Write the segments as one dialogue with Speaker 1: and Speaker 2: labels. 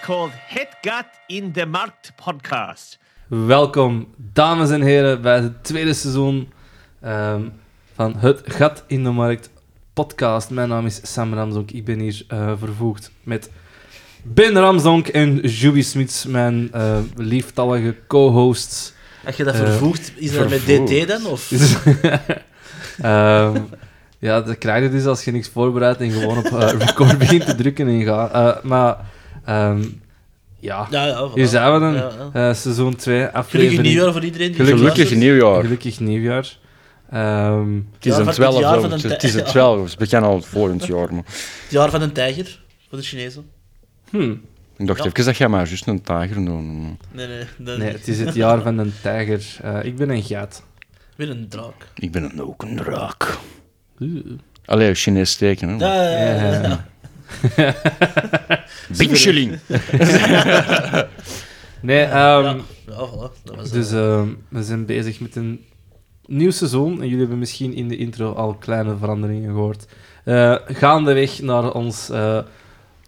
Speaker 1: called Hetgat in the Markt podcast.
Speaker 2: Welkom, dames en heren, bij het tweede seizoen ehm, van Het Gat in de Markt podcast. Mijn naam is Sam Ramzonk. Ik ben hier eh, vervoegd met Ben Ramzonk en Juby Smits, mijn eh lieftallige co-hosts.
Speaker 3: Als je dat
Speaker 2: Eh,
Speaker 3: vervoegt, is dat
Speaker 2: vervoegd.
Speaker 3: met DT dan? Of?
Speaker 2: Ehm, ja, dat krijg je dus als je niks voorbereidt en gewoon op eh, record begint te drukken en gaat. Eh, maar ehm, ja,
Speaker 3: Ja, ja, voilà.
Speaker 2: hier zijn we dan.
Speaker 3: Ja, ja.
Speaker 2: Eh, seizoen 2, aflevering...
Speaker 3: Gelukkig nieuwjaar voor iedereen. die
Speaker 2: Gelukkig
Speaker 4: Gelukkig
Speaker 3: luistert.
Speaker 4: nieuwjaar.
Speaker 2: Gelukkig nieuwjaar. Ehm,
Speaker 4: Het
Speaker 3: Ja,
Speaker 4: is een
Speaker 3: van het
Speaker 4: 12
Speaker 3: jaar van
Speaker 4: over.
Speaker 3: een
Speaker 4: Het is
Speaker 3: tij-
Speaker 4: een 12 over. We beginnen al volgend jaar. Maar.
Speaker 3: Het jaar van een tijger, voor de Chinezen.
Speaker 2: hmm.
Speaker 4: Ik dacht
Speaker 3: Ja.
Speaker 4: even dat jij maar juist een tijger noemt. maar
Speaker 3: Nee, nee, nee.
Speaker 2: Nee, het is het jaar van een tijger. Eh, ik ben een geit.
Speaker 3: Weer een draak.
Speaker 4: Ik ben een, ook een draak. Allee, Chinees teken. Hè.
Speaker 3: Ja, ja, ja,
Speaker 2: Eh,
Speaker 3: ja, ja.
Speaker 4: Bincheling.
Speaker 2: Nee, ehm,
Speaker 3: Ja, ja, voilà. Dat
Speaker 2: dus
Speaker 3: was dus,
Speaker 2: ehm, we zijn bezig met een nieuw seizoen. En jullie hebben misschien in de intro al kleine veranderingen gehoord. Eh, gaandeweg naar ons eh,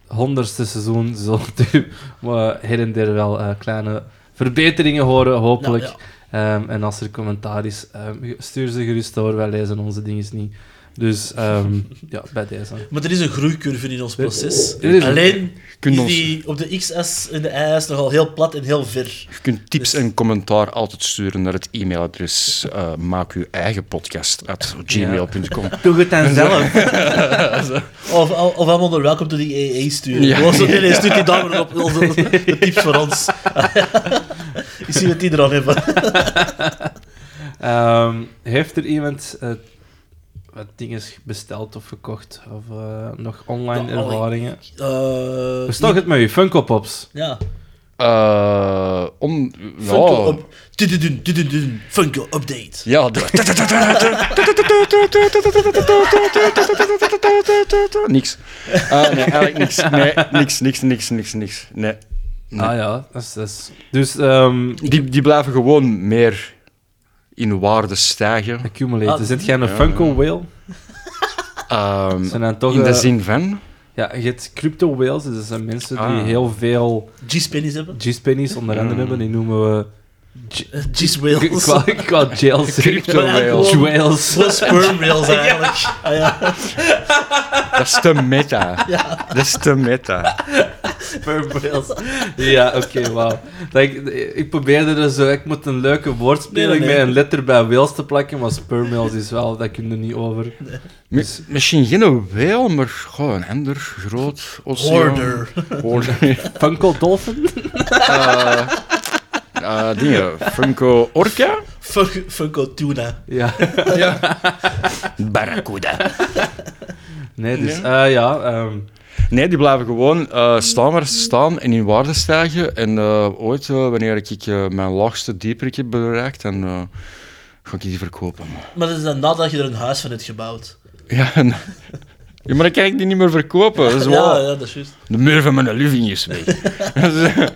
Speaker 2: honderdste seizoen zult u maar her en der wel eh, kleine verbeteringen horen, hopelijk.
Speaker 3: Ja,
Speaker 2: Ehm, en als er commentaar is, ehm, stuur ze gerust door. Wij lezen onze dingen niet. Dus ehm, ja, bij deze.
Speaker 3: maar er is een groeicurve in ons proces.
Speaker 2: Er is een-
Speaker 3: Alleen
Speaker 4: kunt
Speaker 3: is
Speaker 4: ons-
Speaker 3: die op de XS en de YS nogal heel plat en heel ver.
Speaker 4: Je kunt tips en commentaar altijd sturen naar het e-mailadres eh, maak uw eigen podcast at gmail.com.
Speaker 2: Doe het dan zelf.
Speaker 3: Of, of of allemaal naar welkom to the EE E sturen.
Speaker 4: Ja.
Speaker 3: Gewoon zo, nee, nee, stuurt die daar maar op. Onze- De tips voor ons. Ik zie dat die er al hebben.
Speaker 2: Ehm, heeft er iemand eh, wat dingen besteld of gekocht? Of eh, nog online
Speaker 3: Nou, oh, ik-
Speaker 2: ervaringen?
Speaker 3: Eh,
Speaker 2: Hoe staat het met je Funko Pops?
Speaker 3: Ja.
Speaker 4: Eh, om,
Speaker 3: Funko
Speaker 4: ja,
Speaker 3: up. Tududun, tududun. Funko update.
Speaker 4: ja, de- niks. Eh, nee, eigenlijk niks. Nee, niks, niks, niks, niks, niks. Nee. Nee.
Speaker 2: Ah ja, dat is... dat is- Dus ehm
Speaker 4: Die, die blijven gewoon meer in waarde stijgen.
Speaker 2: accumulaten.
Speaker 3: Ah,
Speaker 2: Zit jij een
Speaker 4: ja,
Speaker 2: Funko
Speaker 4: ja.
Speaker 2: whale?
Speaker 4: Ehm,
Speaker 2: Zijn dan toch,
Speaker 4: in de
Speaker 2: eh,
Speaker 4: zin van...
Speaker 2: Ja, je hebt crypto whales, dus dat zijn mensen die
Speaker 4: Ah.
Speaker 2: heel veel
Speaker 3: G-Spennies hebben.
Speaker 2: G-pennies onder andere
Speaker 4: Mm.
Speaker 2: hebben. Die noemen we
Speaker 3: Eh, G's whales.
Speaker 2: qua, qua jails.
Speaker 4: Crypto
Speaker 3: whale.
Speaker 2: Whales.
Speaker 3: Zo sperm whales eigenlijk. Ah, ja.
Speaker 4: Dat is te meta. Dat is te meta.
Speaker 2: Ja, oké, wauw. Dat Ik, ik probeerde er zo... Ik moet een leuke woordspeling
Speaker 3: Nee, nee, nee.
Speaker 2: met een letter bij whales te plakken, maar spermwhales is wel... Dat kun je niet over.
Speaker 4: Mi- misschien geen whale, maar gewoon een ander groot oceaan.
Speaker 3: Hoarder.
Speaker 4: Hoorder.
Speaker 2: Funko dolphin?
Speaker 4: Eh, eh, dingen. Funko Orca.
Speaker 3: Fun- Funko tuna.
Speaker 2: Ja.
Speaker 4: Barracuda.
Speaker 2: Nee, dus... eh, ja, ehm,
Speaker 4: Nee, die blijven gewoon eh, staan waar ze staan en in waarde stijgen. En eh, ooit, eh, wanneer ik eh, mijn laagste dieperik heb bereikt, dan eh, ga ik die verkopen.
Speaker 3: Maar dat is dan nadat je er een huis van hebt gebouwd.
Speaker 4: Ja, en- ja, maar dan kan ik die niet meer verkopen. Dat is
Speaker 3: Ja,
Speaker 4: waar.
Speaker 3: ja, dat is juist.
Speaker 4: De muur van mijn living is weg. Dat is-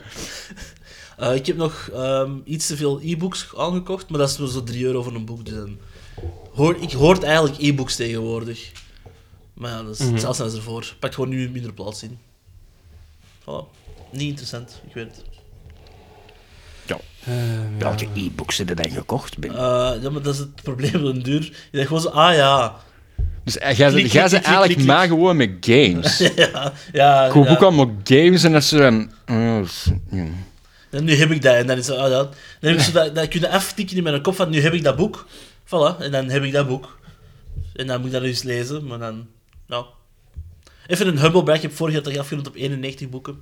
Speaker 3: Eh, ik heb nog ehm, iets te veel e-books aangekocht, maar dat is maar zo 3 euro voor een boek. Dus dan hoor, ik hoort eigenlijk e-books tegenwoordig. Maar ja, dat is hetzelfde als ervoor. Pak gewoon nu minder plaats in. Voilà. Niet interessant, ik weet het.
Speaker 2: eh, ja.
Speaker 4: Welke e-books heb je dan gekocht? Ben?
Speaker 3: Eh, ja, maar dat is het probleem van duur. Je denkt gewoon zo, ah ja.
Speaker 4: Dus eh, jij
Speaker 3: Klik,
Speaker 4: bent- jij
Speaker 3: klik,
Speaker 4: bent
Speaker 3: klik,
Speaker 4: eigenlijk
Speaker 3: klik,
Speaker 4: maar gewoon met games. Ik
Speaker 3: ja, ja,
Speaker 4: koop
Speaker 3: ja.
Speaker 4: ook allemaal games en dat ze dan... eh, s- ja.
Speaker 3: En nu heb ik dat. En dan is het, ah ja. Dan heb ik zo dat, dat kun je aftikken in mijn kop van, nu heb ik dat boek. Voilà, en dan heb ik dat boek. En dan moet ik dat eens lezen, maar dan, ja. Even een humble brag. Ik heb vorig jaar toch afgerond op 91 boeken.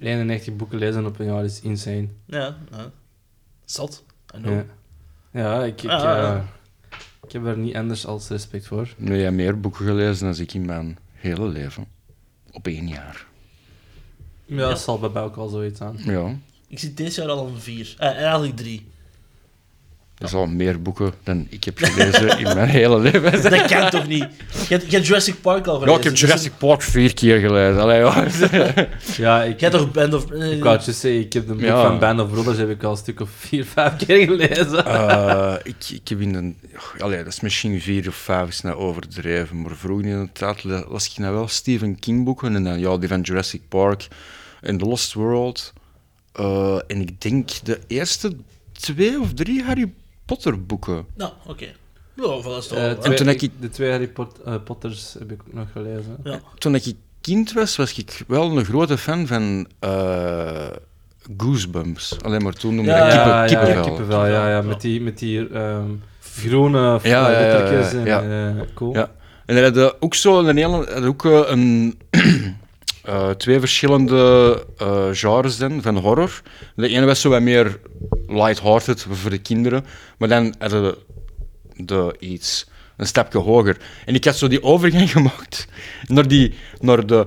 Speaker 2: 91 boeken lezen op een jaar is insane.
Speaker 3: Ja, ja. Zat. I know.
Speaker 2: Ja, ja ik, ik,
Speaker 3: Ah, ah, ah.
Speaker 2: eh, ik heb er niet anders als respect voor.
Speaker 4: Nu heb jij meer boeken gelezen dan ik in mijn hele leven. Op één jaar.
Speaker 2: Ja, dat zal bij mij ook al zoiets aan.
Speaker 4: Ja,
Speaker 3: Ik zit dit jaar al aan vier. Eh, eigenlijk drie.
Speaker 4: dat is al meer boeken dan ik heb gelezen in mijn hele leven.
Speaker 3: Dat kan toch niet? Je hebt, je hebt Jurassic Park al gelezen.
Speaker 4: Ja, ik heb
Speaker 3: dus-
Speaker 4: Jurassic Park vier keer gelezen. Allee, ja.
Speaker 2: Ja, ik,
Speaker 3: Jij hebt toch Band of...
Speaker 2: ik wou het juist zeggen, ik heb de boek
Speaker 4: Ja.
Speaker 2: van Band of Brothers heb ik al een stuk of vier, vijf keer gelezen.
Speaker 4: Eh, ik, ik heb in een... och, Allee, dat is misschien vier of vijf is nou overdreven, maar vroeger in de tijd le- las ik nou wel Stephen King boeken en dan ja, die van Jurassic Park en The Lost World. eh, en ik denk de eerste twee of drie Harry Potter boeken.
Speaker 3: Nou, oké. Nou, voilà, dat is toch
Speaker 2: Eh,
Speaker 3: wel-
Speaker 2: twee-
Speaker 4: toen heb ik-
Speaker 2: De twee Harry Pot- eh, Potters heb ik ook nog gelezen.
Speaker 3: Ja.
Speaker 4: Toen ik kind was, was ik wel een grote fan van eh, Goosebumps. Alleen maar toen noemde
Speaker 3: Ja,
Speaker 4: ik kippen,
Speaker 2: ja,
Speaker 4: kippenvel.
Speaker 2: Ja, kippenvel, ja, ja, met die, met die ehm, groene
Speaker 4: Ja, ja, ja, ja,
Speaker 2: lettertjes en
Speaker 4: ja.
Speaker 2: eh, cool.
Speaker 4: Ja. En er hadden ook zo in Nederland hadden ook eh, een, eh, twee verschillende eh, genres dan, van horror. De ene was zo wat meer light-hearted voor de kinderen, maar dan hadden we de iets een stapje hoger. En ik had zo die overgang gemaakt naar, die, naar de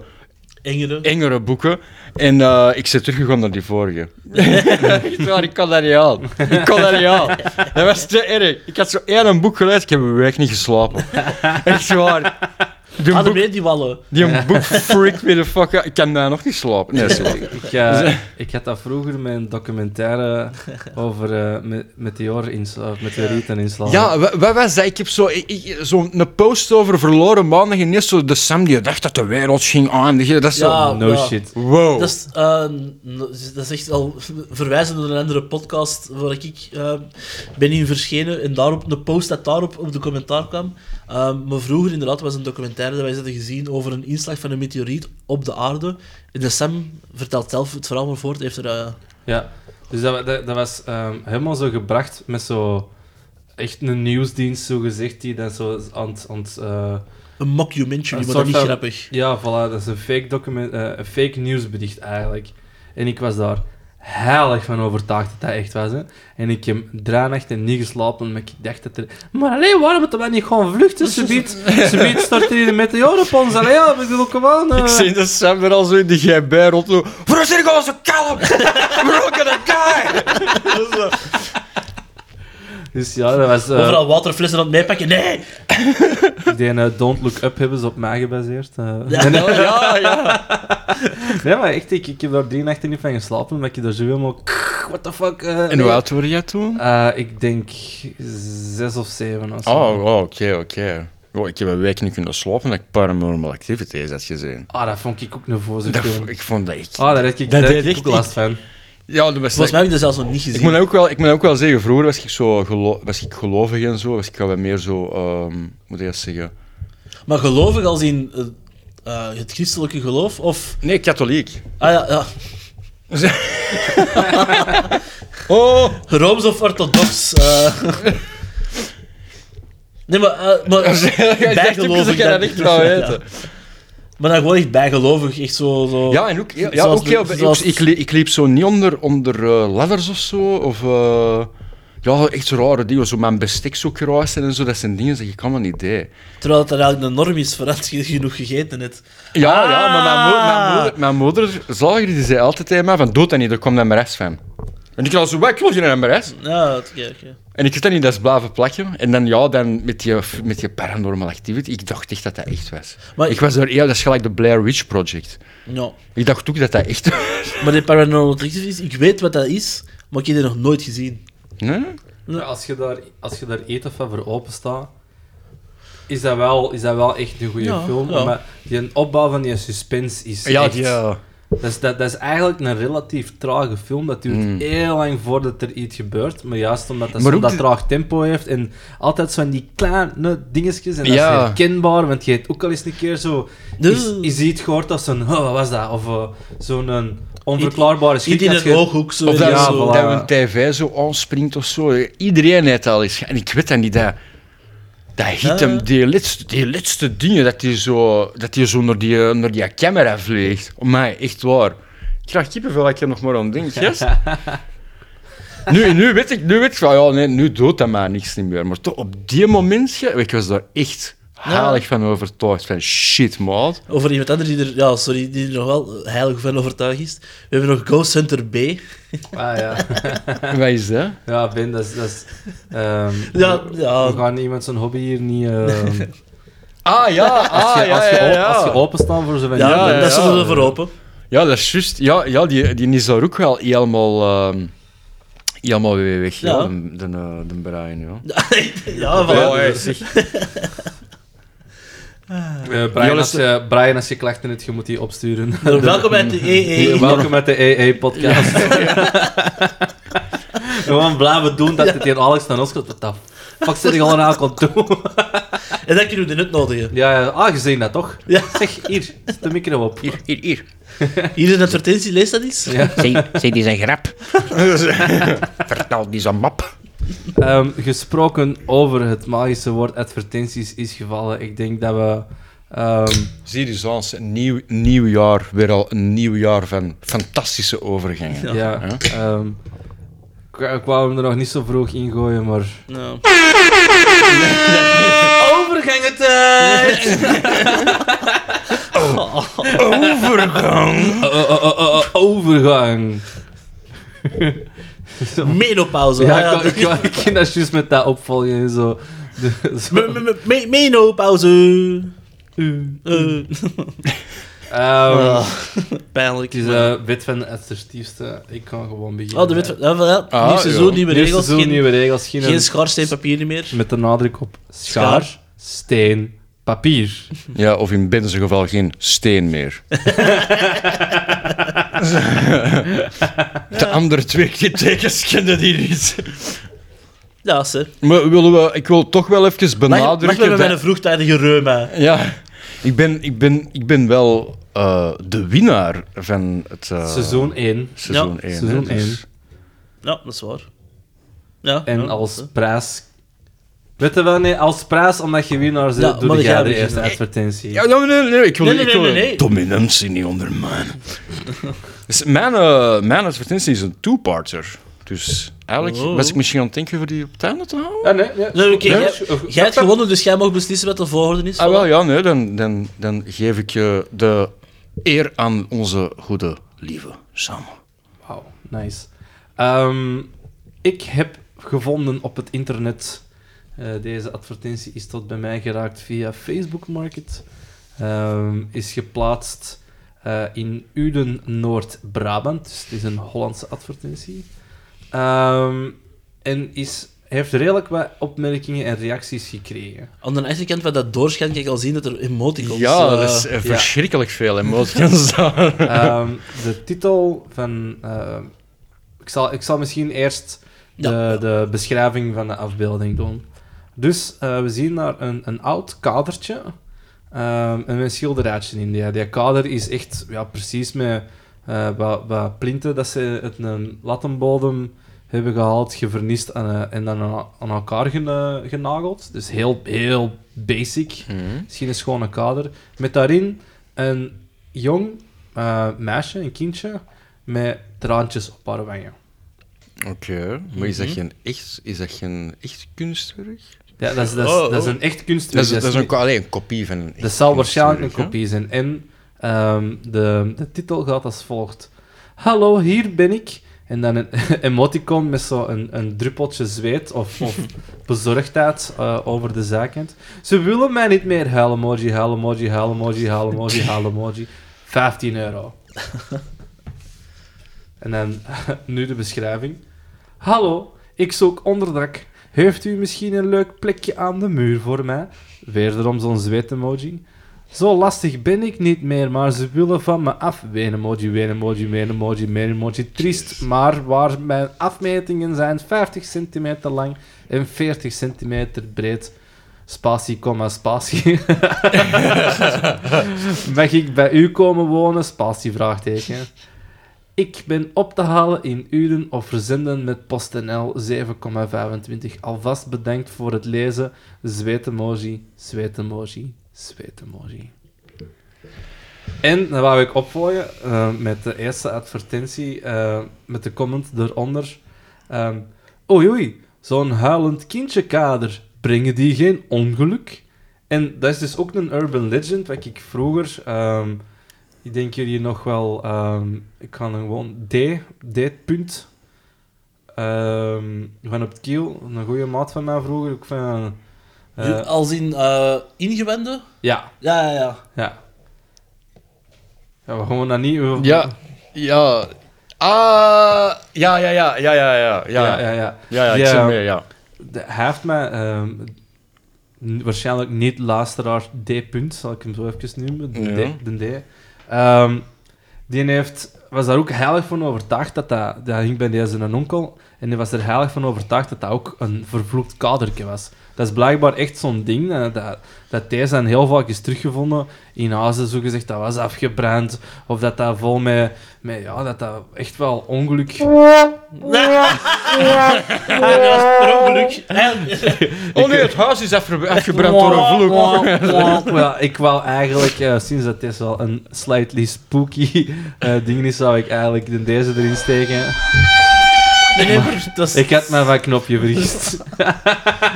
Speaker 3: Engere.
Speaker 4: engere boeken. En eh, ik zit teruggegaan naar die vorige. Echt waar, ik kon dat niet aan. Ik kon dat niet aan. Dat was te erg. Ik had zo één een boek gelezen, ik heb een week niet geslapen. Echt waar. Die
Speaker 3: Hadden
Speaker 4: boek,
Speaker 3: mee die wallen.
Speaker 4: die boek freak me de fuck out. Ik kan daar nog niet slapen. Nee, sorry.
Speaker 2: Ik, eh, ik had dat vroeger met een documentaire over eh, me- meteorinslagen, meteorieteninslagen.
Speaker 4: Ja, wa- wat was dat? Ik heb zo'n zo een post over verloren maandag en net zo de Sam die dacht dat de wereld ging aandigen. Dat is
Speaker 3: Ja.
Speaker 4: zo...
Speaker 2: no
Speaker 3: ja.
Speaker 2: shit.
Speaker 4: Wow.
Speaker 3: Dat is, eh, dat is echt al verwijzen naar een andere podcast waar ik eh, ben in verschenen en daarop, de post dat daarop op de commentaar kwam. Eh, maar vroeger inderdaad was een documentaire dat wij eens hadden gezien over een inslag van een meteoriet op de aarde. En de Sam vertelt zelf het verhaal maar voort. Heeft er, eh,
Speaker 2: Ja, dus dat, wa- dat, dat was ehm, helemaal zo gebracht met zo echt een nieuwsdienst, zo gezegd, die dan zo aan het- aan het, eh,
Speaker 3: een
Speaker 4: Ah,
Speaker 3: mockumentary,
Speaker 2: Een
Speaker 3: maar
Speaker 2: soort
Speaker 3: dat niet
Speaker 2: van-
Speaker 3: grappig.
Speaker 2: Ja, voilà, dat is een fake, document, eh, een fake nieuwsbericht eigenlijk. En ik was daar heilig van overtuigd dat dat echt was. Hè. En ik heb draanacht en niet geslapen, maar ik dacht dat er... Maar alleen waarom moeten we niet gewoon vluchten? Subiet, subiet stort er hier een meteor op ons. Allee, ja, we doen kom aan. eh.
Speaker 4: Ik zie de Sam er al zo in die gb rondlopen. Waarom zit ik al zo kalm? We're all gonna die!
Speaker 2: Dus ja, dat was... eh,
Speaker 3: Overal waterflessen aan het meepakken. Nee!
Speaker 2: ik denk, eh, Don't Look Up hebben ze op mij gebaseerd. eh.
Speaker 3: Ja.
Speaker 2: Nee, nee,
Speaker 4: Ja, ja.
Speaker 2: nee, maar echt, ik, ik heb daar drie nachten niet van geslapen, maar ik heb daar zo helemaal... What the fuck? eh,
Speaker 4: En hoe oud word jij toen?
Speaker 2: Eh, ik denk zes of zeven of zo.
Speaker 4: Oh, oh, oké, oké. Oh, ik heb een week niet kunnen slapen dat ik Paranormal Activities had gezien.
Speaker 2: Ah, dat vond ik ook een voze
Speaker 4: Dat,
Speaker 2: film.
Speaker 4: ik vond dat echt...
Speaker 2: Ah, daar heb ik, daar
Speaker 4: Dat deed
Speaker 2: heb ik
Speaker 4: echt
Speaker 2: ook last van.
Speaker 4: Ja, dat was...
Speaker 3: Volgens mij heb ik dat zelfs nog niet gezien.
Speaker 4: Ik moet, dat ook wel, ik moet dat ook wel zeggen, vroeger was ik, zo gelo- was ik gelovig en zo, was ik wel wat meer zo, ehm, hoe moet ik dat zeggen?
Speaker 3: Maar gelovig als in eh, eh, het christelijke geloof of...
Speaker 4: Nee, katholiek.
Speaker 3: Ah ja, ja.
Speaker 4: Oh!
Speaker 3: Rooms of orthodox? eh. nee, maar, eh, maar
Speaker 4: Bijgelovig.
Speaker 3: bijgelovig.
Speaker 4: Ik dat
Speaker 3: dan-
Speaker 4: echt wel
Speaker 3: Ja.
Speaker 4: weten.
Speaker 3: Maar dan gewoon echt bijgelovig, echt zo... zo.
Speaker 4: Ja, en ook, ja, ja,
Speaker 3: Zoals
Speaker 4: ook
Speaker 3: de-
Speaker 4: heel- ik-
Speaker 3: zoals-
Speaker 4: ik, li- ik liep zo niet onder, onder eh, ladders of zo. Of, eh, ja, echt zo rare dingen. Zo mijn bestek zo kruisen en zo. Dat zijn dingen die ik allemaal niet deed.
Speaker 3: Terwijl het dan eigenlijk een norm is, voor als je genoeg gegeten hebt.
Speaker 4: Ja,
Speaker 3: Ah.
Speaker 4: ja maar mijn, mo- mijn moeder, mijn moeder zaliger, die zei altijd tegen mij van dood dat niet, er komt een MRS van. En ik was zo, wat, ik wil geen MRS.
Speaker 3: Ja, oké, oké.
Speaker 4: En ik heb dat niet, dat is blijven plakken. En dan, ja, dan met die, met die paranormal activity, ik dacht echt dat dat echt was.
Speaker 3: Maar-
Speaker 4: ik was daar, ja, dat is gelijk de Blair Witch Project.
Speaker 3: Ja.
Speaker 4: Ik dacht ook dat dat echt was.
Speaker 3: Maar die paranormal activities, ik weet wat dat is, maar ik heb die nog nooit gezien.
Speaker 4: Nee?
Speaker 2: Ja, Als je daar, als je daar eten van voor openstaat, is dat wel, is dat wel echt een goede
Speaker 3: Ja,
Speaker 2: film.
Speaker 3: ja.
Speaker 2: Maar die opbouw van die suspense is echt...
Speaker 4: eh,
Speaker 3: eh,
Speaker 2: Dat, is, dat, dat is eigenlijk een relatief trage film. Dat duurt heel lang voordat er iets gebeurt. Maar juist omdat dat
Speaker 4: Mm. Maar
Speaker 2: zo'n
Speaker 4: ook
Speaker 2: dat
Speaker 4: de-
Speaker 2: traag tempo heeft en altijd zo'n die kleine dingetjes. En dat
Speaker 4: Ja.
Speaker 2: is herkenbaar, want je hebt ook al eens een keer zo... Is, is iets gehoord als een... Oh, wat was dat? Of eh, zo'n eh, onverklaarbare
Speaker 3: Schiet in
Speaker 2: dat
Speaker 3: een
Speaker 2: je-
Speaker 3: ooghoek, zo.
Speaker 4: Of dat,
Speaker 2: Ja,
Speaker 4: zo,
Speaker 2: voilà.
Speaker 4: dat een tv zo aanspringt of zo. Iedereen heeft dat al eens. ge- En ik weet dat niet. Dat, dat hit
Speaker 3: Ja.
Speaker 4: hem, die laatste, die laatste dingen, dat hij zo, dat die zo naar, die, naar die camera vliegt. Mij, echt waar. Ik krijg kippenvel dat ik er nog maar aan denk. yes. nu, nu weet ik, nu weet ik van, ja, nee, nu doet dat mij niks niet meer. Maar toch, op die moment, ge- ik was daar echt heilig van overtuigd. Van, shit, maat.
Speaker 3: Over iemand anders die er, ja, sorry, die er nog wel heilig van overtuigd is. We hebben nog Ghost Hunter B.
Speaker 2: Ah, ja.
Speaker 4: En Wat is dat?
Speaker 2: Ja, Ben, dat is... Dat is ehm,
Speaker 3: Ja,
Speaker 2: we-
Speaker 3: ja.
Speaker 2: We gaan iemand zijn hobby hier niet... ehm,
Speaker 4: Ah, ja, ah,
Speaker 2: als, je,
Speaker 4: ja,
Speaker 2: als, je
Speaker 4: ja,
Speaker 2: op-
Speaker 4: ja.
Speaker 2: als je openstaan voor zo'n...
Speaker 3: Ja,
Speaker 4: Ja,
Speaker 3: dat-
Speaker 4: ja,
Speaker 3: dat
Speaker 4: ja.
Speaker 3: zullen we voor open.
Speaker 4: Ja, dat is juist. Ja, ja die, die is daar ook wel helemaal, ehm helemaal weer weg, ja.
Speaker 3: Ja.
Speaker 4: de, de, eh, de Brian. Ja.
Speaker 3: Ja, voilà.
Speaker 4: Ja, hij is echt-
Speaker 2: Eh, Brian, als je, Brian, als je klachten hebt, je moet die opsturen.
Speaker 3: Welkom bij de E EE.
Speaker 2: Welkom met de EE-podcast. Gewoon blijven doen dat het hier Alex naar ons gaat. Wat de fuck zit ik al een aan kon doen?
Speaker 3: En dan kunnen we de nut nodigen.
Speaker 2: Ja, ja, ah, je ziet dat toch?
Speaker 3: Ja.
Speaker 2: Zeg, hier, zet de micro op.
Speaker 5: Hier, hier, hier.
Speaker 3: Hier is een advertentie, lees dat eens.
Speaker 2: Ja.
Speaker 5: Zie, zie die zijn grap.
Speaker 4: Vertel die zijn map.
Speaker 2: Ehm, gesproken over het magische woord advertenties is gevallen. Ik denk dat we... ehm,
Speaker 4: Zie je zoals een nieuw, nieuw jaar, weer al een nieuw jaar van fantastische overgangen.
Speaker 2: ja, ehm, ik wou- ik wou hem er nog niet zo vroeg in gooien, maar...
Speaker 3: Nou.
Speaker 2: Overgangentijd!
Speaker 4: Overgang!
Speaker 2: Oh, overgang.
Speaker 3: Menopauze.
Speaker 2: Ja,
Speaker 3: Ah, ja,
Speaker 2: ik, kan- ik, kan- ik kan dat juist met dat opvolgen en zo. Dus, De- zo.
Speaker 3: Me- me- me- me- Menopauze. Eh.
Speaker 2: Ehm,
Speaker 3: Ah, Pijnlijk.
Speaker 2: het is eh, de wit van het assertiefste. Ik kan gewoon beginnen.
Speaker 3: Oh, de wet van... Ja, voilà.
Speaker 4: Ah,
Speaker 3: nieuw seizoen,
Speaker 4: ja.
Speaker 3: nieuwe
Speaker 2: Nieuw
Speaker 3: regels.
Speaker 2: seizoen,
Speaker 3: geen
Speaker 2: nieuwe regels. Geen,
Speaker 3: geen schaarsteen papier meer.
Speaker 2: met de nadruk op schaar,
Speaker 3: Schaar.
Speaker 2: steen, papier.
Speaker 4: Ja, of in Ben's geval geen steen meer. De andere twee tekens kennen die niet.
Speaker 3: Ja, sir.
Speaker 4: Maar willen we, ik wil toch wel even
Speaker 3: Mag mag
Speaker 4: benadrukken.
Speaker 3: met
Speaker 4: dat-
Speaker 3: mijn vroegtijdige reuma.
Speaker 4: Ja, ik ben, ik ben, ik ben wel eh, de winnaar van het
Speaker 3: Ah.
Speaker 4: eh,
Speaker 2: Seizoen 1.
Speaker 4: seizoen dus-
Speaker 3: Ja,
Speaker 4: 1.
Speaker 2: seizoen
Speaker 3: Ja, dat is waar. Ja,
Speaker 2: En
Speaker 3: ja,
Speaker 2: als
Speaker 3: dat is,
Speaker 2: prijs... Weet je wel, nee, als prijs omdat je winnaar bent,
Speaker 3: Ja,
Speaker 2: doe
Speaker 3: maar
Speaker 2: jij
Speaker 3: jij
Speaker 2: de
Speaker 3: begint.
Speaker 2: eerste
Speaker 3: Nee.
Speaker 2: advertentie.
Speaker 4: Ja, nee, nee, nee, ik wil,
Speaker 3: Nee, nee,
Speaker 4: ik wil
Speaker 3: nee, nee.
Speaker 4: dominantie niet ondermijnen. dus mijn, eh, mijn advertentie is een two-parter. Dus eigenlijk
Speaker 3: Oh.
Speaker 4: was ik misschien aan het denken voor die op het einde te houden.
Speaker 2: Ja, Ah, nee, ja.
Speaker 3: hè. Nee, oké,
Speaker 4: Ja,
Speaker 3: jij-
Speaker 2: is- of-
Speaker 3: jij hebt gewonnen, dus jij mag beslissen wat de volgorde is.
Speaker 4: Ah, wel, ja, nee, dan, dan, dan geef ik je de eer aan onze goede lieve Sam.
Speaker 2: Wauw, nice. Ehm, ik heb gevonden op het internet. eh, deze advertentie is tot bij mij geraakt via Facebook Market. Ehm, is geplaatst eh, in Uden, Noord-Brabant. Dus het is een Hollandse advertentie. Ehm, en is, heeft redelijk wat opmerkingen en reacties gekregen.
Speaker 3: Aan de achterkant van dat doorschijn kan ik al zien dat er emoticons...
Speaker 4: Ja,
Speaker 3: eh,
Speaker 4: dat is eh,
Speaker 2: ja.
Speaker 4: verschrikkelijk veel emoties daar.
Speaker 2: Ehm, de titel van. ehm, ik, zal, ik zal misschien eerst de,
Speaker 3: Ja, ja.
Speaker 2: de beschrijving van de afbeelding doen. Dus eh, we zien daar een, een oud kadertje ehm, en een schilderijtje in. Die, die kader is echt ja, precies met eh wat, wat plinten dat ze uit een lattenbodem hebben gehaald, gevernist en, eh, en dan aan, aan elkaar gena- genageld. Dus heel, heel basic. Misschien een schone kader. Met daarin een jong eh, meisje, een kindje, met traantjes op haar wangen.
Speaker 4: Oké, maar is dat, geen echt, is dat geen echt kunstwerk?
Speaker 2: Ja, dat, is, dat, is,
Speaker 3: Oh, oh.
Speaker 2: dat is een echt
Speaker 4: Dat
Speaker 2: kunstwerk.
Speaker 4: is, dat is een,
Speaker 2: niet-
Speaker 4: ko- allee, een kopie van een echt
Speaker 2: dat zal waarschijnlijk een
Speaker 4: kunstwerk,
Speaker 2: kopie zijn. En ehm, de, de titel gaat als volgt. Hallo, hier ben ik. En dan een emoticon met zo'n een, een druppeltje zweet of, of bezorgdheid eh, over de zijkant. Ze willen mij niet meer. Huilemoji, huilemoji, huilemoji, huilemoji, huilemoji. 15 euro. En dan nu de beschrijving. Hallo, ik zoek onderdak. Heeft u misschien een leuk plekje aan de muur voor mij? Wederom zo'n zweetemoji. Zo lastig ben ik niet meer, maar ze willen van me af. Wenemoji, wenemoji, wenemoji, wenemoji. Triest, maar waar mijn afmetingen zijn 50 centimeter lang en 40 centimeter breed. Spatie, komma, spatie. Mag ik bij u komen wonen? Spatie, vraagteken. Ik ben op te halen in uren of verzenden met PostNL 7,25. Alvast bedankt voor het lezen. Zweetemoji, zweetemoji, zweetemoji. En dan wou ik opvolgen eh, met de eerste advertentie, eh, met de comment eronder. Ehm, oei oei, zo'n huilend kindje kader, brengen die geen ongeluk? En dat is dus ook een urban legend, wat ik vroeger... ehm, ik denk jullie nog wel. ehm, ik kan er gewoon D, D-punt. ehm, van op het kiel, een goede maat van mij vroeger. Ik vind, eh,
Speaker 3: eh, Als in eh, ingewenden?
Speaker 2: ja,
Speaker 3: Ja, ja, ja.
Speaker 2: ja. Ja, we gewoon dat niet. we-
Speaker 4: hè? Ja, ja. Ah, ja, ja, ja, ja, ja, ja, ja.
Speaker 2: ja,
Speaker 4: Ja,
Speaker 2: ja.
Speaker 4: ja, ik
Speaker 2: Die, eh,
Speaker 4: zie
Speaker 2: ehm,
Speaker 4: meer, ja.
Speaker 2: de- hij heeft mij ehm, n- waarschijnlijk niet luisteraar D. Punt, zal ik hem zo even noemen. De
Speaker 4: Ja.
Speaker 2: D. De D. Ehm, die heeft, was daar ook heilig van overtuigd dat dat... Dat ging bij deze een onkel. En die was er heilig van overtuigd dat dat ook een vervloekt kaderke was. Dat is blijkbaar echt zo'n ding. eh, Dat, dat deze zijn heel vaak is teruggevonden in huizen, zogezegd, dat was afgebrand. Of dat dat vol met... met ja, dat dat echt wel ongeluk...
Speaker 3: Ja, dat is per ongeluk. Eigenlijk-
Speaker 4: Oh nee, het huis is afge- afgebrand door een vloek.
Speaker 2: Ja, ik wou eigenlijk, eh, sinds dat dit wel een slightly spooky eh, ding is, zou ik eigenlijk de deze erin steken.
Speaker 3: Nee, nee, maar dat is-
Speaker 2: Ik had me van knopje vergist.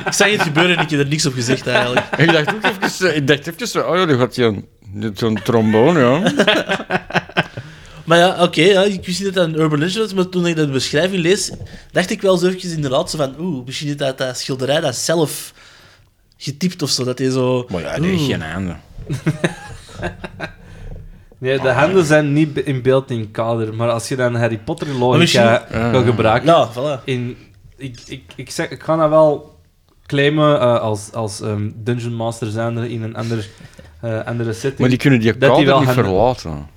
Speaker 3: ik zag het gebeuren en ik heb er niks op gezegd eigenlijk.
Speaker 4: Ik dacht ook even, eh, ik dacht even zo, oh ja, die gaat hier een- dit is een trombone, ja.
Speaker 3: Maar ja, oké, ja, ik wist niet dat dat een urban legend was, maar toen ik dat beschrijving lees, dacht ik wel zo eventjes inderdaad zo van, oeh, misschien is dat, dat schilderij dat zelf getypt of zo, dat hij zo...
Speaker 4: Maar ja, die heeft
Speaker 3: oeh.
Speaker 4: geen einde.
Speaker 2: Nee, de handen zijn niet be- in beeld in kader, maar als je dan Harry Potter logica
Speaker 4: misschien-
Speaker 2: wil gebruiken...
Speaker 4: Nou.
Speaker 3: Ja, voilà.
Speaker 2: In, ik, ik, ik, zeg, ik ga dat wel claimen eh, als, als ehm, Dungeon Master zijnde in een ander, eh, andere setting.
Speaker 4: Maar die kunnen die
Speaker 2: Dat die
Speaker 4: kader
Speaker 2: wel
Speaker 4: niet
Speaker 2: gaan-
Speaker 4: verlaten.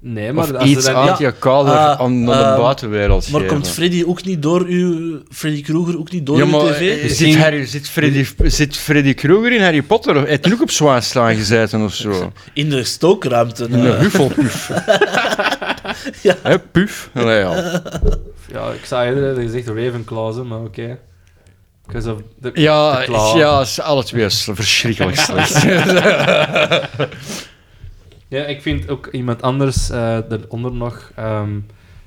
Speaker 2: nee,
Speaker 4: Of
Speaker 2: maar als
Speaker 4: iets
Speaker 2: ze dan,
Speaker 4: aan die kader
Speaker 3: Ah,
Speaker 4: aan aan
Speaker 3: ehm,
Speaker 4: de buitenwereld
Speaker 3: Maar
Speaker 4: geven.
Speaker 3: komt Freddy ook niet door uw... Freddy Krueger ook niet door uw tv?
Speaker 4: eh, Zit,
Speaker 2: Misschien-
Speaker 4: Harry, zit, Freddy, zit Freddy Krueger in Harry Potter? Of heeft hij ook op zwaar staan gezeten of zo?
Speaker 3: In de stookruimte.
Speaker 4: In
Speaker 3: eh.
Speaker 4: de huffelpuf.
Speaker 3: Ja.
Speaker 4: Hè, puf? Allee, ja.
Speaker 2: Ja, ik zou eerder hebben gezegd Ravenclaws, hè, maar oké. Because of the-
Speaker 4: Ja,
Speaker 2: de claw.
Speaker 4: ja, is alle twee is verschrikkelijk slecht.
Speaker 2: Ja, ik vind ook iemand anders eh eronder nog ehm,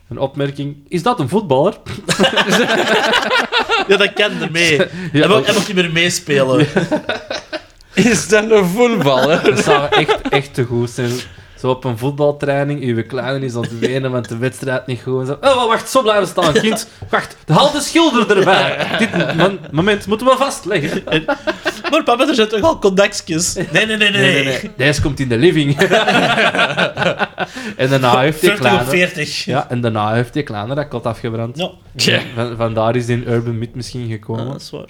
Speaker 2: een opmerking. Is dat een voetballer?
Speaker 3: Ja, dat kan ermee.
Speaker 2: Ja,
Speaker 3: hij, mag,
Speaker 2: dat,
Speaker 3: hij mag niet meer meespelen.
Speaker 4: Is dat een voetballer?
Speaker 2: dat zou echt, echt te goed zijn. Zo op een voetbaltraining, uw kleine is aan het wenen, want de wedstrijd niet goed. is. Oh, wacht, zo blijven staan, kind. Wacht, haal de schilder erbij. Dit mo- moment moeten we vastleggen.
Speaker 3: Maar papa, er zijn toch al contactjes? Nee, nee, nee, nee.
Speaker 2: Nee, nee, nee. Deze komt in de living. en daarna heeft hij
Speaker 3: 40 of
Speaker 2: kleine...
Speaker 3: 40.
Speaker 2: Ja, en daarna heeft die kleine dat kot afgebrand.
Speaker 3: Ja,
Speaker 2: Van, vandaar is die urban myth misschien gekomen.
Speaker 3: dat is
Speaker 4: Ah,
Speaker 3: waar.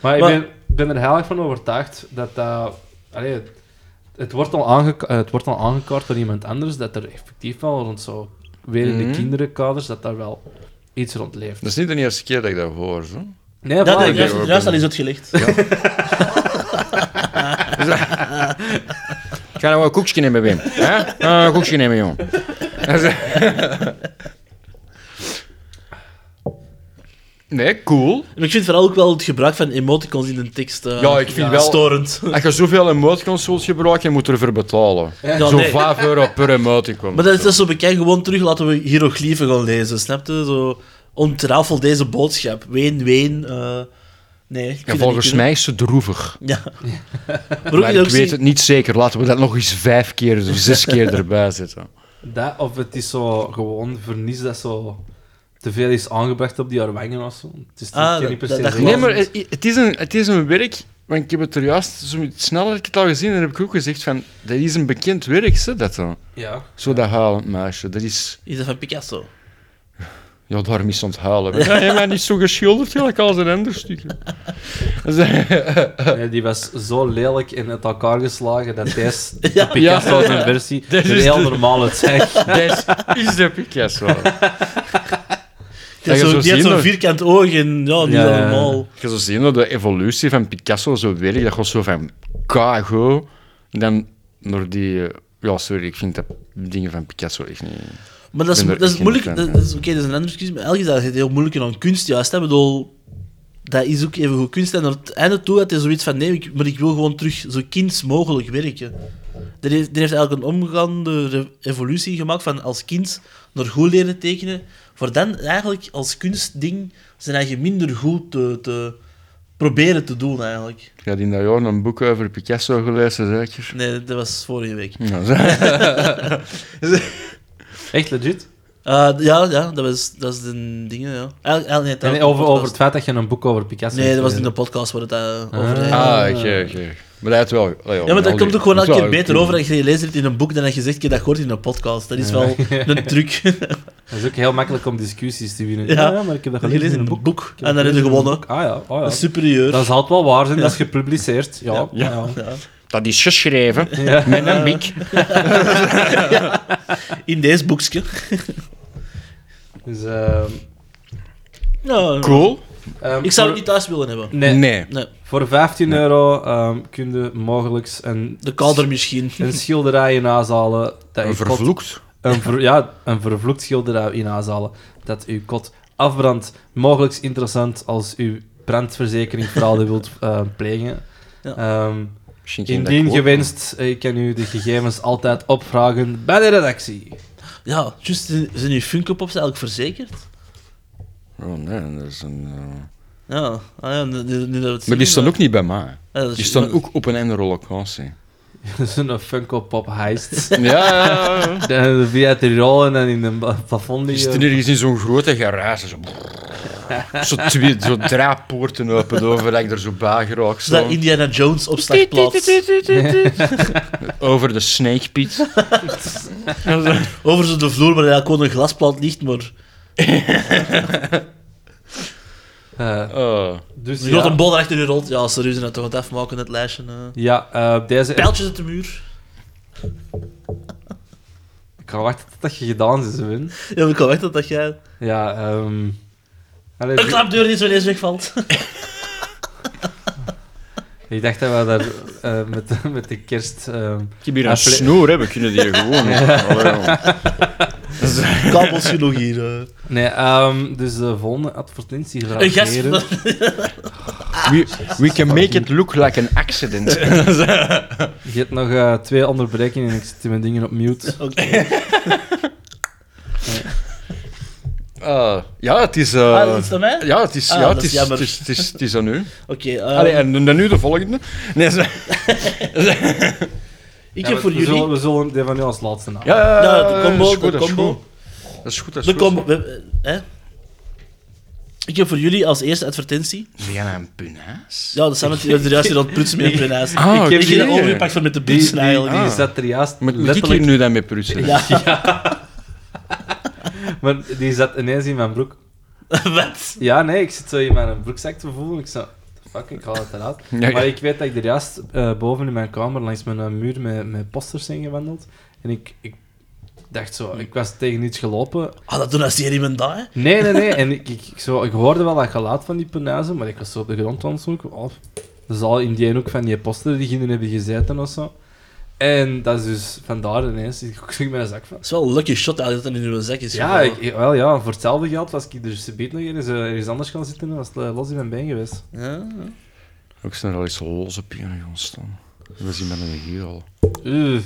Speaker 2: maar ik
Speaker 3: maar-
Speaker 2: ben, ik ben er heel erg van overtuigd dat dat... allee, het, het wordt al aangeka- het wordt al aangekaart door iemand anders, dat er effectief wel rond zo weer in de
Speaker 4: Mhm.
Speaker 2: kinderenkaders, dat daar wel iets rond leeft.
Speaker 4: Dat is niet de eerste keer dat ik dat hoor. Zo.
Speaker 2: Nee,
Speaker 3: Dus Dat
Speaker 2: voilà,
Speaker 3: heb
Speaker 2: ik
Speaker 3: ik juist,
Speaker 4: hoor,
Speaker 3: juist al
Speaker 4: ben-
Speaker 3: eens uitgelegd.
Speaker 4: Ik ga nou een koekje nemen, Wim. Hè? Eh, een koekje nemen, jong. Dat is- Nee, cool.
Speaker 3: Maar ik vind vooral ook wel het gebruik van emoticons in een tekst eh,
Speaker 4: Ja, ik vind wel-
Speaker 3: storend.
Speaker 4: Als je zoveel emoticons wilt gebruiken, moet je ervoor betalen.
Speaker 3: Ja,
Speaker 4: Zo'n
Speaker 3: nee.
Speaker 4: 5 euro per emoticon.
Speaker 3: Maar dat is, dat is zo bekend, gewoon terug laten we hieroglyphen gaan lezen, snap je? Zo, ontrafel deze boodschap. Ween, ween. eh, nee, ik vind
Speaker 4: Ja,
Speaker 3: het
Speaker 4: volgens
Speaker 3: niet
Speaker 4: mij is het droevig.
Speaker 3: kunnen. Ja. Maar ook
Speaker 4: Maar
Speaker 3: niet
Speaker 4: ik
Speaker 3: ook
Speaker 4: weet
Speaker 3: zien-
Speaker 4: het niet zeker. Laten we dat nog eens vijf keer of zes keer erbij zetten.
Speaker 2: Dat, of het is zo gewoon vernis dat zo te veel is aangebracht op die haar wangen of zo. Het is
Speaker 3: Ah,
Speaker 2: niet per
Speaker 3: dat-
Speaker 2: se
Speaker 3: dat
Speaker 2: zo.
Speaker 4: Nee,
Speaker 3: geloof
Speaker 4: maar het, het is een, het is een werk... Want ik heb het er juist zo snel heb ik het al gezien en heb ik ook gezegd van... Dat is een bekend werk, ze, dat dan.
Speaker 2: Ja.
Speaker 4: Zo dat huilend meisje. Dat is...
Speaker 3: Is dat van Picasso?
Speaker 4: Ja, daarom is ze aan het huilen. Ja, hij heeft mij niet zo geschilderd gelijk als een ander stuk. Dus,
Speaker 2: Nee, die was zo lelijk in het elkaar geslagen dat deze de
Speaker 3: Ja.
Speaker 2: Picasso
Speaker 4: Ja.
Speaker 2: zijn versie
Speaker 4: Dit
Speaker 2: een
Speaker 4: is
Speaker 2: heel
Speaker 4: de-
Speaker 2: normaal het zijn.
Speaker 4: Dit is de Picasso.
Speaker 3: Die had
Speaker 4: je
Speaker 3: zo-
Speaker 4: zo
Speaker 3: die had
Speaker 4: zien,
Speaker 3: zo'n
Speaker 4: hoor.
Speaker 3: vierkant oog en ja, niet
Speaker 2: Ja.
Speaker 3: normaal.
Speaker 4: Je zou zien dat de evolutie van Picasso zo werkt. Dat was zo van kago. Dan naar die... eh, Ja, sorry, ik vind dat dingen van Picasso echt niet...
Speaker 3: Maar dat is,
Speaker 4: Ik ben er
Speaker 3: dat is
Speaker 4: echt
Speaker 3: moeilijk.
Speaker 4: geen
Speaker 3: Dat,
Speaker 4: fan
Speaker 3: dat is, Oké, dat is een ander discussie. Maar elke dag is het heel moeilijk aan kunst. Juist, hè? Ik bedoel, dat is ook even goed kunst. En aan het einde toe had hij zoiets van: nee, ik, maar ik wil gewoon terug zo kinds mogelijk werken. Er heeft, er heeft eigenlijk een omgaande re- evolutie gemaakt van als kind naar goed leren tekenen. Voor dan eigenlijk als kunstding zijn eigen minder goed te, te proberen te doen eigenlijk.
Speaker 4: Ik had in dat jaar een boek over Picasso gelezen, zeker.
Speaker 3: Nee, dat was vorige week.
Speaker 4: Ja, zo.
Speaker 2: Echt legit.
Speaker 3: Eh, ja, ja, dat was, dat is de dingen, ja. Eigenlijk- eigenlijk niet, dat
Speaker 2: En
Speaker 3: was een
Speaker 2: over, over
Speaker 3: podcast.
Speaker 2: het feit dat je een boek over Picasso
Speaker 3: Nee,
Speaker 2: hebt
Speaker 3: dat was in de
Speaker 2: gelezen.
Speaker 3: podcast waar het eh,
Speaker 2: Ah.
Speaker 3: over ging.
Speaker 4: Ah, oké, oké. Maar hij had wel... allee,
Speaker 3: Ja, maar dat
Speaker 4: al die-
Speaker 3: komt ook gewoon elke
Speaker 4: moet
Speaker 2: Dus
Speaker 3: keer
Speaker 4: wel-
Speaker 3: beter over dat je leest het in een boek dan dat je zegt "Kijk, dat hoort in een podcast. Dat is wel een truc.
Speaker 2: Dat is ook heel makkelijk om discussies te winnen.
Speaker 3: Ja.
Speaker 2: maar ik heb dat
Speaker 3: Dat je leest in een boek, en dan heb je
Speaker 2: gelezen in een
Speaker 3: gewonnen.
Speaker 2: boek. Ah ja, ah, ja.
Speaker 3: Dat is superieur.
Speaker 2: Dat zal het wel waar zijn, dat is gepubliceerd. Ja,
Speaker 3: Ja.
Speaker 2: ja.
Speaker 3: Ja.
Speaker 4: Dat is geschreven
Speaker 2: Ja.
Speaker 4: met een bik.
Speaker 3: In deze boekje.
Speaker 2: Dus, ehm,
Speaker 3: Ja,
Speaker 4: Cool.
Speaker 2: ehm,
Speaker 3: ik zou
Speaker 2: voor-
Speaker 3: het niet thuis willen hebben.
Speaker 2: Nee,
Speaker 4: Nee.
Speaker 3: Nee,
Speaker 2: voor 15 euro ehm kun je mogelijk een,
Speaker 3: de kader misschien.
Speaker 2: een schilderij in aanzalen. Dat
Speaker 4: Een
Speaker 2: je kot-
Speaker 4: vervloekt.
Speaker 2: een ver- ja, een vervloekt schilderij in aanzalen. Dat uw kot afbrandt. Mogelijk interessant als uw brandverzekering fraude wilt eh, plegen.
Speaker 3: Ja.
Speaker 2: Ehm,
Speaker 4: Misschien geen
Speaker 2: indien
Speaker 4: dat ik hoor.
Speaker 2: gewenst, eh, ik kan u de gegevens altijd opvragen bij de redactie.
Speaker 3: Ja, juist zijn die Funko Pops eigenlijk verzekerd?
Speaker 4: Oh nee, dat is een... eh,
Speaker 3: Ja, ah, ja nu, nu, nu dat we het
Speaker 4: Maar die
Speaker 3: zien, eh,
Speaker 4: staan ook niet bij mij.
Speaker 3: ja, dat is-
Speaker 4: Die staan ook op een andere locatie.
Speaker 2: Dat is een Funko Pop heist.
Speaker 4: Ja, ja, ja.
Speaker 2: Dan via het rollen en in een ba- plafond
Speaker 4: Die
Speaker 2: die, eh,
Speaker 4: zitten ergens in zo'n grote garage. Zo, brrr. zo twee zo draaipoorten open over dat ik er zo bij geraakt
Speaker 3: Is dat
Speaker 4: sta.
Speaker 3: Indiana Jones opslagplaats?
Speaker 4: Over de snake pit.
Speaker 3: Over zo de vloer waar eigenlijk gewoon een glasplaat ligt, maar
Speaker 2: eh,
Speaker 4: Eh,
Speaker 2: dus
Speaker 3: er wordt
Speaker 2: ja,
Speaker 3: een bol achter je rolt. Ja, sorry, ze zijn dat toch aan het afmaken, dat lijstje. eh.
Speaker 2: ja eh, deze...
Speaker 3: Pijltjes uit de muur.
Speaker 2: Ik ga wachten tot dat je gedaan is, Win.
Speaker 3: Ja, maar ik kan echt dat dat jij...
Speaker 2: Ja, ehm... allee,
Speaker 3: Een klapdeur die zo ineens wegvalt.
Speaker 2: ik dacht dat we daar eh, met, met de kerst... ehm,
Speaker 4: ik heb hier
Speaker 2: Ah,
Speaker 4: een
Speaker 2: ple-
Speaker 4: snoer, hè. we kunnen die gewoon... Allee, joh.
Speaker 3: Kabels genoeg hier. eh.
Speaker 2: Nee, ehm, dus de volgende advertentie graag
Speaker 3: Een gast
Speaker 2: heren.
Speaker 3: van-
Speaker 4: we, we can make it look like an accident.
Speaker 2: Je hebt nog eh, twee onderbrekingen en ik zet mijn dingen op mute.
Speaker 3: Oké.
Speaker 4: Eh, ja, het is... eh,
Speaker 3: Ah, is het aan mij?
Speaker 4: Ja, het is,
Speaker 3: Ah,
Speaker 4: ja,
Speaker 3: dat
Speaker 4: het
Speaker 3: is
Speaker 4: is,
Speaker 3: jammer.
Speaker 4: het is, het is, het is aan u.
Speaker 3: Oké, eh,
Speaker 4: Allee, en dan nu de volgende. Nee, ze-
Speaker 3: ik
Speaker 2: Ja,
Speaker 3: heb
Speaker 2: we-
Speaker 3: voor
Speaker 2: we
Speaker 3: jullie...
Speaker 2: Zullen, we zullen die van jou als laatste naam.
Speaker 4: ja, ja,
Speaker 3: Nou, de combo,
Speaker 4: dat is goed,
Speaker 3: de
Speaker 4: dat is
Speaker 3: combo.
Speaker 4: goed. Dat is goed, dat is
Speaker 3: De
Speaker 4: goed.
Speaker 3: combo... we- we- eh, hè? Ik heb voor jullie als eerste advertentie...
Speaker 4: Ben jij nou een punaas?
Speaker 3: Ja, dat zijn het er juist hier aan het prutsen met een naast.
Speaker 4: Ah,
Speaker 3: ik heb
Speaker 4: oké.
Speaker 3: hier overgepakt van met de
Speaker 2: Die,
Speaker 3: prutsen
Speaker 2: die, die,
Speaker 3: eigenlijk.
Speaker 4: Ah.
Speaker 2: zat er juist
Speaker 4: Moet, moet ik
Speaker 2: letterlijk...
Speaker 4: hier nu dan mee prutsen?
Speaker 3: Ja.
Speaker 2: Maar die zat ineens in mijn broek. ah.
Speaker 3: Wat?
Speaker 2: Ja, nee, ik zit zo in mijn broekzak te voelen. Ik zo... Fuck, ik haal het eruit.
Speaker 4: Ja, ja.
Speaker 2: Maar ik weet dat ik er juist eh, boven in mijn kamer langs mijn eh, muur met, met posters zijn gewandeld. En ik, ik dacht zo, ik was tegen iets gelopen.
Speaker 3: Ah, dat doen als hier iemand daar, hè?
Speaker 2: Nee, nee, nee. En ik, ik, ik zo, ik hoorde wel dat geluid van die penazen, maar ik was zo op de grond aan het zoeken. Oh, dat zal in die ook van die poster die gingen hebben gezeten of zo. En dat is dus vandaar ineens. Ik ging mijn zak van.
Speaker 3: Het is wel een lucky shot eigenlijk dat dat in uw zak is.
Speaker 2: Ja,
Speaker 3: gevallen.
Speaker 2: ik, ik- wel, ja, voor hetzelfde geld was ik er subiet nog eens, eh, ergens anders gaan zitten en was het eh, los in mijn been geweest.
Speaker 3: Ja.
Speaker 4: Ook zijn er al eens loze pieren gaan staan. We zien met een hier al.
Speaker 2: Oeh.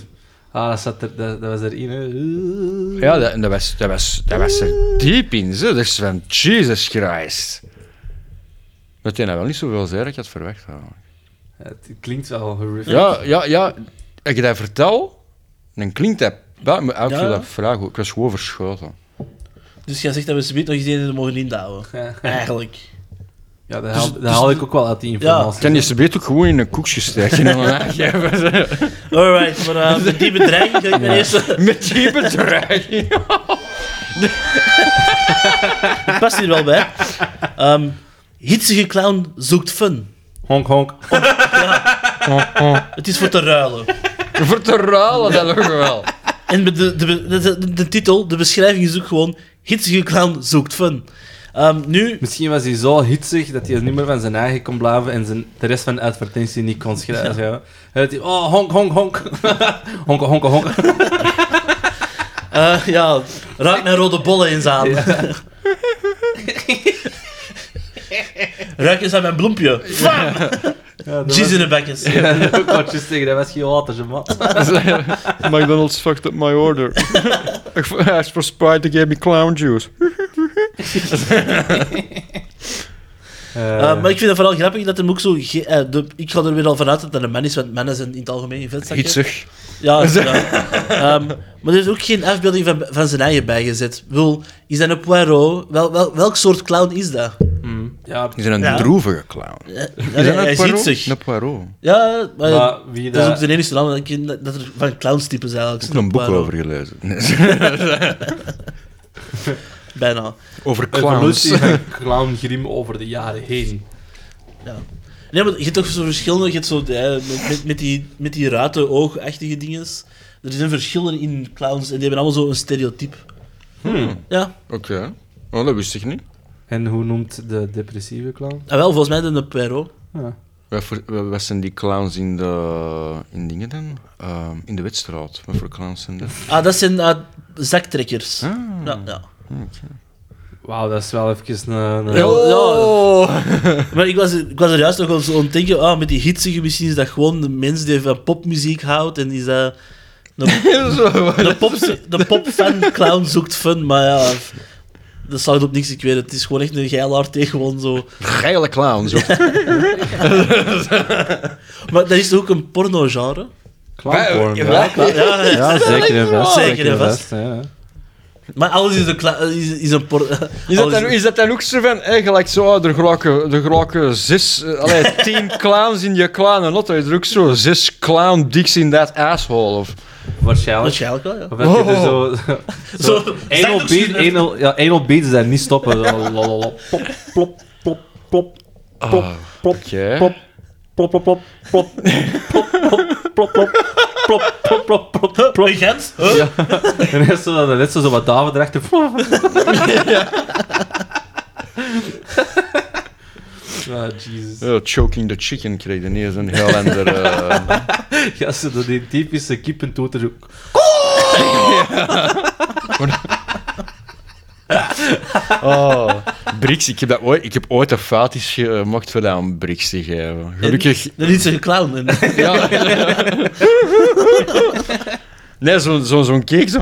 Speaker 2: Ah, dat, zat er, dat, dat was erin. Hè. Oeh.
Speaker 4: Ja, dat, en dat, was, dat, was, dat was er diep in, ze. Dat is van Jesus Christ. Dat hij nou wel niet zoveel zei dat ik had verwacht. eigenlijk.
Speaker 2: Het klinkt wel horrific.
Speaker 4: Ja, ja, ja. Als je dat vertel, dan klinkt dat... Ja, maar ik
Speaker 3: Ja,
Speaker 4: wil
Speaker 3: ja.
Speaker 4: dat vragen. Ik was gewoon verschoten.
Speaker 3: Dus jij zegt dat we ze niet nog eens in mogen indouwen. Eigenlijk.
Speaker 2: Ja, dat haal, dat haal ik ook wel uit die
Speaker 4: Ik
Speaker 2: informatie.
Speaker 4: kan je ze beter ook gewoon in een koekje steken. en dan aangeven.
Speaker 3: Alright, maar eh, met die bedreiging ga ik mijn eerste...
Speaker 4: Met die bedreiging.
Speaker 3: Het past hier wel bij. Ehm, hitsige clown zoekt fun.
Speaker 2: Honk, honk.
Speaker 3: Het is voor te ruilen.
Speaker 4: Voor te ruilen, dat nog wel.
Speaker 3: En met de, de, de, de- de titel, de beschrijving is ook gewoon... Hitsige clown zoekt fun. Ehm, nu...
Speaker 2: Misschien was hij zo hitsig dat hij het niet meer van zijn eigen kon blijven en zijn, de rest van de advertentie niet kon schrijven. Ja. En dat hij, oh, honk, honk, honk. honk, honk, honk.
Speaker 3: eh, ja, raak mijn rode bollen eens aan. Ruik eens aan mijn bloempje.
Speaker 2: Ja, dat
Speaker 3: Jeez
Speaker 2: was-
Speaker 3: in de bekjes.
Speaker 2: Ja, dat ook wat je tegen, dat was geen water, ze man.
Speaker 4: McDonald's fucked up my order. I asked for Sprite, they gave me clown juice.
Speaker 2: Eh,
Speaker 3: Uh, maar ik vind het vooral grappig dat hem ook zo... ge- eh, de- ik ga er weer al vanuit dat het een man is, want mannen zijn in het algemeen in vetzakken.
Speaker 4: Hitsig.
Speaker 3: Ja, ja. Ehm, maar er is ook geen afbeelding van, van zijn eigen bijgezet. Wil, is dat een Poirot? Wel, wel, welk soort clown is dat?
Speaker 2: mm, Ja,
Speaker 4: Die zijn een
Speaker 3: Ja.
Speaker 4: droevige clown.
Speaker 3: Ja,
Speaker 4: Die zijn
Speaker 3: hij
Speaker 4: een
Speaker 3: ziet
Speaker 4: Poirot.
Speaker 3: zich.
Speaker 4: Een Poirot.
Speaker 3: Ja, maar,
Speaker 2: maar wie
Speaker 3: dat is
Speaker 2: dat...
Speaker 3: ook de enige naam dat, ik- dat er van clownstypes eigenlijk.
Speaker 4: Ik heb er een boek
Speaker 3: Poirot.
Speaker 4: over gelezen.
Speaker 3: Bijna.
Speaker 4: over
Speaker 2: evolutie
Speaker 4: clowns.
Speaker 2: van clown Grim over de jaren heen.
Speaker 3: Ja. Nee, maar je hebt toch zo verschillende, je hebt zo, ja, met, met, met die, met die ruiten oogachtige dinges. Er zijn verschillen in clowns en die hebben allemaal zo een stereotype.
Speaker 2: Hmm.
Speaker 3: Ja,
Speaker 4: Oké. Oh, dat wist ik niet.
Speaker 2: En hoe noemt de depressieve clown?
Speaker 3: en Ah, wel, volgens mij de Perro.
Speaker 2: Ja.
Speaker 4: Wat, voor, wat- wat zijn die clowns in de... In dingen dan? Ehm, in de Witstraat. Wat voor clowns zijn dat?
Speaker 3: Ah, dat zijn eh, zaktrekkers.
Speaker 4: Ah.
Speaker 3: Ja, ja.
Speaker 2: Wauw, dat is wel even een... een-
Speaker 3: Ja, ja. Maar ik was, ik was er juist nog wel zo aan het denken, ah, met die hitsige misschien is dat gewoon de mens die van popmuziek houdt en die is dat... De, de, pop, de popfan clown zoekt fun, maar ja... Dat slaat op niks, ik weet het. Het is gewoon echt een geilaard tegen gewoon zo...
Speaker 4: Geile clowns. ook.
Speaker 3: Maar dat is toch ook een porno-genre?
Speaker 2: clownporn,
Speaker 4: Ja,
Speaker 2: ja.
Speaker 3: Ja, ja, ja.
Speaker 2: Ja, zeker en vast.
Speaker 3: Zeker en vast.
Speaker 2: ja.
Speaker 3: Maar alles is een, cla- is, is een por-
Speaker 4: Is dat,
Speaker 3: alles
Speaker 4: dan, is dat dan ook zo van, eigenlijk zo, ah, er geraken, er geraken zes, eh, allee, tien clowns in je clownenlot, dat is er ook zo, zes clown dicks in dat asshole, of...
Speaker 2: Waarschijnlijk.
Speaker 3: Waarschijnlijk wel, ja.
Speaker 2: Of heb je er zo...
Speaker 3: Zo,
Speaker 2: Oh. zo
Speaker 3: zijn
Speaker 2: anal
Speaker 3: ook
Speaker 2: beat-
Speaker 3: zo'n-
Speaker 2: anal- ja, anal beats daar niet stoppen. Zo, lalalala, Plop, plop, plop, plop, plop,
Speaker 4: Ah,
Speaker 2: plop,
Speaker 4: oké.
Speaker 2: plop, plop, plop, plop, plop, plop, plop, plop, plop, plop, plop, plop, plop, plop.
Speaker 3: Een gans? Huh?
Speaker 2: Ja. En net zo, dan net zo, zo wat David erachter. Ah, Jesus.
Speaker 4: Ja, choking the chicken kreeg de eerste een heel ander... eh,
Speaker 2: Ja, ze dat die typische kippentoeter. zo-
Speaker 4: Oh, Brix, ik heb, dat ooit, ik heb ooit een foutjes gemaakt voor dat aan Brix te geven. Gelukkig.
Speaker 3: Dat is een clown. En,
Speaker 4: Ja. Nee, zo'n zo, zo'n cake zo.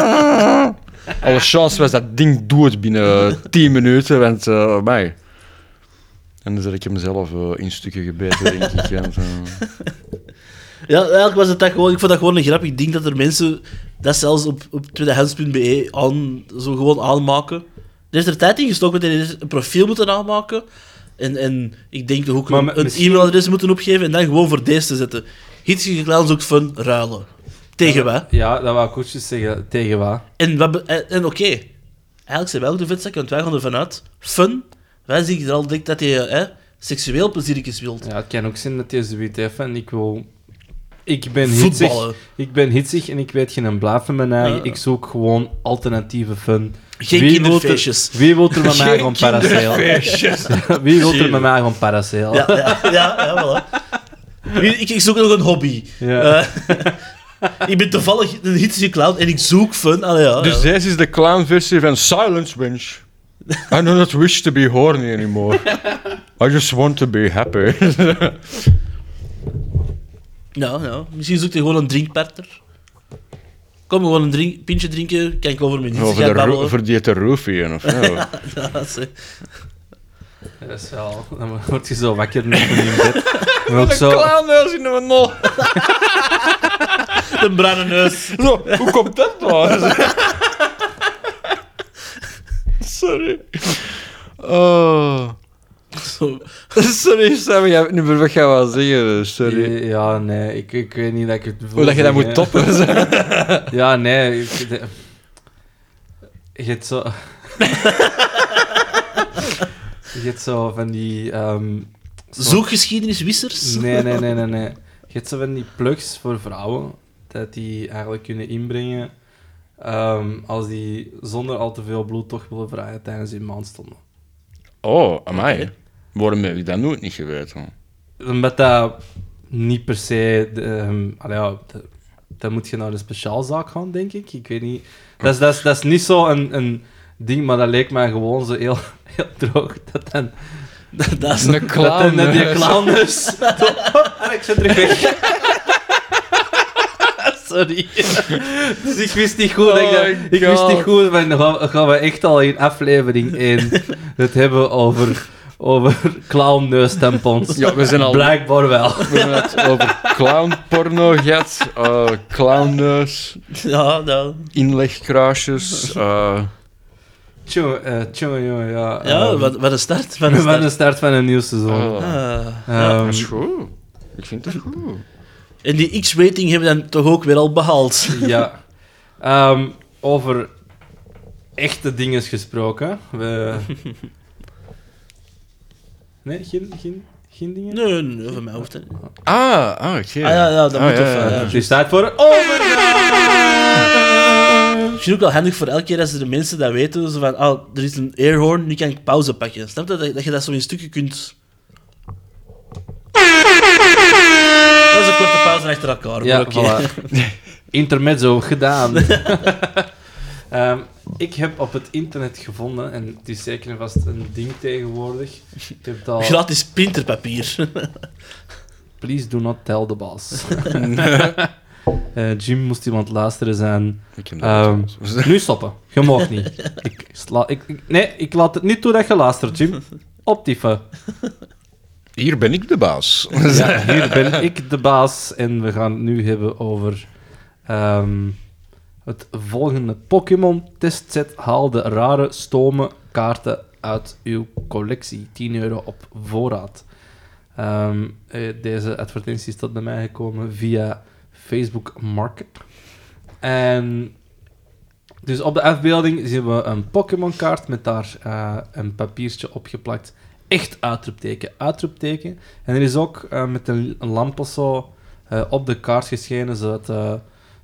Speaker 4: Alle chance was dat ding dood binnen 10 minuten, want eh mij. En dan zet ik hem zelf eh, in stukken gebeten, denk ik. want, eh,
Speaker 3: ja, eigenlijk was het dat gewoon... Ik vond dat gewoon een grappig ding dat er mensen dat zelfs op, op tweedehands.be aan, zo gewoon aanmaken. Er is er tijd in gestoken dat je een profiel moeten aanmaken. En, en ik denk toch ook
Speaker 2: Maar
Speaker 3: een,
Speaker 2: met-
Speaker 3: een
Speaker 2: misschien-
Speaker 3: e-mailadres moeten opgeven en dan gewoon voor deze te zetten. Hitsige clown zoekt fun, ruilen. Tegen wat?
Speaker 2: Ja, dat wou ik ook eens zeggen. Tegen wat?
Speaker 3: En, wat be- en en oké, eigenlijk zijn wij ook de vetzakken, want wij gaan ervan uit, fun, wij zien er al dik dat je hè, seksueel pleziertjes wilt.
Speaker 2: Ja, het kan ook zijn dat je zoiets heeft en ik wil... Ik ben
Speaker 3: Voetballen.
Speaker 2: hitsig, ik ben hitsig en ik weet geen blaaf van mijn eigen.
Speaker 3: Ja.
Speaker 2: Ik zoek gewoon alternatieve fun.
Speaker 3: Geen
Speaker 2: wil er-
Speaker 3: kinderfeestjes.
Speaker 2: Wie wil er met mij gewoon parasail? Wie wil er met mij gewoon parasail?
Speaker 3: Ja, ja, ja, ja voilà. Nu, Ik, ik zoek nog een hobby.
Speaker 2: Ja.
Speaker 3: Eh, ik ben toevallig een hitsige clown en ik zoek fun. Allee, ja,
Speaker 4: Dus
Speaker 3: ja.
Speaker 4: deze is de clownversie van Silence Winch. I do not wish to be horny anymore. I just want to be happy.
Speaker 3: Ja, ja. Nou, Misschien zoekt hij gewoon een drinkpartner. Kom, gewoon een drink, pintje drinken, kijk over mijn
Speaker 4: Over de
Speaker 3: hitsige
Speaker 4: ro-
Speaker 3: babbelen.
Speaker 4: voor die te roofieën, of nou?
Speaker 3: Ja, ze-
Speaker 2: Dat is wel... Dan word je zo wakker met in je bed. Maar ook zo...
Speaker 4: clownhuis in de nol.
Speaker 3: Een bruine neus.
Speaker 4: Hoe komt dat nou? Sorry. Oh.
Speaker 3: Zo.
Speaker 4: Sorry, Sam, jij hebt niet meer wat gaan wel zeggen. dus Sorry.
Speaker 2: Ja, nee, ik, ik weet niet dat ik het...
Speaker 4: Hoe dat je dat moet
Speaker 2: toppen
Speaker 4: toppen.
Speaker 2: Ja, nee. Ik, de- je hebt zo. je hebt zo van die. ehm,
Speaker 3: Zoekgeschiedeniswissers.
Speaker 2: nee, nee, nee, nee, nee. Je hebt zo van die plugs voor vrouwen. Dat die eigenlijk kunnen inbrengen. ehm, als die zonder al te veel bloed toch willen vragen tijdens hun maandstonden.
Speaker 4: Oh, amai. Waarom heb ik dat nooit niet geweten?
Speaker 2: Omdat dat niet per se. de, ehm, allee, ja, de- dan moet je naar een speciaalzaak gaan, denk ik. Ik weet niet. Dat is, dat is, dat is niet zo een, een ding, maar dat leek mij gewoon zo heel, heel droog. Dat dan,
Speaker 3: Dat is
Speaker 4: Een
Speaker 2: dat dan net die
Speaker 4: clown.
Speaker 2: clown is. En Ah, ik zit terug weg. Sorry. Dus ik wist niet goed. dat ik, dat-
Speaker 4: Oh my
Speaker 2: ik wist
Speaker 4: God.
Speaker 2: niet goed. Van, gaan, gaan we echt al in aflevering 1 het hebben over, over clownneustempons?
Speaker 4: Ja, we zijn al
Speaker 2: Blijkbaar wel.
Speaker 4: We hebben het over clownporno gehad, eh clownneus,
Speaker 3: Ja, nou.
Speaker 4: inlegkruisjes, eh,
Speaker 2: Tjonge, eh, tjonge, jonge, ja.
Speaker 3: Ja,
Speaker 2: ehm,
Speaker 3: wat, wat een start. Wat
Speaker 2: we
Speaker 3: een
Speaker 2: hebben de
Speaker 3: start.
Speaker 2: start van een nieuw seizoen.
Speaker 4: Ah,
Speaker 3: Ah.
Speaker 2: Ehm,
Speaker 4: dat is goed. Ik vind het goed.
Speaker 3: En die X-rating hebben we dan toch ook weer al behaald.
Speaker 2: ja. Ehm, over echte dingen gesproken. We... Nee, geen, geen, geen dingen?
Speaker 3: Nee, nee, van mij hoeft dat niet.
Speaker 4: Ah, ah, oké.
Speaker 3: Ah ja, ja, dat moet
Speaker 4: ja,
Speaker 3: even,
Speaker 4: ja, ja.
Speaker 3: ja.
Speaker 2: Het is tijd voor een overgang!
Speaker 3: Misschien ook wel handig voor elke keer als de mensen dat weten. Zo van, ah, er is een airhorn, nu kan ik pauze pakken. Snap je? Dat, dat je dat zo in stukken kunt... Dat is een korte pauze achter elkaar.
Speaker 2: Ja,
Speaker 3: maar oké.
Speaker 2: voilà. Intermezzo gedaan. Ehm, ik heb op het internet gevonden, en het is zeker en vast een ding tegenwoordig. Ik heb het al.
Speaker 3: Gratis printerpapier.
Speaker 2: Please do not tell the boss. Eh, Jim moest iemand luisteren zijn.
Speaker 4: Ik heb dat
Speaker 2: Ehm,
Speaker 4: niet gezien.
Speaker 2: nu stoppen. Je mag niet. Ik sla, ik, ik- nee, ik laat het niet toe dat je luistert, Jim. Optieven.
Speaker 4: Eh, Hier ben ik de baas.
Speaker 2: Ja, hier ben ik de baas en we gaan het nu hebben over ehm, het volgende Pokémon testset. Haal de rare, stomme kaarten uit uw collectie. 10 euro op voorraad. Ehm, eh, deze advertentie is tot bij mij gekomen via Facebook Market. En dus op de afbeelding zien we een Pokémon-kaart met daar eh, een papiertje opgeplakt. Echt uitroepteken, uitroepteken. En er is ook eh, met een een lamp of zo eh, op de kaart geschenen, zodat eh,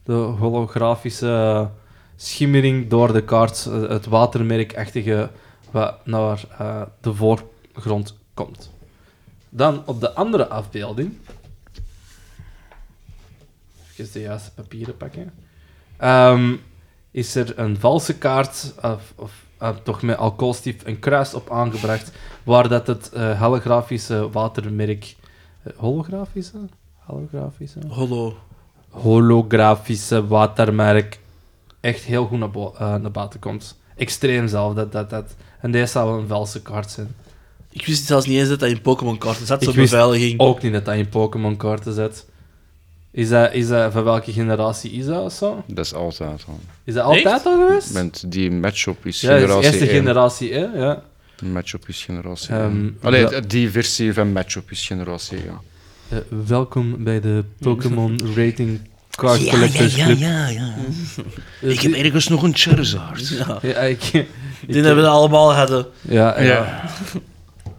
Speaker 2: de holografische schimmering door de kaart, eh, het watermerkachtige, wat naar eh, de voorgrond komt. Dan op de andere afbeelding. Even de juiste papieren pakken. Ehm, is er een valse kaart, of, of eh, toch met alcoholstief een kruis op aangebracht, waar dat het eh, holografische watermerk. eh, holografische? Holografische?
Speaker 3: Hallo.
Speaker 2: holografische watermerk echt heel goed naar, bo- eh, naar buiten komt. Extreem zelf, dat, dat, dat. En deze zou een valse kaart zijn.
Speaker 3: Ik wist zelfs niet eens dat dat in Pokémon-kaarten zat,
Speaker 2: Ik
Speaker 3: zo'n
Speaker 2: wist
Speaker 3: beveiliging.
Speaker 2: Ook niet dat dat in Pokémon-kaarten zit. Is dat, is dat, van welke generatie is dat of zo?
Speaker 4: Dat is altijd al.
Speaker 2: Is dat altijd
Speaker 3: Echt?
Speaker 2: al geweest?
Speaker 4: Want die matchup is
Speaker 2: ja, dat is de
Speaker 4: generatie
Speaker 2: eerste
Speaker 4: 1.
Speaker 2: generatie, hè? Ja.
Speaker 4: matchup is generatie
Speaker 2: Ehm,
Speaker 4: 1. Allee,
Speaker 2: ja.
Speaker 4: d- die versie van matchup is generatie 1.
Speaker 2: Eh, welkom bij de Pokémon Rating Card Collectors Club.
Speaker 4: ja, ja.
Speaker 2: Eh,
Speaker 4: Ik heb
Speaker 2: die-
Speaker 4: ergens nog een Charizard.
Speaker 3: Ja.
Speaker 2: ja, ik, ik-
Speaker 3: Die hebben we allemaal eh. hadden.
Speaker 2: ja, ja.
Speaker 4: Ja.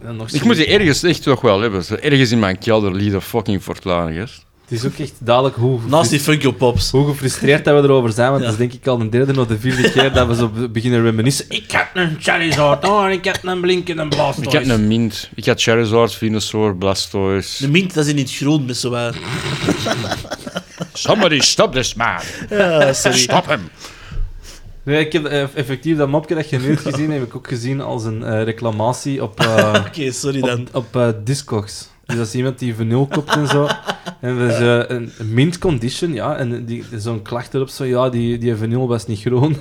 Speaker 2: En nog
Speaker 4: Ik moet die ergens echt toch wel hebben. Zo Ergens in mijn kelder ligt een fucking Fortlaan, yes.
Speaker 2: Het is ook echt dadelijk hoe...
Speaker 3: Naast die Funko Pops.
Speaker 2: Hoe gefrustreerd dat we erover zijn, want
Speaker 3: Ja.
Speaker 2: dat is denk ik al de derde of de vierde keer dat we zo be- beginnen reminiscen. Ik heb een Charizard, oh, ik heb een Blinken en
Speaker 4: Ik
Speaker 2: Blastoise.
Speaker 4: had een Mint. Ik had Charizard, Venusaur, Blastoise.
Speaker 3: De mint, dat is in het groen, met zo wat.
Speaker 4: Somebody stop this man.
Speaker 3: Ja, sorry.
Speaker 4: Stop hem.
Speaker 2: Nee, ik heb eh, effectief dat mopje dat je nu hebt gezien, heb ik ook gezien als een eh, reclamatie op, eh,
Speaker 3: Oké, sorry dan.
Speaker 2: op, op eh, Discogs. Dus dat is iemand die vanil koopt en zo. En we ze een een mint condition, ja. En die, zo'n klacht erop, zo, ja, die, die vanil was niet groen.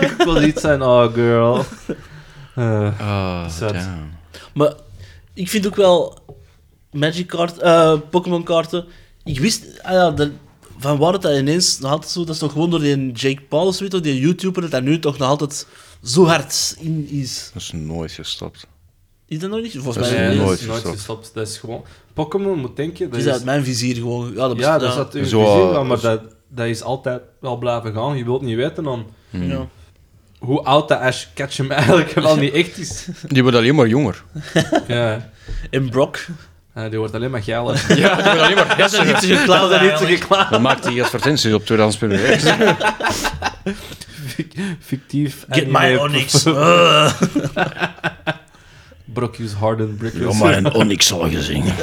Speaker 2: ik wil iets zijn, oh girl. Eh,
Speaker 4: Ah,
Speaker 2: Zat.
Speaker 4: damn.
Speaker 3: Maar ik vind ook wel Magic kaart, eh, Pokémon kaarten. Ik wist, ah ja, dat- van waar het dat ineens nog altijd zo, dat is toch gewoon door die Jake Paul of zo, door die YouTuber, dat dat nu toch nog altijd zo hard in is.
Speaker 4: Dat is nooit gestopt.
Speaker 3: Is dat nog niet?
Speaker 4: Dat
Speaker 3: Volgens
Speaker 4: is
Speaker 3: mij
Speaker 2: Nee,
Speaker 3: niet.
Speaker 4: nooit
Speaker 2: dat is nooit
Speaker 4: gestopt.
Speaker 2: gestopt. Dat is gewoon... Pokémon moet denken... Dat
Speaker 3: is
Speaker 2: is,
Speaker 3: uit mijn vizier gewoon. Ja, dat,
Speaker 2: ja,
Speaker 3: bestaat-
Speaker 2: dat is
Speaker 3: ja.
Speaker 2: uit uw
Speaker 4: Zo,
Speaker 2: vizier,
Speaker 4: eh,
Speaker 2: maar- maar
Speaker 4: z-
Speaker 2: dat, dat is altijd wel blijven gaan. Je wilt niet weten dan
Speaker 4: Mm.
Speaker 3: Ja.
Speaker 2: hoe oud dat Ash Ketchum eigenlijk wel niet echt is.
Speaker 4: Die wordt alleen maar jonger.
Speaker 2: ja.
Speaker 3: En Brock.
Speaker 2: Eh, die wordt alleen maar geil. hè.
Speaker 4: Ja, die wordt alleen maar
Speaker 3: Dat is niet te
Speaker 2: Dat is niet
Speaker 3: geklaagd
Speaker 2: zo geklaagd.
Speaker 4: Dan maakt hij advertenties op tweedehands per
Speaker 2: Fic- Fictief.
Speaker 3: Get
Speaker 2: anime
Speaker 3: my
Speaker 2: prof-
Speaker 3: Onyx. Eh.
Speaker 2: Brockus Harden Brickus.
Speaker 4: Ja, maar een Onyx al gezien.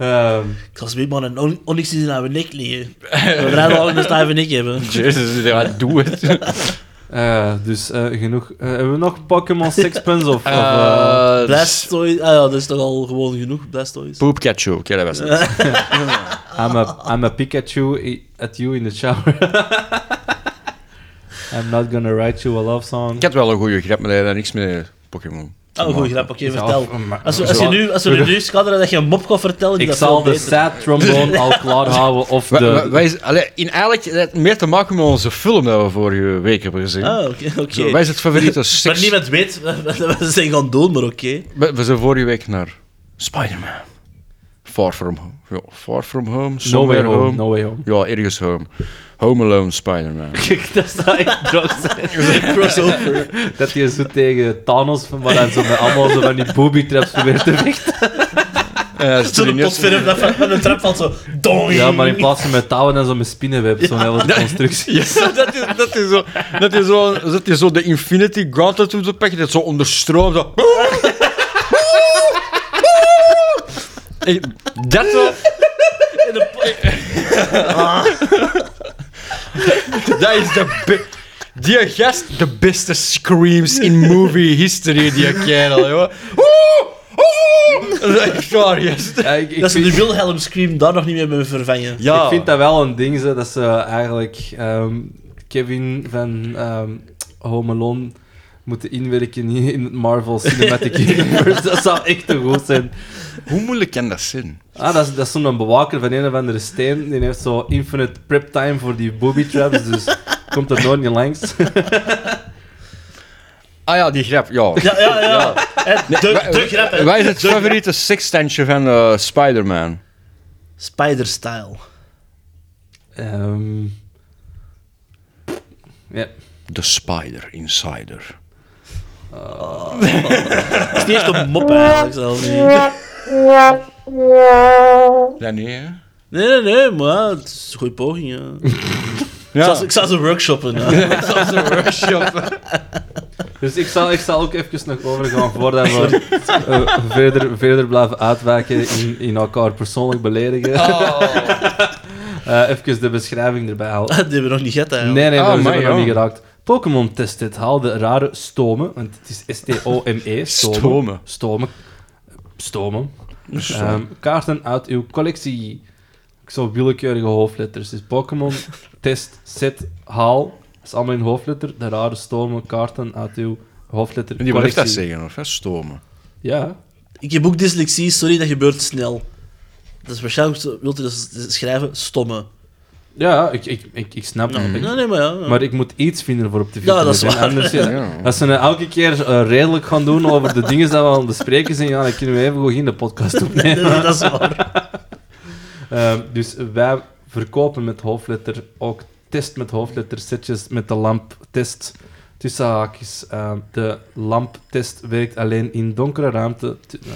Speaker 2: Ehm,
Speaker 3: Ik was weer man, een on- Onyx is in haar nek liggen. We rijden al in de stijve nek hebben.
Speaker 4: Jezus, ja, doe het.
Speaker 2: eh, dus eh, genoeg. Eh, hebben we nog Pokémon Sixpence of... of eh,
Speaker 3: Blastoise, ah ja, dat is toch al gewoon genoeg, Blastoise.
Speaker 4: Poepcatcho, oké, dat was het.
Speaker 2: I'm a, I'm a Pikachu i- at you in the shower. I'm not gonna write you a love song.
Speaker 4: Ik had wel een goede grap, maar daar had niks mee Pokémon.
Speaker 3: Oh, een goeie grap. Oké,
Speaker 2: Ja,
Speaker 3: vertel.
Speaker 2: of- maar-
Speaker 3: Als we, als je
Speaker 2: zo-
Speaker 3: nu, als we nu schadderen dat je een mop gaat vertellen, die
Speaker 2: Ik
Speaker 3: dat
Speaker 2: zal
Speaker 3: veel
Speaker 2: de
Speaker 3: beter.
Speaker 2: sad trombone al klaar houden of
Speaker 4: Wa- wa-
Speaker 2: de...
Speaker 4: Wij, is- allee, in eigenlijk het heeft meer te maken met onze film dat we vorige week hebben gezien.
Speaker 3: Ah, oké. oké.
Speaker 4: Zo, wij zijn het favoriete
Speaker 3: Maar
Speaker 4: seks...
Speaker 3: niemand weet wat we zijn gaan doen, maar oké.
Speaker 4: We, we zijn vorige week naar Spider-Man. Far From Home. Ja, far From Home,
Speaker 2: No way
Speaker 4: Somewhere
Speaker 2: home, no way home.
Speaker 4: Ja, ergens Home. Home Alone Spider-Man.
Speaker 2: Kijk, dat zou echt droog zijn.
Speaker 3: Crossover.
Speaker 2: Dat je zo tegen Thanos, van- maar dan zo met allemaal zo van die booby traps probeert te vechten.
Speaker 4: Eh, is er
Speaker 3: Zo'n
Speaker 4: niet eens-
Speaker 3: potverf dat van- van een trap valt zo... Doing.
Speaker 2: Ja, maar in plaats van met touwen en zo met spinnenweb, zo'n hele constructie.
Speaker 4: dat is, dat is zo, dat is zo, dat is zo de Infinity Gauntlet op de pakje, dat zo onderstroomt. Zo. Ik- Dat wel,
Speaker 3: In een po-
Speaker 4: dat is de be- die gast, de beste screams in movie history die ik ken al, joh. Oeh, oeh. Dat is echt waar, gast.
Speaker 2: Ja, ik, ik
Speaker 3: Dat ze
Speaker 2: vind,
Speaker 3: de Wilhelm Scream daar nog niet meer mee vervangen.
Speaker 4: Ja.
Speaker 2: ik vind dat wel een ding, zo, dat ze eigenlijk ehm, Kevin van ehm Home Alone moeten inwerken hier in het Marvel Cinematic Universe. Dat zou echt te goed zijn.
Speaker 4: Hoe moeilijk kan dat zijn?
Speaker 2: Ah, dat is, dat is zo'n bewaker van een of andere steen. Die heeft zo infinite prep time voor die booby traps, dus komt er nooit niet langs.
Speaker 4: Ah ja, die grap, ja.
Speaker 3: Ja, ja, ja. En De,
Speaker 4: Wij-
Speaker 3: de grap, hè.
Speaker 4: Wij zijn het favoriete sekstandje van eh, Spider-Man.
Speaker 3: Spider-style.
Speaker 2: Ehm, ja.
Speaker 4: The Spider Insider.
Speaker 3: Het is niet echt een mop, eigenlijk. zelf niet.
Speaker 4: Ja, nee, hè?
Speaker 3: Nee, nee, nee, maar het is een goede poging, ja. Ik
Speaker 4: Ja.
Speaker 3: zou- Ik zou ze workshoppen, ja.
Speaker 2: Dus ik zal, ik zal ook even nog overgaan voordat we eh, verder, verder blijven uitwijken in, in elkaar persoonlijk beledigen. Eh, even de beschrijving erbij halen.
Speaker 3: Die hebben we nog niet gehad,
Speaker 2: Nee,
Speaker 3: eigenlijk.
Speaker 2: nee,
Speaker 4: Oh,
Speaker 2: daar zijn
Speaker 4: amai,
Speaker 2: we nog
Speaker 4: ja.
Speaker 2: niet geraakt. Pokémon test dit. Haal de rare stomen, want het is S-T-O-M-E. E,
Speaker 4: Stomen.
Speaker 2: Stomen. Stomen. Stomen. Ehm, kaarten uit uw collectie. Ik zou willekeurige hoofdletters. Dus Pokémon, test, set, haal. Dat is allemaal in hoofdletter. De rare stomen, kaarten uit uw hoofdletter.
Speaker 4: Die blijft dat
Speaker 2: collectie.
Speaker 4: zeggen, of hè? Stomen.
Speaker 2: Ja.
Speaker 3: Ik heb ook dyslexie, sorry, dat gebeurt snel. Dat is waarschijnlijk, zo- wilt u dat s- schrijven? Stomme.
Speaker 2: Ja, ik, ik, ik, ik snap
Speaker 4: Hm.
Speaker 2: het.
Speaker 3: Nee, nee, maar ja. ja.
Speaker 2: Maar ik moet iets vinden voor op de
Speaker 3: Ja,
Speaker 2: video.
Speaker 3: dat is waar.
Speaker 2: Anders, ja.
Speaker 4: Ja.
Speaker 2: Als ze nou elke keer eh, redelijk gaan doen over de dingen die we aan het bespreken zijn, ja, dan kunnen we even goed in de podcast opnemen.
Speaker 3: Nee, dat is waar.
Speaker 2: Ehm, dus wij verkopen met hoofdletter ook test met hoofdletter setjes met de lamptest. Tussen haakjes, ehm, de lamptest werkt alleen in donkere ruimte. tu- eh,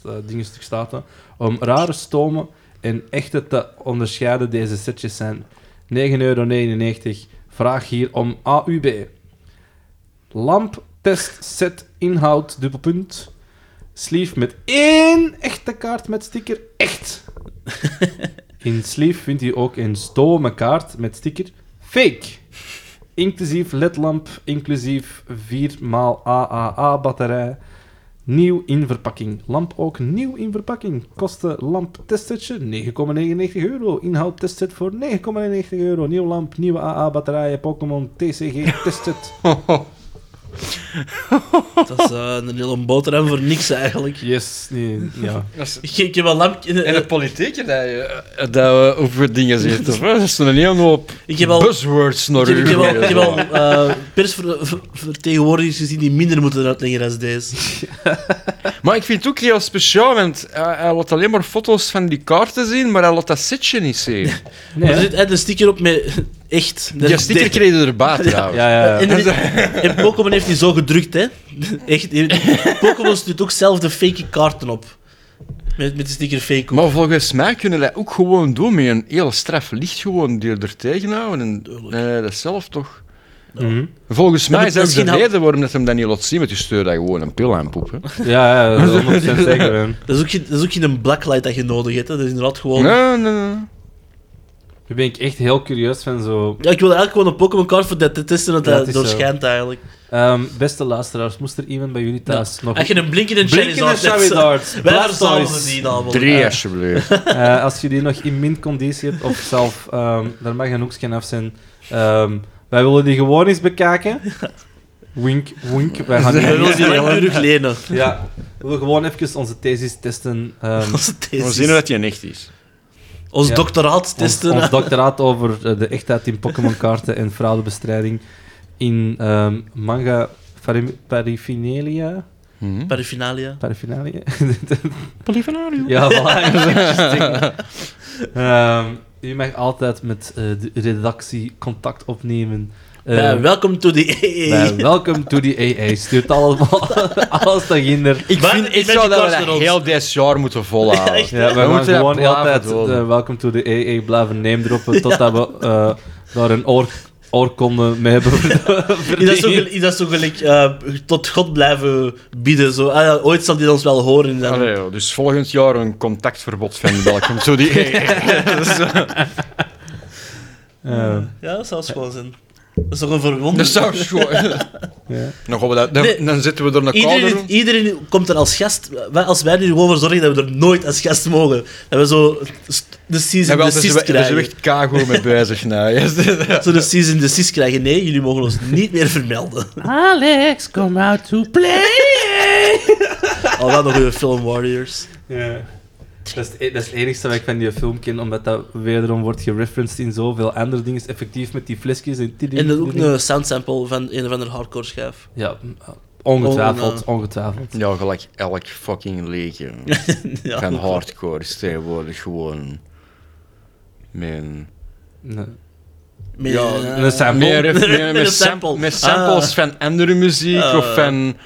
Speaker 2: s- eh, dingen stuk staat dat, Om rare stomen en echte te onderscheiden, deze setjes zijn 9,99 euro. Vraag hier om AUB. Lamptest set inhoud, dubbelpunt. Sleeve met één echte kaart met sticker. Echt! In Sleeve vindt u ook een stomme kaart met sticker Fake. Inclusief ledlamp, inclusief 4xAAA batterij. Nieuw in verpakking. Lamp ook nieuw in verpakking. Kosten lamp testsetje 9,99 euro. Inhoud testset voor 9,99 euro. Nieuw lamp, nieuwe AA batterijen, Pokémon TCG testset.
Speaker 3: Dat is eh, een hele boterham voor niks, eigenlijk.
Speaker 2: Yes, nee, ja.
Speaker 3: Ik, ik heb eh, een lamp...
Speaker 4: En de politiek dat, je- eh, dat we over dingen zitten. of hè? Dat is een hele hoop
Speaker 3: Ik heb al-
Speaker 4: buzzwords
Speaker 3: Ik
Speaker 4: naar
Speaker 3: heb,
Speaker 4: u.
Speaker 3: ik heb wel, ik heb wel
Speaker 4: gegooid.
Speaker 3: eh, persvertegenwoordigers gezien die minder moeten uitleggen dan deze.
Speaker 4: Maar ik vind het ook heel speciaal, want hij, hij laat alleen maar foto's van die kaarten zien, maar hij laat dat setje niet zien.
Speaker 2: Nee,
Speaker 3: Er
Speaker 2: hè?
Speaker 3: zit echt een sticker op met echt.
Speaker 4: Die sticker kreeg je erbij trouwens.
Speaker 2: ja, ja,
Speaker 3: En,
Speaker 2: ja.
Speaker 3: er- en Pokémon heeft die zo gedrukt, hè? Echt. Pokémon stuurt ook zelf de fake kaarten op. Met, met de sticker fake. op.
Speaker 4: Maar volgens mij kunnen dat ook gewoon doen met een hele straf licht gewoon die er tegenhouden. En, eh, dat zelf toch?
Speaker 2: Mhm.
Speaker 4: Volgens mij
Speaker 3: maar
Speaker 4: is dat ook de
Speaker 3: misschien had-
Speaker 4: reden waarom dat hem dat niet laat zien, want je stuurt dat gewoon een pil aan poep. Hè.
Speaker 2: Ja, ja, dat is 100% zeker. hè.
Speaker 3: Dat, is ook geen, dat is ook geen blacklight dat je nodig hebt. Hè. Dat is inderdaad gewoon.
Speaker 4: Nee, nee, nee.
Speaker 2: Nu ben ik echt heel curieus van zo
Speaker 3: Ja, ik wil eigenlijk gewoon een Pokémon kaart voor dat te testen dat
Speaker 2: Ja,
Speaker 3: dat
Speaker 2: het is zo.
Speaker 3: doorschijnt eigenlijk.
Speaker 2: Ehm, beste luisteraars, moest er iemand bij jullie thuis nog...
Speaker 3: Nou, Als je een blinkende
Speaker 2: Blinkende
Speaker 3: Charizard hebt,
Speaker 2: Charizard,
Speaker 3: wij verzamelen
Speaker 2: Blastoise.
Speaker 3: die namelijk.
Speaker 4: Drie, alsjeblieft.
Speaker 2: Eh, als je die nog in min conditie hebt, of zelf, ehm, daar mag een hoekje af zijn. Ehm, wij willen die gewoon eens bekijken. Wink, wink. Wij gaan
Speaker 3: We willen
Speaker 2: niet...
Speaker 3: die langdurig lenen.
Speaker 2: Ja, we willen gewoon even onze thesis testen. ehm,
Speaker 3: Onze
Speaker 4: We
Speaker 3: thesis.
Speaker 4: zien dat je echt is.
Speaker 3: Ons
Speaker 2: Ja.
Speaker 3: doctoraat
Speaker 2: ons,
Speaker 3: testen.
Speaker 2: ons doctoraat over eh, de echtheid in Pokémon-kaarten en fraudebestrijding in ehm, manga pari- paraphernalia.
Speaker 3: Paraphernalia.
Speaker 2: Paraphernalia? ja, voilà. interesting. Ehm, je mag altijd met eh, de redactie contact opnemen. Eh,
Speaker 3: Bij Welcome to the
Speaker 2: bij
Speaker 3: AA.
Speaker 2: welcome to the AA. Stuurt allemaal alles naar ginder.
Speaker 4: Ik
Speaker 3: Maar
Speaker 4: vind
Speaker 3: ik
Speaker 4: ik
Speaker 3: ben
Speaker 4: zou
Speaker 3: die
Speaker 4: dat we
Speaker 3: kast
Speaker 4: dat
Speaker 3: rond.
Speaker 4: heel dit jaar moeten volhouden.
Speaker 3: Ja, echt.
Speaker 2: Ja, we
Speaker 4: We
Speaker 2: gaan
Speaker 4: moeten dat
Speaker 2: gewoon
Speaker 4: blijven
Speaker 2: altijd
Speaker 4: doen.
Speaker 2: eh, Welcome to the AA blijven name droppen totdat we eh, daar een oor, oorkonde mee hebben
Speaker 3: Is dat zo, gel-
Speaker 2: verdiend.
Speaker 3: is dat zo gelijk eh, tot God blijven bieden? Zo. Ah, ja, ooit zal die ons wel horen. en dan-
Speaker 4: Allee, joh, dus volgend jaar een contactverbod van welkom. Zo die Dus, eh,
Speaker 2: Eh,
Speaker 3: Ja, dat zou schoon zijn. Dat is toch een verwondering.
Speaker 4: Dat zou schoon.
Speaker 2: ja.
Speaker 4: Dan, gaan we dat, dan,
Speaker 3: Nee.
Speaker 4: dan zitten we er een
Speaker 3: Iedereen,
Speaker 4: kouder.
Speaker 3: iedereen komt er als gast. Wij, als wij er gewoon voor zorgen dat we er nooit als gast mogen. Dat we zo st- de
Speaker 4: Ja,
Speaker 3: season
Speaker 4: wel,
Speaker 3: de
Speaker 4: daar zijn
Speaker 3: desist
Speaker 4: we- daar
Speaker 3: krijgen.
Speaker 4: zijn we echt kago mee bezig. Nou. Ja,
Speaker 3: Zo de season desist krijgen. Nee, jullie mogen ons niet meer vermelden.
Speaker 2: Alex, come out to play!
Speaker 3: Al dan nog weer Film Warriors.
Speaker 2: Ja. Dat is, het e- dat is het enigste wat ik van die film ken, omdat dat wederom wordt gereferenced in zoveel andere dingen. Effectief met die flesjes en tiddy.
Speaker 3: En dan ook een soundsample van een of ander hardcore schijf.
Speaker 2: Ja,
Speaker 3: Oh,
Speaker 2: ongetwijfeld,
Speaker 3: eh,
Speaker 2: ongetwijfeld.
Speaker 4: ja, gelijk elk fucking leegje
Speaker 3: Ja,
Speaker 4: van hardcore is tegenwoordig gewoon... Mijn...
Speaker 2: Nee.
Speaker 3: Met-
Speaker 4: Ja, dus-
Speaker 3: eh,
Speaker 2: Een sample.
Speaker 4: Meer,
Speaker 3: Met
Speaker 4: meer,
Speaker 3: een
Speaker 4: met,
Speaker 3: sample.
Speaker 4: sam- met samples
Speaker 3: Ah.
Speaker 4: van andere muziek
Speaker 3: Ah.
Speaker 4: of van.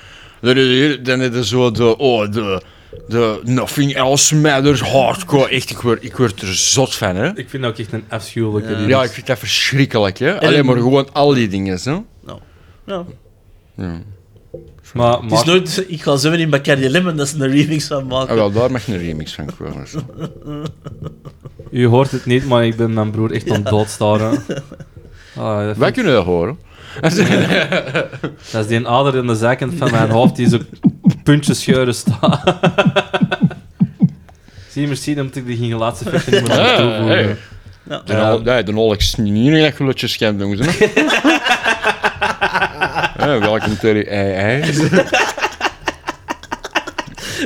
Speaker 4: Dan is er- Dan is er zo de. Oh, de. De Nothing Else Matters hardcore. Echt, ik word, ik word er zot van, hè?
Speaker 2: Ik vind dat ook echt een afschuwelijke
Speaker 3: Ja.
Speaker 2: remix.
Speaker 4: Ja, ik vind dat verschrikkelijk, hè?
Speaker 3: dan-
Speaker 4: Alleen maar gewoon al die dingen, hè?
Speaker 3: nou, ja.
Speaker 4: Ja.
Speaker 2: Maar,
Speaker 3: Het is
Speaker 2: maar-
Speaker 3: nooit, ik ga zo in Bacardi Lemon dat ze een remix van
Speaker 4: Ah,
Speaker 3: maken.
Speaker 4: wel, daar mag een remix van komen. zo.
Speaker 2: U hoort het niet, maar ik ben mijn broer echt aan het doodstaren. Ah, dat,
Speaker 4: Wij
Speaker 2: vind-
Speaker 4: kunnen dat horen.
Speaker 2: dat is die ader in de zijkant van mijn hoofd die zo puntjes scheuren staat. Zie je, misschien omdat ik die geen laatste effecten niet meer aan toevoegen.
Speaker 4: Ah, hey. De
Speaker 2: Ja.
Speaker 4: al- nee, de Alex niet dat gelutjes kan doen, hè? Ja, Welkom to the AI.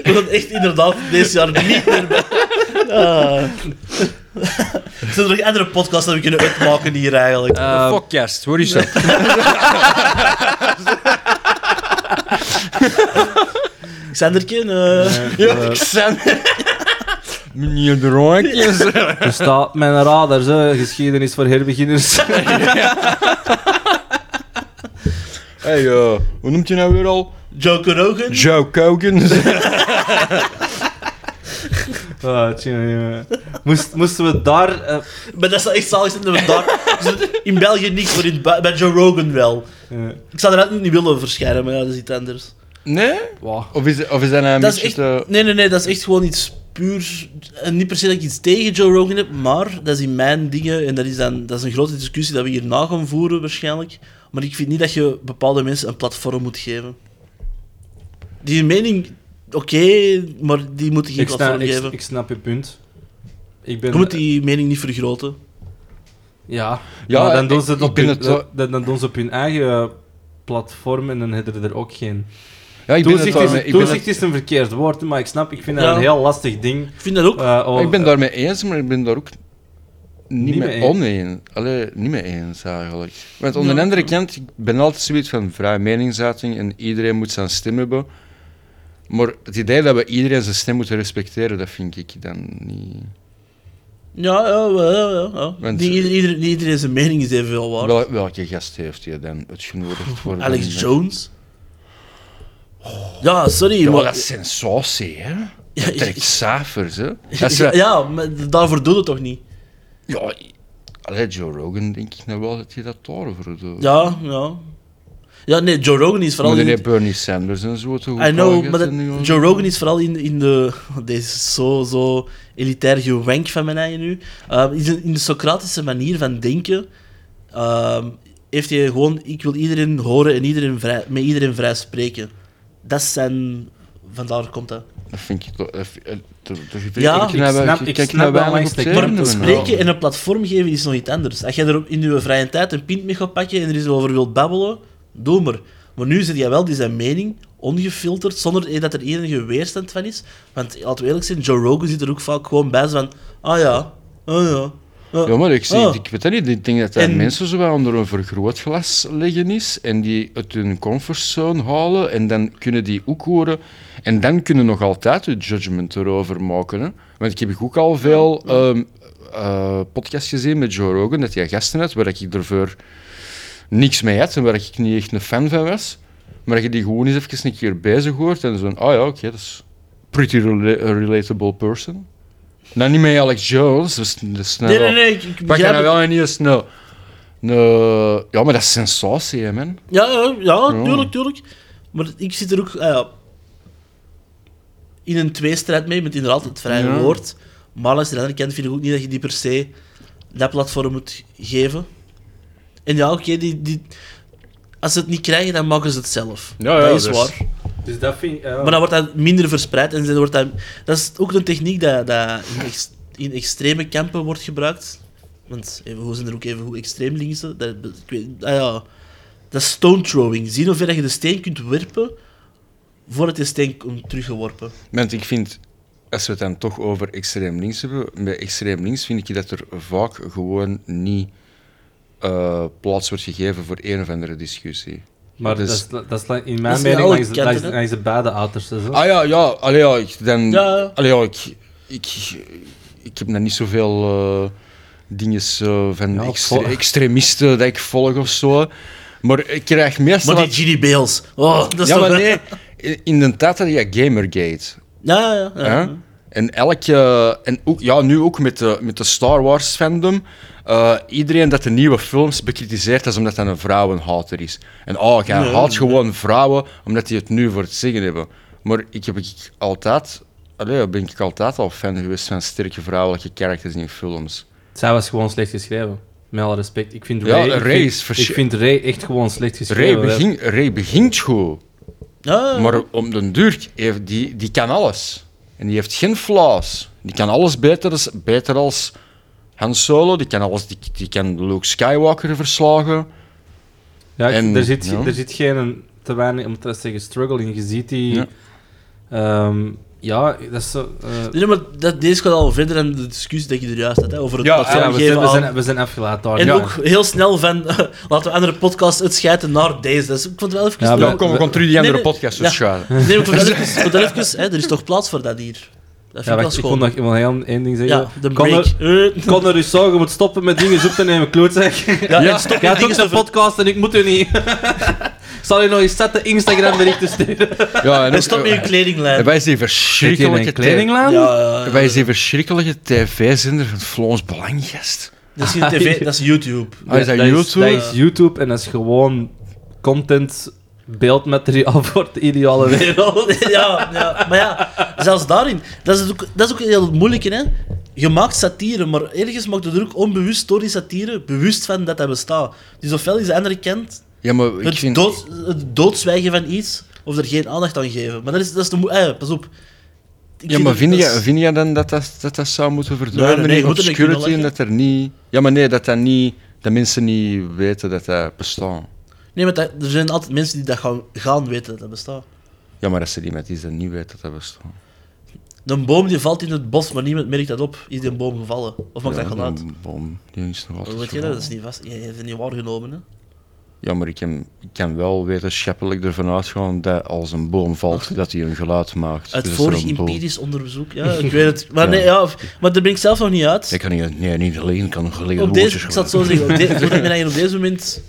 Speaker 3: We gaan echt inderdaad deze jaar niet meer bij. Ah. Zijn er nog andere podcasts dat we kunnen uitmaken hier eigenlijk?
Speaker 2: Eh,
Speaker 4: Podcast, wat is dat?
Speaker 3: Zijn er geen... eh,
Speaker 4: Ja, ik zijn. Meneer de Roekjes.
Speaker 2: Er staat op Dus mijn radar, zo, geschiedenis voor herbeginners.
Speaker 4: Hey, eh, hoe noemt je nou weer al?
Speaker 3: Joe Rogan?
Speaker 4: Joe Koken.
Speaker 2: Ah, tjonge, jonge. Moest, moesten we daar... eh,
Speaker 3: maar dat is wel echt zalig zijn dat we daar... dus In België niks, maar in het bui- bij Joe Rogan wel.
Speaker 2: eh,
Speaker 3: Ik zou er eigenlijk niet willen verschijnen, maar ja, dat is iets anders.
Speaker 4: Nee?
Speaker 2: wauw.
Speaker 4: Of is, of is dat nou een
Speaker 3: Dat is
Speaker 4: beetje
Speaker 3: echt,
Speaker 4: te...
Speaker 3: nee, nee, nee, dat is echt gewoon iets puur. En niet per se dat ik iets tegen Joe Rogan heb, maar dat is in mijn dingen. En dat is, dan, dat is een grote discussie dat we hierna gaan voeren, waarschijnlijk. Maar ik vind niet dat je bepaalde mensen een platform moet geven. Die mening, oké, maar die moet je geen
Speaker 2: Ik, snap,
Speaker 3: platform
Speaker 2: ik,
Speaker 3: geven.
Speaker 2: ik snap je punt. Ik ben...
Speaker 3: je moet die mening niet vergroten.
Speaker 2: Ja,
Speaker 4: Ja,
Speaker 2: maar dan,
Speaker 4: ik-
Speaker 2: doen ze het
Speaker 4: ik
Speaker 2: op
Speaker 4: ben
Speaker 2: hun,
Speaker 4: het wel-
Speaker 2: dan, dan doen ze op hun eigen eh, platform en dan hebben ze er ook geen.
Speaker 4: Ja, ik ben het
Speaker 2: Toezicht, is,
Speaker 4: daarmee- ik ben
Speaker 2: toezicht
Speaker 4: het-
Speaker 2: is een verkeerd woord, maar ik snap, ik vind dat
Speaker 3: Ja.
Speaker 2: een heel lastig ding.
Speaker 3: Ik vind dat ook.
Speaker 2: eh, om-
Speaker 4: ik ben daarmee eens, maar ik ben daar ook niet
Speaker 2: Niet
Speaker 4: mee
Speaker 2: mee eens.
Speaker 4: oneens. Allee, niet mee eens eigenlijk. Want aan de andere kant, ik ben altijd zoiets van vrije meningsuiting en iedereen moet zijn stem hebben. Maar het idee dat we iedereen zijn stem moeten respecteren, dat vind ik dan niet...
Speaker 3: Ja, ja, ja, ja, ja, ja.
Speaker 4: Want- eh,
Speaker 3: Niet ieder- ieder- niet iedereen zijn mening is evenveel waard.
Speaker 4: Wel- welke gast heeft hij dan het genodigd worden?
Speaker 3: Alex Jones. Ja, sorry,
Speaker 4: Ja,
Speaker 3: maar-
Speaker 4: maar dat is sensatie, hè?
Speaker 3: Ja,
Speaker 4: Dat trekt
Speaker 3: ik-
Speaker 4: cijfers, hè? Dat is,
Speaker 3: ja,
Speaker 4: ja,
Speaker 3: ja, maar daarvoor doet het toch niet?
Speaker 4: allee, Joe Rogan denk ik nou wel dat hij dat daarvoor doet.
Speaker 3: Ja, ja. Ja, nee, Joe Rogan is
Speaker 4: maar
Speaker 3: vooral
Speaker 4: dan
Speaker 3: in...
Speaker 4: heeft Bernie Sanders en zo te
Speaker 3: I know, maar dat- Joe Rogan is vooral in, in de... Deze is zo, zo elitair gewenk van mijn eigen nu. Ehm, is in, in de Socratische manier van denken ehm, heeft hij gewoon... Ik wil iedereen horen en iedereen vrij, met iedereen vrij spreken. Dat is zijn... Vandaar komt dat.
Speaker 4: Dat vind ik toch... dat vind- eh, dat- dat-
Speaker 3: Ja,
Speaker 4: kijk
Speaker 2: ik
Speaker 4: naar-
Speaker 2: snap- ik
Speaker 4: kijk
Speaker 2: snap
Speaker 4: naar
Speaker 2: wel
Speaker 4: weinig
Speaker 2: langs
Speaker 4: op
Speaker 2: de
Speaker 4: tv
Speaker 2: kant.
Speaker 4: doen,
Speaker 3: Maar
Speaker 4: nou.
Speaker 3: spreken en een platform geven is nog iets anders. Als jij er op- in je vrije tijd een pint mee gaat pakken en er eens over wilt babbelen, doe maar. Maar nu zit jij wel die zijn mening ongefilterd, zonder dat er enige weerstand van is. Want laten we eerlijk zijn, Joe Rogan zit er ook vaak gewoon bij zo van, ah ja, ah ja. ah,
Speaker 4: Ja, maar ik, zie,
Speaker 3: ah.
Speaker 4: ik weet dat niet. Ik denk dat dat
Speaker 3: En-
Speaker 4: mensen zo wel onder een vergrootglas liggen is en die het hun comfortzone halen en dan kunnen die ook horen. En dan kunnen nog altijd hun judgment erover maken. Hè? Want ik heb ook al veel ehm, eh, podcasts gezien met Joe Rogan, dat hij gasten had, waar ik ervoor niks mee had en waar ik niet echt een fan van was. Maar dat je die gewoon eens even een keer bezig hoort en zo'n, ah ja, oké, dat is pretty rela- relatable person. Nou, niet met Alex Jones, dat is, dat is
Speaker 3: Nee,
Speaker 4: nou-
Speaker 3: nee, nee, ik, ik
Speaker 4: Pak je
Speaker 3: begrijp
Speaker 4: nou
Speaker 3: het.
Speaker 4: wel niet eens nou. nou, Ja, maar dat is sensatie, hè, man.
Speaker 3: Ja, ja, ja,
Speaker 4: Ja.
Speaker 3: tuurlijk, tuurlijk. Maar ik zit er ook ah ja, in een tweestrijd mee, met inderdaad het vrije
Speaker 4: Ja.
Speaker 3: woord. Maar langs de andere kant vind ik ook niet dat je die per se dat platform moet geven. En ja, oké, die, die, als ze het niet krijgen, dan maken ze het zelf.
Speaker 4: Ja, ja,
Speaker 3: dat is
Speaker 4: dus-
Speaker 3: waar.
Speaker 2: Dus dat vind ik... ja.
Speaker 3: Maar dan wordt dat minder verspreid en dan wordt dat... Dat is ook een techniek dat, dat in, ex- in extreme kampen wordt gebruikt. Want even, hoe zijn er ook even hoe extreem linksen? Dat, ik weet, ah ja, dat is stone throwing. Zien hoe ver je de steen kunt werpen voordat je steen komt teruggeworpen.
Speaker 4: Want ik vind, als we het dan toch over extreem links hebben, bij extreem links vind ik dat er vaak gewoon niet eh, plaats wordt gegeven voor een of andere discussie.
Speaker 2: Maar
Speaker 4: Dus-
Speaker 2: dat is, dat is lang- in
Speaker 3: Dat
Speaker 2: mijn
Speaker 3: is
Speaker 2: mening
Speaker 3: wel
Speaker 2: langs, de-
Speaker 3: kent,
Speaker 2: langs,
Speaker 3: hè?
Speaker 2: langs de beide ouders. Zo.
Speaker 4: Ah ja, ja, allee, ja, ik, dan,
Speaker 3: Ja, ja.
Speaker 4: allee, ja, ik, ik, ik heb dan niet zoveel eh dingen van
Speaker 2: Ja,
Speaker 4: extre-
Speaker 2: vol-
Speaker 4: extremisten dat ik volg of zo. Maar ik krijg meestal...
Speaker 3: Maar die Ginny Bales. Oh, dat is
Speaker 4: ja,
Speaker 3: toch...
Speaker 4: maar nee, in- in de tijd had je Gamergate.
Speaker 3: Ja, ja, ja.
Speaker 4: Hè? En elke. En ook, ja, nu ook met de, met de Star Wars fandom. eh, iedereen dat de nieuwe films bekritiseert, dat is omdat dat een vrouwenhater is. En oh, jij
Speaker 3: Nee,
Speaker 4: haat
Speaker 3: nee.
Speaker 4: gewoon vrouwen omdat die het nu voor het zeggen hebben. Maar ik heb ik altijd. Allee, ben ik altijd al fan geweest van sterke vrouwelijke characters in films.
Speaker 2: Zij was gewoon slecht geschreven. Met alle respect. Ik vind
Speaker 4: Ja,
Speaker 2: Ray, ik
Speaker 4: Ray
Speaker 2: vind-
Speaker 4: is verschi-
Speaker 2: Ik vind Ray echt gewoon slecht
Speaker 4: Ray,
Speaker 2: geschreven.
Speaker 4: begin, Ray begint goed,
Speaker 3: Ja, ja.
Speaker 4: maar om den duur, heeft die, die kan alles. En die heeft geen flaws. Die kan alles beter, als- beter als Han Solo, die kan, alles, die, die kan Luke Skywalker verslagen.
Speaker 2: Ja, ik-
Speaker 4: En-
Speaker 2: er, zit,
Speaker 4: ja.
Speaker 2: er zit geen te weinig, om het te zeggen, struggle in. Je ziet die...
Speaker 4: Ja.
Speaker 2: Ja, ja dat is zo... eh,
Speaker 3: Nee, maar dat, deze gaat al verder dan de discussie dat je er juist had, hè, over het
Speaker 4: Ja,
Speaker 3: platform
Speaker 2: ja, we,
Speaker 3: geven
Speaker 2: zijn, we,
Speaker 3: aan-
Speaker 2: zijn, we zijn afgeleid daar.
Speaker 3: En
Speaker 2: ja.
Speaker 3: ook heel snel van, laten we andere podcasts uitschijten naar deze. Dus ik vond het wel even...
Speaker 2: Ja,
Speaker 4: Dan
Speaker 2: maar-
Speaker 4: komen we gewoon terug die andere
Speaker 3: Nee, nee.
Speaker 4: podcast
Speaker 3: Ja.
Speaker 4: uitschuiven.
Speaker 3: Nee, maar ik vond wel even, ik vond wel even, hè, er is toch plaats voor dat hier. Dat vind
Speaker 2: Ja,
Speaker 3: ik
Speaker 2: wacht,
Speaker 3: wel
Speaker 2: ik kon
Speaker 3: schoon.
Speaker 2: nog ik wil heel één ding zeggen.
Speaker 3: Ja, de
Speaker 2: Connor-
Speaker 3: break. Eh,
Speaker 2: Connor Rousseau, je moet stoppen met dingen zoek te nemen, klootzak.
Speaker 3: Ja, en stop met
Speaker 2: Jij
Speaker 3: dingen
Speaker 2: doet een
Speaker 3: te ver-
Speaker 2: podcast en ik moet u niet. Ik zal je nog eens zetten Instagram berichten sturen.
Speaker 4: Ja, en
Speaker 3: En
Speaker 4: ook-
Speaker 3: stop met je
Speaker 4: en
Speaker 3: kledinglijn.
Speaker 4: wij is die verschrikkelijke tv
Speaker 2: kledinglaan?
Speaker 3: Ja, ja,
Speaker 4: Wij is die verschrikkelijke tv-zender van het Vlaams Belanggest.
Speaker 3: dat is geen tv, dat is YouTube.
Speaker 4: Ah, is dat YouTube?
Speaker 2: dat is YouTube en dat is gewoon content, beeldmateriaal voor de ideale wereld.
Speaker 3: ja, ja, maar ja, zelfs daarin, dat is het ook, dat is ook heel moeilijk, hè. Je maakt satire, maar ergens maakt het er ook onbewust door die satire bewust van dat dat bestaat. Dus ofwel is de andere kant
Speaker 4: Ja, maar ik
Speaker 3: het,
Speaker 4: vind...
Speaker 3: dood, het doodzwijgen van iets of er geen aandacht aan geven. Maar dat is, dat is de moe- eh, Pas op. Ik
Speaker 4: Ja, maar
Speaker 3: dat-
Speaker 4: vind
Speaker 3: dat
Speaker 4: jij
Speaker 3: is-
Speaker 4: vind jij dan dat dat, dat dat zou moeten verdwijnen
Speaker 3: nee, je
Speaker 4: in
Speaker 3: moet er niet kunnen
Speaker 4: obscurity en dat er niet... Ja, maar nee, dat dat niet... Dat mensen niet weten dat dat bestaat.
Speaker 3: Nee, maar dat- er zijn altijd mensen die dat gaan, gaan weten dat dat bestaat.
Speaker 4: Ja, maar als er iemand is dat niet weet dat dat bestaat.
Speaker 3: Een boom die valt in het bos, maar niemand merkt dat op. Is die een boom gevallen? Of maakt
Speaker 4: Ja,
Speaker 3: dat geluid?
Speaker 4: een Bom, die is nog
Speaker 3: Hoe
Speaker 4: altijd
Speaker 3: weet je dat? Dat is
Speaker 4: vervallen.
Speaker 3: niet vast. Je hebt het niet waargenomen, hè?
Speaker 4: Ja, maar ik kan, ik kan wel wetenschappelijk ervan uitgaan dat als een boom valt, dat hij een geluid maakt.
Speaker 3: Uit
Speaker 4: Dus is er
Speaker 3: vorig
Speaker 4: een boom.
Speaker 3: empirisch onderzoek. Ja, ik weet het. Maar,
Speaker 4: Ja.
Speaker 3: nee, ja, maar daar ben ik zelf nog niet uit.
Speaker 4: Ik kan niet, nee, niet alleen, ik kan geleden
Speaker 3: op deze,
Speaker 4: woordjes
Speaker 3: ik zal het zo
Speaker 4: gebruiken.
Speaker 3: zeggen, op de, voordat ik me eigenlijk op deze moment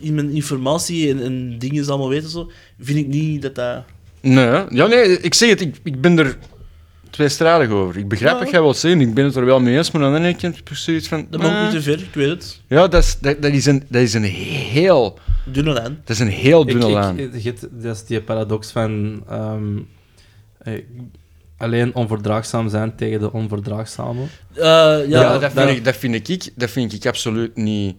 Speaker 3: in mijn informatie en, en dingen allemaal weten, zo, vind ik niet dat dat...
Speaker 4: Nee, ja, nee, ik zeg het, ik, ik ben er tweestradig over. Ik begrijp
Speaker 2: Nou.
Speaker 3: Ja.
Speaker 4: wat jij wilt zeggen, ik ben het er wel mee eens, maar aan de ene kant heb ik zoiets van...
Speaker 3: Dat mag ook
Speaker 4: eh,
Speaker 3: niet te ver, ik weet het.
Speaker 4: Ja, dat is, dat, dat is, een, dat is een heel,
Speaker 3: Dunne lijn.
Speaker 4: dat is een heel
Speaker 2: Ik-
Speaker 4: dunne
Speaker 2: ik-
Speaker 4: lijn.
Speaker 2: je hebt- dat is die paradox van ehm, eh, alleen onverdraagzaam zijn tegen de onverdraagzame.
Speaker 3: Eh, ja,
Speaker 4: Ja,
Speaker 2: Ja,
Speaker 4: dat,
Speaker 2: daar-
Speaker 4: vind ik, dat, vind ik, dat vind ik absoluut niet...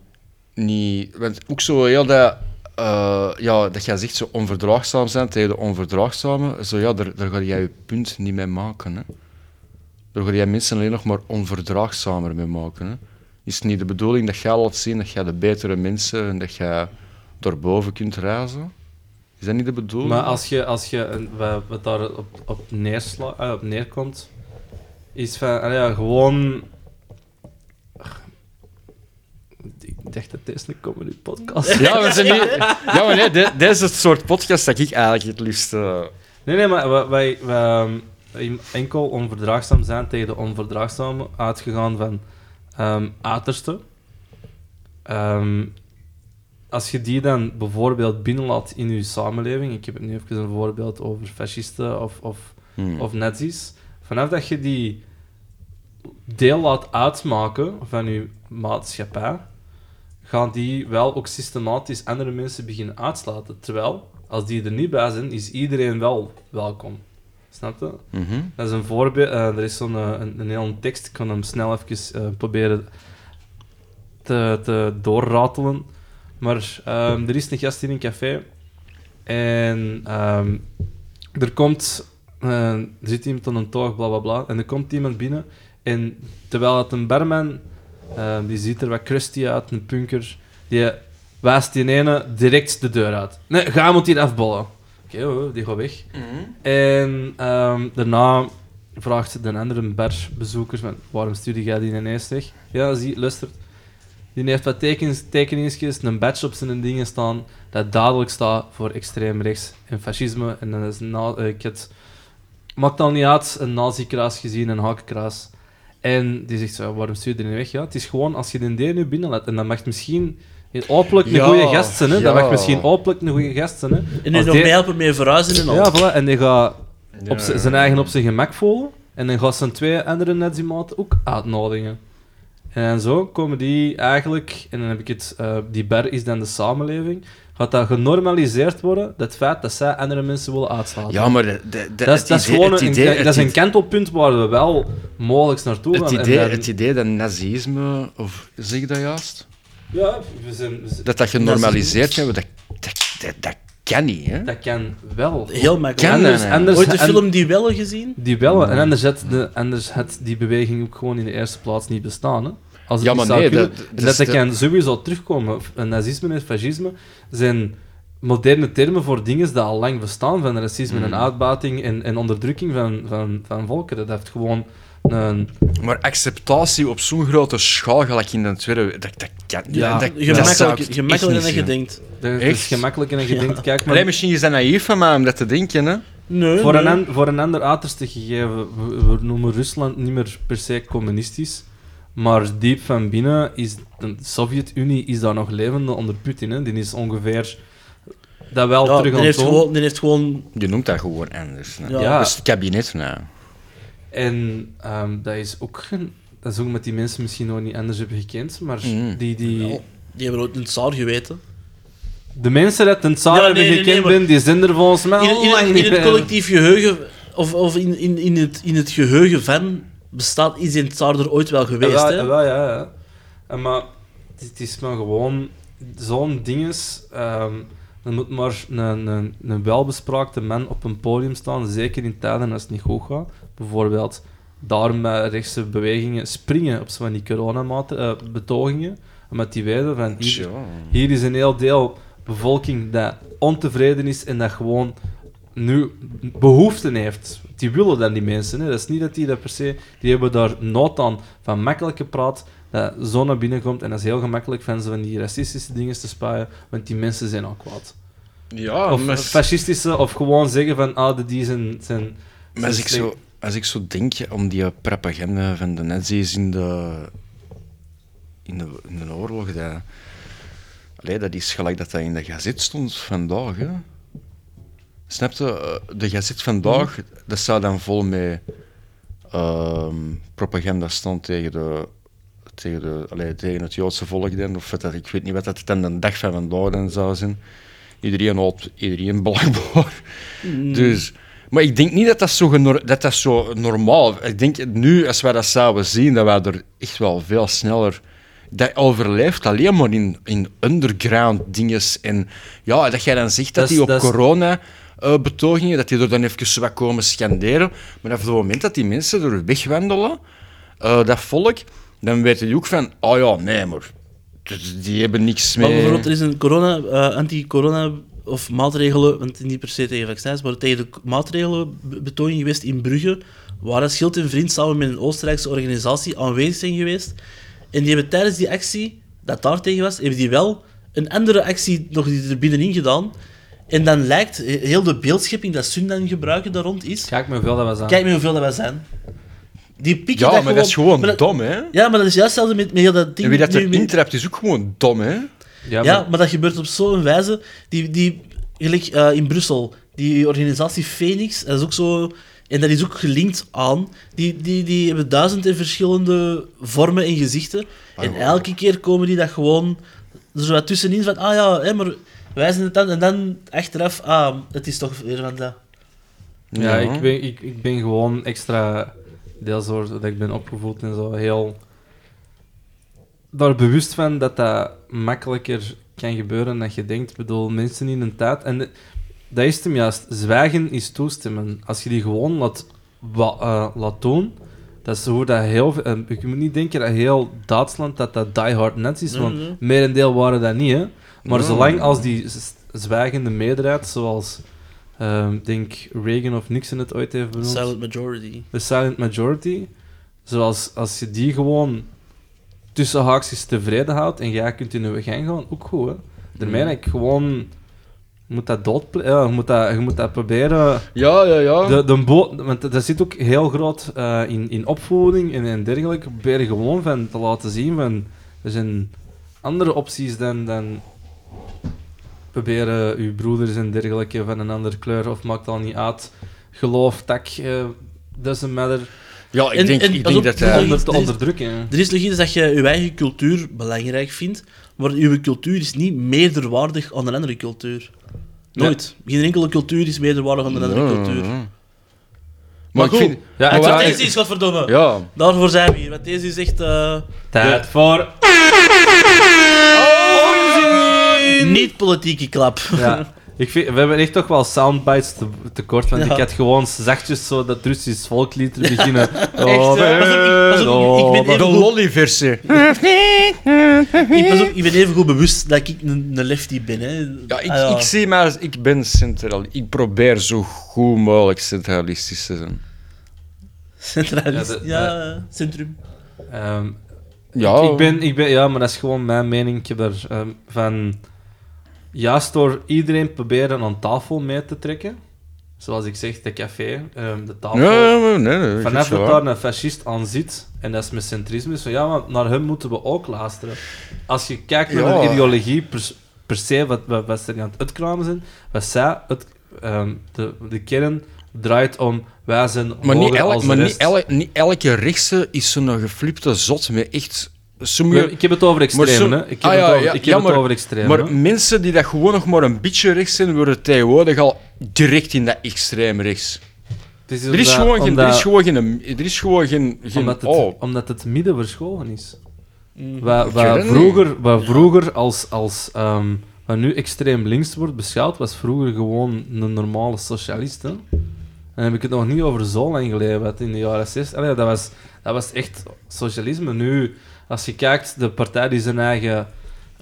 Speaker 4: niet want ook zo heel dat... eh, ja, dat jij zegt zo onverdraagzaam zijn tegen de onverdraagzame. Zo ja, daar, daar ga jij je punt niet mee maken. Hè. Daar ga jij mensen alleen nog maar onverdraagzamer mee maken. Hè. Is het niet de bedoeling dat jij laat zien dat jij de betere mensen en dat jij daarboven kunt reizen? Is dat niet de bedoeling?
Speaker 2: Maar als je, als je een- wa- wat daar op, op, neersla, eh, op neerkomt, is van, ah ja, gewoon... Ach, Ik dacht dat deze een comedy podcast is.
Speaker 4: Ja, we zijn niet... Ja, maar nee, de- dit is het soort podcast dat ik eigenlijk het liefst... eh,
Speaker 2: Nee, nee, maar wij, wij, wij, ehm, enkel onverdraagzaam zijn tegen de onverdraagzame uitgegaan van ehm uiterste. Ehm, als je die dan bijvoorbeeld binnenlaat in je samenleving, ik heb het nu even een voorbeeld over fascisten of, of,
Speaker 4: hmm.
Speaker 2: of nazi's, vanaf dat je die deel laat uitmaken van je maatschappij, gaan die wel ook systematisch andere mensen beginnen uitsluiten. Terwijl, als die er niet bij zijn, is iedereen wel welkom. Snap je?
Speaker 4: Mhm.
Speaker 2: Dat is een voorbeeld. eh, er is zo'n eh, een, een hele tekst. Ik kan hem snel even eh, proberen te, te doorratelen. Maar ehm, er is een gast in een café. En ehm, er komt... eh, er zit iemand aan een toog, bla bla bla. En er komt iemand binnen. En terwijl het een barman... ehm, die ziet er wat crusty uit, een punker. Die wijst die ene direct de deur uit. Nee, ga moet hier afbollen. Oké, hoor, die gaat weg. En ehm, daarna vraagt de andere barbezoeker van, waarom stuurde jij die ineens weg? Ja, zie, luistert. Die heeft wat tekens, tekeningsjes, een badge op zijn dingen staan, dat duidelijk staat voor extreem rechts en fascisme. En dan is na, eh, ik het maakt al niet uit, een nazi-kruis gezien, een hakenkruis. En die zegt zo, waarom stuur je die weg? Ja, het is gewoon, als je de D nu binnenlaat, en dat mag misschien openlijk een
Speaker 4: Ja,
Speaker 2: goede gast zijn, hè? dat
Speaker 4: ja.
Speaker 2: mag misschien openlijk een goede gast zijn. Hè?
Speaker 3: En nu
Speaker 2: Als
Speaker 3: nog
Speaker 2: die-
Speaker 3: mij helpen mee verhuizen en al.
Speaker 2: ja, voilà. En die gaat op
Speaker 4: Ja.
Speaker 2: z- zijn eigen op zijn gemak voelen. En dan gaat zijn twee andere nazimaten ook uitnodigen. En zo komen die eigenlijk... En dan heb ik het... eh, die bar is dan de samenleving. Gaat dat genormaliseerd worden, dat feit dat zij andere mensen willen uitslaan.
Speaker 4: Ja, maar de, de, de-
Speaker 2: dat is,
Speaker 4: het
Speaker 2: dat is
Speaker 4: idee-
Speaker 2: gewoon
Speaker 4: het
Speaker 2: een,
Speaker 4: idee-
Speaker 2: dat is
Speaker 4: het
Speaker 2: een kentelpunt waar we wel mogelijk naartoe
Speaker 4: Het
Speaker 2: gaan. En
Speaker 4: idee,
Speaker 2: dan-
Speaker 4: het idee dat nazisme, of zeg ik dat juist?
Speaker 2: Ja, we zijn, we zijn-
Speaker 4: Dat dat genormaliseerd hebben, dat, dat, dat, dat kan niet, hè?
Speaker 2: dat kan wel.
Speaker 3: Heel makkelijk.
Speaker 4: Ken-
Speaker 2: Anders,
Speaker 4: nee, nee.
Speaker 2: anders,
Speaker 3: Ooit de
Speaker 2: en-
Speaker 3: film Die Wellen gezien?
Speaker 2: Die wel, en anders had, de, anders had die beweging ook gewoon in de eerste plaats niet bestaan. Hè? Als het
Speaker 4: Ja,
Speaker 2: niet
Speaker 4: maar
Speaker 2: zou
Speaker 4: nee,
Speaker 2: kunnen.
Speaker 4: dat- dat
Speaker 2: En dat
Speaker 4: is de-
Speaker 2: kan sowieso terugkomen. En Nazisme en fascisme zijn moderne termen voor dingen die al lang bestaan, van racisme
Speaker 4: Mm.
Speaker 2: en uitbuiting en, en onderdrukking van, van, van volken. Dat heeft gewoon een...
Speaker 4: Maar acceptatie op zo'n grote schaal, gelijk in de tweede, dat, dat kan niet.
Speaker 2: Ja,
Speaker 4: dat, dat zou ik
Speaker 3: Gemakkelijker,
Speaker 4: echt
Speaker 3: gemakkelijker Ah, dan je
Speaker 4: niet zien.
Speaker 3: denkt.
Speaker 2: Dat
Speaker 4: Echt?
Speaker 2: is gemakkelijk en je denkt, kijk maar...
Speaker 4: Allee, misschien is dat naïef van mij om dat te denken, hè?
Speaker 3: Nee,
Speaker 2: voor,
Speaker 3: nee.
Speaker 2: een, an- voor een ander uiterste gegeven, we, we noemen Rusland niet meer per se communistisch, maar diep van binnen is de Sovjet-Unie is daar nog levende onder Putin. Hè? Die is ongeveer dat wel
Speaker 3: Ja,
Speaker 2: terug
Speaker 3: die
Speaker 2: aan het
Speaker 3: heeft
Speaker 2: doen.
Speaker 3: gewoon, die heeft gewoon...
Speaker 4: Je noemt dat gewoon anders. hè.
Speaker 3: Ja.
Speaker 2: Ja.
Speaker 4: Dat is het kabinet, nou.
Speaker 2: En ehm, dat is ook geen- dat is ook met die mensen misschien nog niet anders hebben gekend, maar
Speaker 4: Mm.
Speaker 2: die, die,
Speaker 3: Oh, die hebben ooit in het zaar geweten.
Speaker 2: de mensen die ten samen
Speaker 3: Ja,
Speaker 2: hebben
Speaker 3: nee, nee,
Speaker 2: gekend,
Speaker 3: nee, maar-
Speaker 2: die zijn er volgens mij
Speaker 3: In,
Speaker 2: al
Speaker 3: in,
Speaker 2: lang
Speaker 3: in,
Speaker 2: niet
Speaker 3: het
Speaker 2: meer.
Speaker 3: collectief geheugen, of, of in, in, in, het, in het geheugen van, bestaat is in het zaar er ooit wel geweest.
Speaker 2: ja,
Speaker 3: hè?
Speaker 2: ja, ja, ja. En maar het is maar gewoon zo'n dinges. ehm er moet maar een, een, een welbespraakte man op een podium staan, zeker in tijden als het niet goed gaat. Bijvoorbeeld daarom bij rechtse bewegingen springen op zo'n van die coronabetogingen. Omdat die weten van hier,
Speaker 4: Tja.
Speaker 2: hier is een heel deel bevolking dat ontevreden is en dat gewoon nu behoeften heeft. Die willen dan die mensen. Hè. Dat is niet dat die dat per se... Die hebben daar nood aan van makkelijke praat dat zo naar binnen komt. En dat is heel gemakkelijk van ze van die racistische dingen te spuien, want die mensen zijn al kwaad.
Speaker 4: Ja,
Speaker 2: Of
Speaker 4: maar-
Speaker 2: fascistische, of gewoon zeggen van, ah, de die zijn... zijn
Speaker 4: Maar als
Speaker 2: zijn
Speaker 4: ik, zo, als ik zo denk om die propaganda van de nazi's in de, in de, in de oorlog, dat, allee, dat is gelijk dat dat in de gazet stond vandaag. Hè? Snap je? Eh, De gazet vandaag,
Speaker 2: Mhm.
Speaker 4: dat zou dan vol met ehm, propaganda staan tegen, de, tegen, de, allee, tegen het Joodse volk. Dan, of wat dat, ik weet niet wat dat dan de dag van vandaag dan zou zijn. Iedereen houdt iedereen belangbaar.
Speaker 2: Mhm.
Speaker 4: Dus, maar ik denk niet dat dat zo, genor- dat dat zo normaal Ik denk nu, als wij dat zouden zien, dat wij er echt wel veel sneller. Dat overleeft alleen maar in, in underground dinges. En ja, dat jij dan zegt dat
Speaker 2: Dat is-
Speaker 4: die op
Speaker 2: dat is-
Speaker 4: corona-betogingen, dat die er dan even wat komen scanderen. Maar op het moment dat die mensen er wegwandelen, eh, dat volk, dan weten die ook van, oh ja, nee, maar die hebben niks
Speaker 3: Maar
Speaker 4: mee.
Speaker 3: bijvoorbeeld, er is een corona, eh, anti-corona of maatregelen, want niet per se tegen vaccins, maar tegen de k- maatregelen be- betoning geweest in Brugge, waar dat Schild en Vriend samen met een Oostenrijkse organisatie aanwezig zijn geweest. En die hebben tijdens die actie, dat daar tegen was, hebben die wel een andere actie nog die er binnenin gedaan. En dan lijkt he- heel de beeldschepping dat Sundan gebruiken daar rond is.
Speaker 2: Kijk me wel, dat was aan.
Speaker 3: Kijk maar hoeveel dat wij zijn. Die pikken
Speaker 4: Ja, maar dat is gewoon
Speaker 3: maar dat-
Speaker 4: dom, hè?
Speaker 3: Ja, maar dat is juist hetzelfde met, met heel dat ding.
Speaker 4: En wie dat
Speaker 3: nu
Speaker 4: er
Speaker 3: met-
Speaker 4: intrapt is ook gewoon dom, hè?
Speaker 2: ja,
Speaker 3: ja,
Speaker 2: maar-
Speaker 3: maar dat gebeurt op zo'n wijze. Die, die, gelijk eh, in Brussel, die organisatie Phoenix, dat is ook zo. En dat is ook gelinkt aan. Die, die, die hebben duizenden verschillende vormen en gezichten. En elke keer komen die dat gewoon er zo wat tussenin van. Ah ja, hè, maar wij zijn het dan. En dan achteraf, ah, het is toch weer van dat.
Speaker 2: ja, Ik, ben, ik, ik ben gewoon extra, deels door dat ik ben opgevoed en zo, heel daar bewust van dat dat makkelijker kan gebeuren dan je denkt. Ik bedoel, mensen in een tijd... En de- dat is het hem juist. Zwijgen is toestemmen. Als je die gewoon laat, wa- eh, laat doen, dat is hoe dat heel... veel- eh, ik moet niet denken dat heel Duitsland dat dat diehard nazis,
Speaker 3: Nee,
Speaker 2: want
Speaker 3: nee.
Speaker 2: merendeel waren dat niet, hè. Maar
Speaker 4: Nee.
Speaker 2: zolang als die z- zwijgende meerderheid, zoals ehm, ik denk Reagan of Nixon het ooit heeft benoemd,
Speaker 3: Silent majority.
Speaker 2: de silent majority, zoals als je die gewoon tussen haakjes tevreden houdt en jij kunt in je gang gaan, ook goed, hè. Daarmee dat ik gewoon... Je moet dat doodple- ja, je, moet dat, je moet dat proberen...
Speaker 4: Ja, ja, ja.
Speaker 2: De, de bo- want dat zit ook heel groot eh, in, in opvoeding en, en dergelijke. Probeer gewoon van te laten zien van er zijn andere opties dan, dan proberen uw broeders en dergelijke van een andere kleur of maakt al niet uit. Geloof, tak, eh doesn't matter.
Speaker 4: Ja, ik
Speaker 3: En-
Speaker 4: denk,
Speaker 3: en
Speaker 4: ik
Speaker 3: pas
Speaker 4: denk
Speaker 3: op,
Speaker 4: dat eh,
Speaker 3: pas op.
Speaker 4: hij...
Speaker 2: Onder te
Speaker 3: er is-
Speaker 2: onderdrukken.
Speaker 3: Er is nog iets dat je je eigen cultuur belangrijk vindt, maar je cultuur is niet meerderwaardig aan een andere cultuur. Nooit. Geen enkele cultuur is meerderwaardig aan een andere
Speaker 4: Ja,
Speaker 3: cultuur.
Speaker 4: ja. Maar,
Speaker 3: Maar
Speaker 4: ik
Speaker 3: goed.
Speaker 4: vind...
Speaker 2: Ja,
Speaker 3: Maar
Speaker 2: het-
Speaker 3: wat
Speaker 2: het-
Speaker 3: deze is, godverdomme.
Speaker 4: Ja.
Speaker 3: Daarvoor zijn we hier. Want deze is echt eh,
Speaker 2: Tijd voor...
Speaker 3: niet politieke klap.
Speaker 2: Ja. Ik vind, we hebben echt toch wel soundbites te, te kort, want
Speaker 3: Ja.
Speaker 2: ik had gewoon zachtjes zo dat Russisch volklied te beginnen.
Speaker 3: hè?
Speaker 2: Oh,
Speaker 3: Pas op, pas op, ik- ik ben
Speaker 2: oh,
Speaker 3: even-
Speaker 4: De lolly-versie.
Speaker 3: Ik, pas op, ik ben even goed bewust dat ik een, een lefty ben. Hè.
Speaker 4: Ja, ik,
Speaker 3: Ah, ja.
Speaker 4: ik zie maar... als- Ik ben centraal... Ik probeer zo goed mogelijk centralistisch te zijn.
Speaker 3: Centralist.
Speaker 2: Ja,
Speaker 3: Ja,
Speaker 2: de-
Speaker 3: eh, centrum.
Speaker 2: Ehm,
Speaker 4: Ja.
Speaker 2: ik, ben, ik ben, ja, maar dat is gewoon mijn mening. Ik heb er ehm, van juist door iedereen proberen aan tafel mee te trekken. Zoals ik zeg, de café, ehm, de tafel.
Speaker 4: Ja, nee, nee, nee.
Speaker 2: Vanaf
Speaker 4: Vanaf
Speaker 2: dat daar een fascist aan zit, en dat is met centrisme, is van ja, maar naar hem moeten we ook luisteren. Als je kijkt naar
Speaker 4: Ja.
Speaker 2: de ideologie per, per se, wat, wat, wat ze aan het uitkramen zijn, wat zij, het, ehm, de, de kern draait om, wij zijn
Speaker 4: Maar, niet,
Speaker 2: hoger
Speaker 4: elk,
Speaker 2: als de
Speaker 4: maar niet,
Speaker 2: rest.
Speaker 4: elk- niet elke rechtse is zo'n geflipte zot met echt...
Speaker 2: Ik
Speaker 4: Sommige,
Speaker 2: heb- Ik heb het over extremen, hè. Ik heb
Speaker 4: Ah,
Speaker 2: het
Speaker 4: ja,
Speaker 2: over-
Speaker 4: ja,
Speaker 2: ik
Speaker 4: ja,
Speaker 2: heb het
Speaker 4: maar-
Speaker 2: over extremen.
Speaker 4: Maar
Speaker 2: hè.
Speaker 4: mensen die dat gewoon nog maar een beetje rechts zijn, worden tegenwoordig al direct in dat extreem rechts.
Speaker 2: Het is
Speaker 4: Er is
Speaker 2: omdat-
Speaker 4: gewoon geen... Er
Speaker 2: omdat-
Speaker 4: is gewoon geen... Er is gewoon geen... geen-
Speaker 2: omdat, het,
Speaker 4: oh.
Speaker 2: omdat het midden verscholen is.
Speaker 3: Mm.
Speaker 2: Wat,
Speaker 4: weet
Speaker 2: wat
Speaker 4: het
Speaker 2: vroeger, wat vroeger als, als ehm, wat nu extreem links wordt beschouwd, was vroeger gewoon een normale socialist. Hè? Dan heb ik het nog niet over zo lang geleden, wat in de jaren 60. Allee, dat, was, dat was echt socialisme. Nu, als je kijkt, de partij die zijn eigen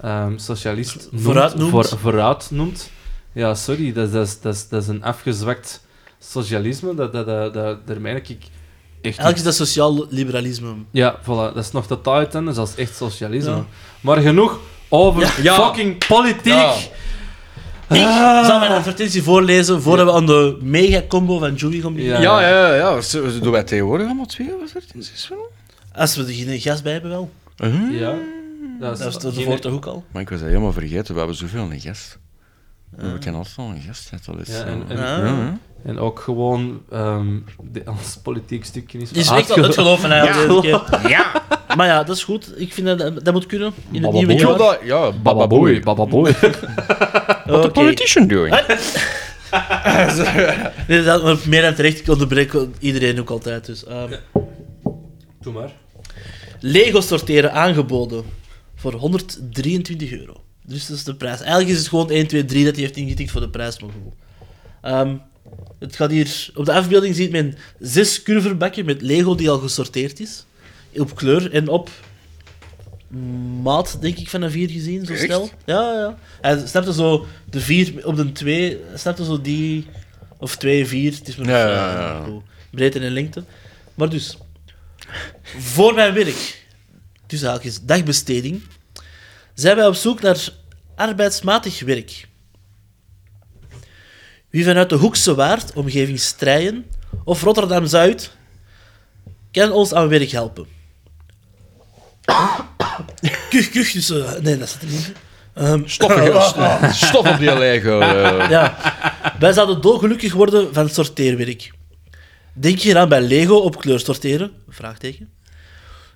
Speaker 2: ehm, socialist noemt,
Speaker 3: Vooruit noemt.
Speaker 2: voor- vooruit noemt. Ja, sorry, dat, is- dat, is- dat, is- dat is een afgezwakt socialisme. Dat, dat, dat, dat, daar merk ik echt
Speaker 3: Eigenlijk is dat sociaal liberalisme.
Speaker 2: ja, voilà, dat is nog tot uit, hè. dus dat is echt socialisme.
Speaker 3: Ja.
Speaker 2: Maar genoeg over
Speaker 4: Ja.
Speaker 2: fucking politiek.
Speaker 4: Ja. Ah.
Speaker 3: Ik zal mijn advertentie voorlezen voordat we aan de mega-combo van Joey gaan beginnen.
Speaker 2: Ja.
Speaker 4: Ja, ja, ja. ja. Ze- ze doen wij tegenwoordig allemaal twee of wat is het? wel?
Speaker 3: Als we er geen gast bij hebben wel.
Speaker 4: Huh?
Speaker 2: Ja. Dat
Speaker 3: Dat is
Speaker 2: geen-
Speaker 3: ervoor toch ook al.
Speaker 4: Maar ik was dat helemaal vergeten. We hebben zoveel een gast. We kennen altijd al een gast. net al eens.
Speaker 2: Ja, en- en-
Speaker 4: Ja, ja.
Speaker 2: En ook gewoon, ehm de, ons politiek stukje is,
Speaker 3: Is echt wel
Speaker 2: uitge-
Speaker 3: uitgelopen eigenlijk. deze keer. Maar ja, dat is goed. Ik vind dat dat moet kunnen in het
Speaker 2: Bababoe.
Speaker 3: nieuwe
Speaker 4: Ik wil
Speaker 3: jaar.
Speaker 4: dat... Ja,
Speaker 2: Bababoei,
Speaker 4: bababoei.
Speaker 2: bababoei.
Speaker 4: What the
Speaker 3: Oké.
Speaker 4: politician doing?
Speaker 3: Nee, dat maar meer dan terecht. Ik onderbreek iedereen ook altijd. Dus, ehm,
Speaker 2: Doe maar.
Speaker 3: Lego sorteren aangeboden voor 123 euro. Dus dat is de prijs. Eigenlijk is het gewoon 1, 2, 3 dat hij heeft ingetikt voor de prijs. Maar goed. Ehm, het gaat hier... Op de afbeelding ziet men zes curverbakken met Lego die al gesorteerd is. Op kleur en op maat, denk ik, van een vier gezien, zo
Speaker 4: Echt?
Speaker 3: snel. Ja, ja. Hij snapte zo de vier op de twee, snapte zo die, of twee, vier, het is maar
Speaker 4: Ja,
Speaker 3: nog,
Speaker 4: ja,
Speaker 3: eh,
Speaker 4: ja.
Speaker 3: hoe breedte en lengte. Maar dus, voor mijn werk, dus haakjes, dagbesteding, zijn wij op zoek naar arbeidsmatig werk. Wie vanuit de Hoekse Waard, omgeving Strijen of Rotterdam-Zuid kan ons aan werk helpen. Kuch, kuch, dus... eh, nee, dat zit er niet in. Ehm,
Speaker 4: Stop, er- stop op die Lego. eh.
Speaker 3: ja. Wij zouden dolgelukkig worden van sorteerwerk. Denk je aan bij Lego op kleur sorteren? Vraagteken.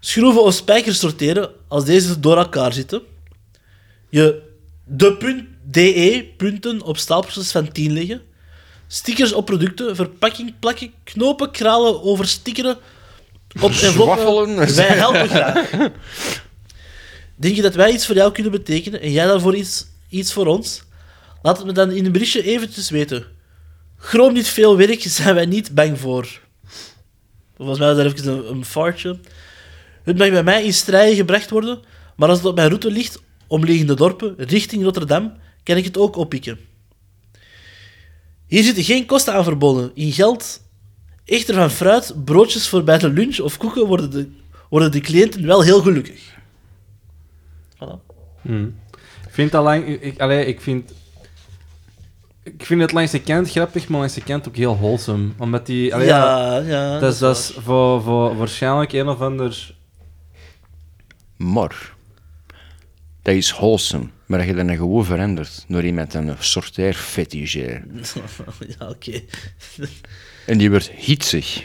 Speaker 3: Schroeven of spijkers sorteren als deze door elkaar zitten. Je de punt DE punten op stapeltjes van 10 leggen. Stickers op producten, verpakking plakken, knopen, kralen, overstickeren op enveloppen.
Speaker 4: Zwaffelen.
Speaker 3: Wij helpen graag. Denk je dat wij iets voor jou kunnen betekenen en jij daarvoor iets, iets voor ons? Laat het me dan in een berichtje eventjes weten. Groom niet veel werk, zijn wij niet bang voor. Volgens mij was daar even een, een foutje. Het mag bij mij in strijden gebracht worden, maar als het op mijn route ligt, omliggende dorpen, richting Rotterdam, kan ik het ook oppikken. Hier zitten geen kosten aan verbonden, in geld. Echter van fruit, broodjes voor bij de lunch of koeken worden de, worden de cliënten wel heel gelukkig. Voilà.
Speaker 2: Hmm. Ik vind dat lang... Ik, ik- allee, ik vind... Ik vind het langs de kant grappig, maar langs de kant ook heel wholesome. Omdat die... allee,
Speaker 3: ja, ja.
Speaker 2: Oh dat is, dat is voor, voor waarschijnlijk een of ander...
Speaker 4: Maar, dat is wholesome. Maar dat je dat dan gewoon verandert door iemand een sorteerfetigeer.
Speaker 3: ja, oké.
Speaker 4: En die wordt hitsig.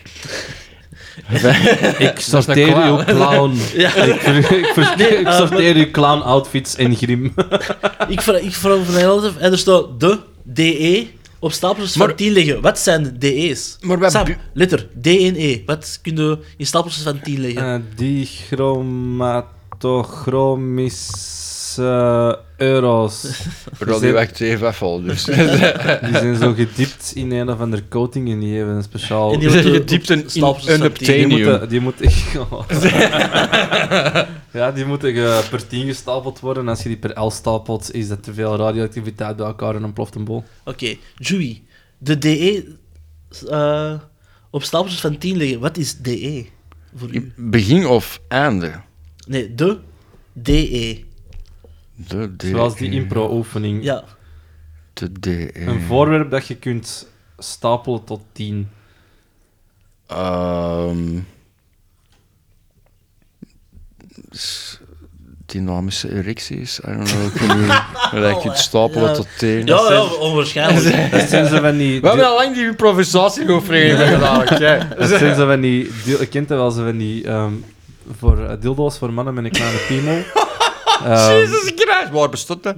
Speaker 2: Ik sorteer uw clown.
Speaker 3: Ja.
Speaker 2: Ik, ver- ik, ver-
Speaker 3: Nee,
Speaker 2: ik
Speaker 3: eh,
Speaker 2: sorteer uw clown outfits en grim.
Speaker 3: Ik vraag, ik vraag van heel even. En er staat de DE op stapels van
Speaker 4: Maar-
Speaker 3: 10 liggen. Wat zijn DE's?
Speaker 4: Maar wij
Speaker 3: Sam,
Speaker 4: bu-
Speaker 3: letter D en E. Wat kun je in stapels van 10 liggen?
Speaker 2: Eh, dichromatogchromische eh, euro's.
Speaker 4: Radioactief afval, dus.
Speaker 2: Die zijn zo gediept in een of ander coating en die hebben een speciaal...
Speaker 3: En
Speaker 2: Die,
Speaker 3: die- wordt
Speaker 4: Je
Speaker 3: op-
Speaker 4: diept
Speaker 3: op
Speaker 4: een
Speaker 3: stapels
Speaker 4: een
Speaker 3: van tien.
Speaker 4: Neptunium.
Speaker 2: moeten... Die moeten ja, die moeten ge- per 10 gestapeld worden. Als je die per 11 stapelt, is dat te veel radioactiviteit bij elkaar en dan ploft een bol.
Speaker 3: Oké, Joey. De DE eh, op stapels van 10 liggen. Wat is DE voor
Speaker 2: eh,
Speaker 3: u?
Speaker 4: Begin of einde?
Speaker 3: Nee, de DE.
Speaker 4: De D. E
Speaker 2: Zoals die impro-oefening.
Speaker 3: Ja.
Speaker 4: De D. E
Speaker 2: Een voorwerp dat je kunt stapelen tot 10.
Speaker 4: Ehm, s- dynamische erecties. I don't know. Kun je, dat je het stapelen
Speaker 3: Ja.
Speaker 4: tot tenen.
Speaker 3: Ja, ja, onwaarschijnlijk.
Speaker 2: Dat zijn ze van die...
Speaker 4: We hebben al lang die improvisatieoefeningen gedaan. oké.
Speaker 2: Dat zijn zo van die... dil- Je kent dat wel, zo van die... ehm, voor eh, dildo's voor mannen met een kleine piemel. Ehm,
Speaker 4: Jezus Christus, waar bestond dat?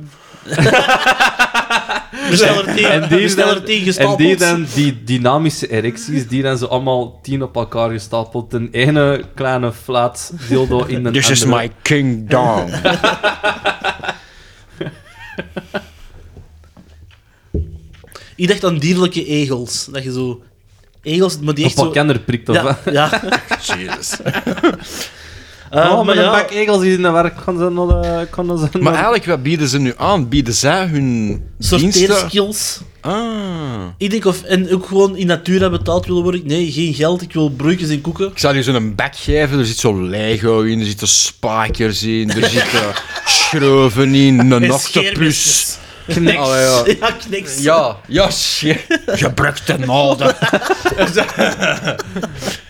Speaker 3: Bestel er 10.
Speaker 2: en die,
Speaker 3: Bestel
Speaker 2: dan,
Speaker 3: er 10
Speaker 2: en
Speaker 3: gestapeld.
Speaker 2: die dan, die dynamische erecties, die dan zo allemaal tien op elkaar gestapeld. Een ene kleine flat dildo in een
Speaker 3: Dus
Speaker 4: This is
Speaker 2: andere.
Speaker 4: my kingdom.
Speaker 3: Ik dacht aan dierlijke egels. Dat je zo... Egels, maar die
Speaker 2: Een
Speaker 3: echt zo...
Speaker 2: pakkenner prikt of
Speaker 3: Ja,
Speaker 2: wat?
Speaker 3: ja.
Speaker 4: Jezus.
Speaker 3: Eh,
Speaker 2: oh,
Speaker 3: maar
Speaker 2: met een
Speaker 3: ja.
Speaker 2: bak egels die in de werk gaan zijn. eh, Gaan zijn
Speaker 4: Maar eigenlijk, wat bieden ze nu aan? Bieden zij hun diensten?
Speaker 3: sorteerskills.
Speaker 4: Ah.
Speaker 3: Ik denk of en ook gewoon in natura betaald willen worden. Nee, geen geld. Ik wil broodjes en koeken.
Speaker 4: Ik zal je zo'n bak geven, er zit zo'n Lego in, er zitten spijkers in, er zitten schroeven in, een octopus.
Speaker 3: scheermesjes.
Speaker 4: Kniks.
Speaker 2: Oh.
Speaker 4: ja.
Speaker 3: Ja, kniks.
Speaker 4: ja, ja, shit. Gebruikte naalden.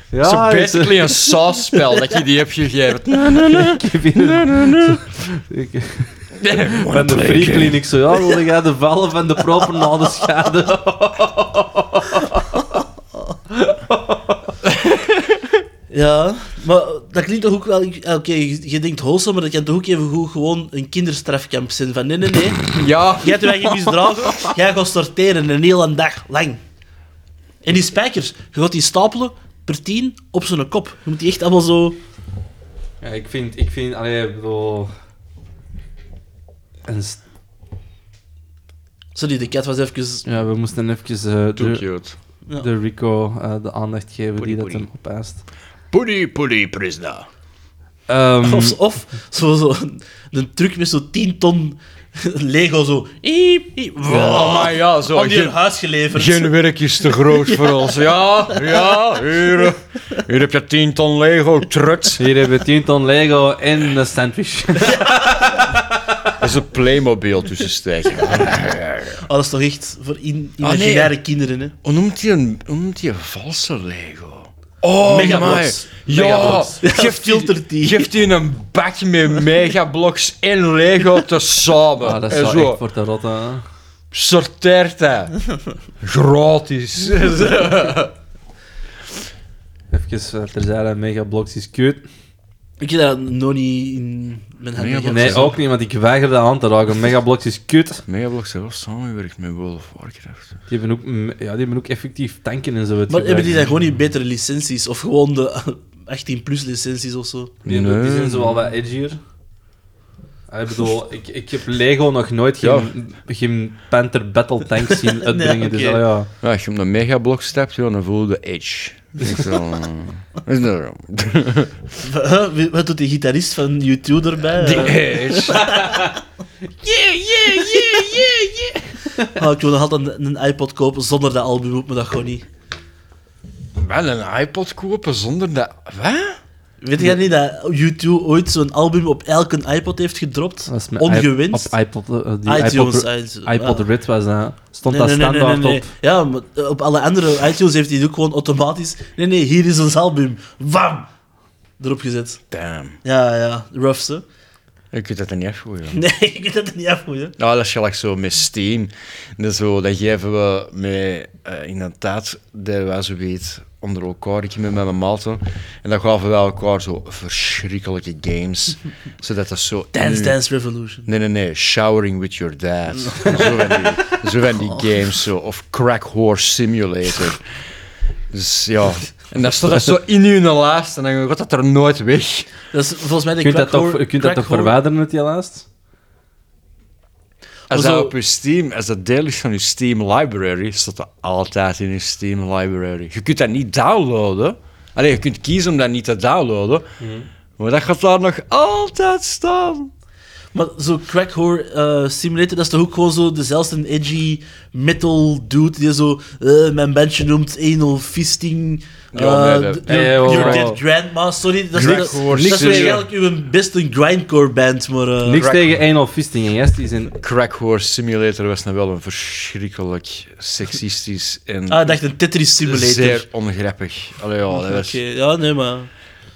Speaker 2: ja,
Speaker 4: Zo
Speaker 2: het is-
Speaker 4: basically een sausspel dat je die hebt gegeven.
Speaker 2: ik vind het- Ik ben de free clinic zo. Ja, wilde jij de vallen van de proper na de schade?
Speaker 3: Ja, maar dat klinkt toch ook wel... ik- ah, Oké, je, je denkt wholesome, maar dat kan toch ook even goed gewoon een kinderstrafkamp zijn. Van nee, nee, nee.
Speaker 4: Ja.
Speaker 3: Jij hebt je eigen misdragen. Jij gaat sorteren een hele dag lang. En die spijkers, je gaat die stapelen per tien op zijn kop. Je moet die echt allemaal zo...
Speaker 2: Ja, ik vind, ik vind, allee, ik bedoel... Een st-
Speaker 3: Sorry, de kat was even...
Speaker 2: ja, we moesten even eh,
Speaker 4: Too
Speaker 2: de,
Speaker 4: cute.
Speaker 3: Ja.
Speaker 2: de Rico eh, de aandacht geven
Speaker 4: Poedie,
Speaker 2: die dat hem
Speaker 4: poedie.
Speaker 2: opeist.
Speaker 4: Poedie, poedie, prisna.
Speaker 2: Ehm,
Speaker 3: Of,
Speaker 4: Mm.
Speaker 3: of zo, zo een, een truc met zo'n 10 ton Lego zo. Iep, iep, wow,
Speaker 4: maar ja, Oh zo,
Speaker 3: Aan die
Speaker 4: geen-
Speaker 3: hun huis geleverd.
Speaker 4: Geen werk is te groot voor ons. Ja, ja, hier, eh, hier heb je 10 ton Lego, truts.
Speaker 2: hier hebben we 10 ton Lego en een sandwich.
Speaker 4: Dat is een Playmobil tussen steken.
Speaker 3: Oh, dat is toch echt voor in,
Speaker 4: Ah, nee.
Speaker 3: imaginaire kinderen, hè?
Speaker 4: Hoe noemt hij een, hoe noemt hij een valse Lego? Oh,
Speaker 3: Megablocks.
Speaker 4: my. Ja,
Speaker 3: Megablocks.
Speaker 4: geeft
Speaker 3: Filter
Speaker 4: die.
Speaker 3: die.
Speaker 4: Geeft hij een bak met megablocks en Lego tezamen.
Speaker 2: Ah, dat
Speaker 4: en
Speaker 2: is
Speaker 4: zo
Speaker 2: wel echt voor te rotten. hè.
Speaker 4: sorteert hij. Gratis.
Speaker 2: Even eh, terzijde, Megablocks is cute.
Speaker 3: Ik heb dat nog niet in mijn handen gehad.
Speaker 2: Nee, ook niet, want ik weiger dat aan te raken. Megablocks is kut.
Speaker 4: Megablocks heeft wel samengewerkt met World of Warcraft.
Speaker 2: Die hebben ook, mm, ja, die hebben ook effectief tanken en zo.
Speaker 3: Maar hebben die dan gewoon niet betere licenties? Of gewoon de 18-plus licenties of zo?
Speaker 2: Die,
Speaker 4: Nee.
Speaker 2: die zijn zo wel wat edgier. Ah, Ik bedoel, ik, ik heb Lego nog nooit geen, geen Panther Battle Tank zien uitbrengen.
Speaker 3: Nee,
Speaker 2: dus,
Speaker 3: oké.
Speaker 2: ah, ja.
Speaker 4: Ja, als je op een megablok stapt, ja, dan voel je de edge. Dat is wel- eh, dat is wel-
Speaker 3: Huh? Wie- Wat doet die gitarist van U2 erbij?
Speaker 4: Die
Speaker 3: Eh,
Speaker 4: edge.
Speaker 3: ah, ik wil nog altijd een, een iPod kopen zonder dat album op, maar dat gewoon niet.
Speaker 4: Wel een iPod kopen zonder dat... Wat?
Speaker 3: Weet jij niet dat U2 ooit zo'n album op elke iPod heeft gedropt?
Speaker 2: Dat is mijn
Speaker 3: Ongewenst?
Speaker 2: iP- Op iPod, eh, die
Speaker 3: iTunes,
Speaker 2: iPod,
Speaker 3: iTunes,
Speaker 2: iPod
Speaker 3: ja.
Speaker 2: Red was dat. Stond
Speaker 3: Nee,
Speaker 2: dat
Speaker 3: nee, nee, nee,
Speaker 2: standaard
Speaker 3: nee, nee.
Speaker 2: op.
Speaker 3: Ja, maar eh, op alle andere iTunes heeft hij het ook gewoon automatisch. Nee, nee, hier is ons album. Wam! Erop gezet.
Speaker 4: Damn.
Speaker 3: Ja, ja, rough, hè?
Speaker 4: Ik weet dat er niet afgooien.
Speaker 3: Nee, ik weet dat er niet afgoeien.
Speaker 4: Nou, dat is gelijk zo met Steam. Dat, zo, dat geven we met, eh, inderdaad, dat wij zo weet, onder elkaar. Ik met mijn maten. En dan gaven we elkaar zo verschrikkelijke games. zodat dat zo...
Speaker 3: Dance
Speaker 4: nu-
Speaker 3: Dance Revolution.
Speaker 4: Nee, nee, nee. Showering with your dad. zo van die, zo van die
Speaker 3: Oh.
Speaker 4: games. Zo. Of Crack Horse Simulator. Dus ja. En dan staat dat zo in hun lijst en dan gaat dat er nooit weg.
Speaker 3: Dat is volgens mij de
Speaker 2: Je kunt dat
Speaker 3: crack
Speaker 2: toch,
Speaker 3: whore-
Speaker 2: je kunt dat
Speaker 3: crack
Speaker 2: toch
Speaker 3: whore-
Speaker 2: verwijderen uit die lijst?
Speaker 4: Als
Speaker 3: Zo-
Speaker 4: dat op je Steam, als dat deel is van je Steam library, staat dat altijd in je Steam library. Je kunt dat niet downloaden. Alleen je kunt kiezen om dat niet te downloaden.
Speaker 3: Mhm.
Speaker 4: Maar dat gaat daar nog altijd staan.
Speaker 3: Maar zo'n crack whore eh, simulator, dat is toch ook gewoon zo dezelfde edgy metal dude die zo eh, mijn bandje noemt anal fisting.
Speaker 4: Ja,
Speaker 3: eh,
Speaker 4: nee, dat-
Speaker 3: d-
Speaker 2: Nee,
Speaker 3: your,
Speaker 2: wow,
Speaker 3: your
Speaker 2: wow.
Speaker 3: dead grandma, sorry. Dat is,
Speaker 4: Crack
Speaker 3: dat,
Speaker 4: whore
Speaker 3: dat is
Speaker 4: simulator.
Speaker 3: eigenlijk uw beste grindcore band, maar... eh,
Speaker 2: Niks tegen anal fisting en yes, die zijn...
Speaker 4: Crack Horse Simulator was nou wel een verschrikkelijk seksistisch en
Speaker 3: Ah, ik dacht een Tetris simulator.
Speaker 4: zeer ongrappig. Allee, ja, dat
Speaker 3: Oké,
Speaker 4: was,
Speaker 3: ja, nee, maar...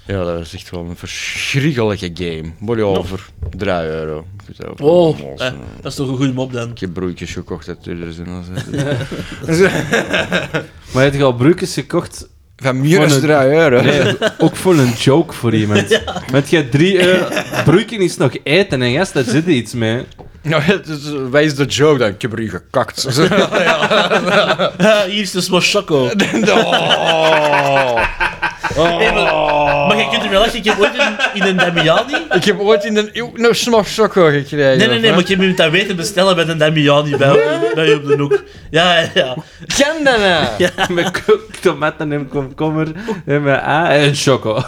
Speaker 4: ja, dat was echt wel een verschrikkelijke game. Moet je over 3 euro. Ik weet dat ook
Speaker 3: Oh,
Speaker 4: niet.
Speaker 3: eh, dat is toch een goede mop dan.
Speaker 4: Ik heb broertjes gekocht uit 2000.
Speaker 2: Maar heb je al broekjes gekocht?
Speaker 4: Van
Speaker 2: Voor
Speaker 4: Mures
Speaker 2: een-
Speaker 4: 3 euro.
Speaker 2: Nee, ook voor een joke voor iemand. Met jij drie euro... Broekje is nog eten en yes, daar zit iets mee.
Speaker 4: Nou, het is, eh, wijs de joke dan. Ik heb erin gekakt.
Speaker 3: Ah, hier is de smash choco.
Speaker 4: oh.
Speaker 3: Nee, maar, maar je kunt er wel lachen, ik heb ooit in, in een Damiani...
Speaker 4: Ik heb ooit in een eeuw nog smafsokko gekregen.
Speaker 3: Nee, nee, nee,
Speaker 4: hè?
Speaker 3: maar ik heb hem dat weten bestellen bij een Damiani bij, op- bij je op de hoek. Ja, ja, ja.
Speaker 4: Ken dat nou?
Speaker 2: Met ko- tomaten en komkommer en met a en choco.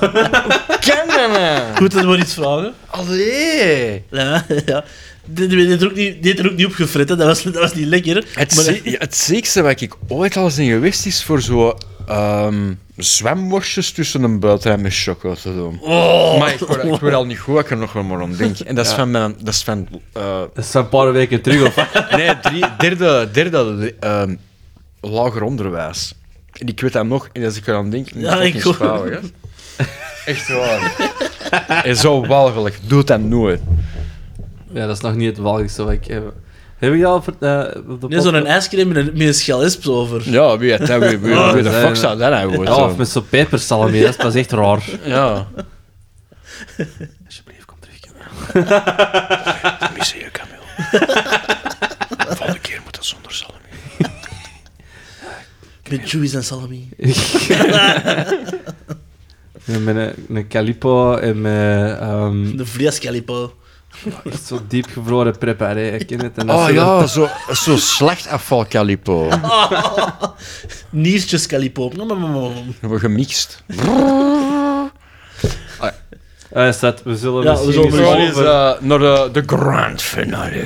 Speaker 4: Ken dat nou?
Speaker 3: Goed dat we iets vragen.
Speaker 4: Allee.
Speaker 3: Ja, ja. Die, die, heeft er ook niet, die heeft er ook niet op gefret, hè. Dat, was, dat was niet lekker. hè.
Speaker 4: Het,
Speaker 3: Maar-
Speaker 4: zie- ja, het ziekste wat ik ooit al in geweest is voor zo ehm zwemworstjes tussen een boterham met choco te doen.
Speaker 3: Oh.
Speaker 4: Maar ik word, ik word al niet goed, ik er nog wel maar om denk. En dat is van mijn... Dat is van... eh,
Speaker 2: Dat is van een paar weken terug of
Speaker 4: Nee, drie, derde, derde ehm, lager onderwijs. En ik weet dat nog, en als ik eraan denk, moet
Speaker 3: Ja,
Speaker 4: ik
Speaker 3: ik
Speaker 4: fucking
Speaker 3: hoor-
Speaker 4: spouwen, hè. Echt waar. en zo walgelijk, doe dat nooit.
Speaker 2: Ja, dat is nog niet het walgelijkste wat ik heb. Heb je al ver- eh, op de
Speaker 3: Nee,
Speaker 2: pod-
Speaker 3: zo'n ijscream met een, met een schelesp over.
Speaker 4: Ja, wie, het, hè, wie, wie, wie de fuck zou dat nou worden?
Speaker 2: Ja, of met zo'n pepersalami, dat is pas echt raar.
Speaker 4: Ja.
Speaker 2: Alsjeblieft, kom terug.
Speaker 4: Misseer, Camille. Volgende keer moet dat zonder zalm.
Speaker 3: Met chewies en salami.
Speaker 2: Ja, met een, een calipo en met ehm
Speaker 3: De vleescalipo.
Speaker 2: echt zo diep gevroren preparé, ik ken het. En dat
Speaker 4: Oh
Speaker 2: ze dan-
Speaker 4: ja, zo, zo slecht afval Calipo.
Speaker 3: Niertjes calipo. Mm, mm, mm, mm.
Speaker 4: We gemixt.
Speaker 2: Hij Ah, staat, we zullen
Speaker 3: Ja, we
Speaker 2: misschien
Speaker 3: zullen
Speaker 2: eens
Speaker 4: Gewoon
Speaker 3: Sorry.
Speaker 4: eens
Speaker 2: over-
Speaker 4: eh, naar de, de grand finale.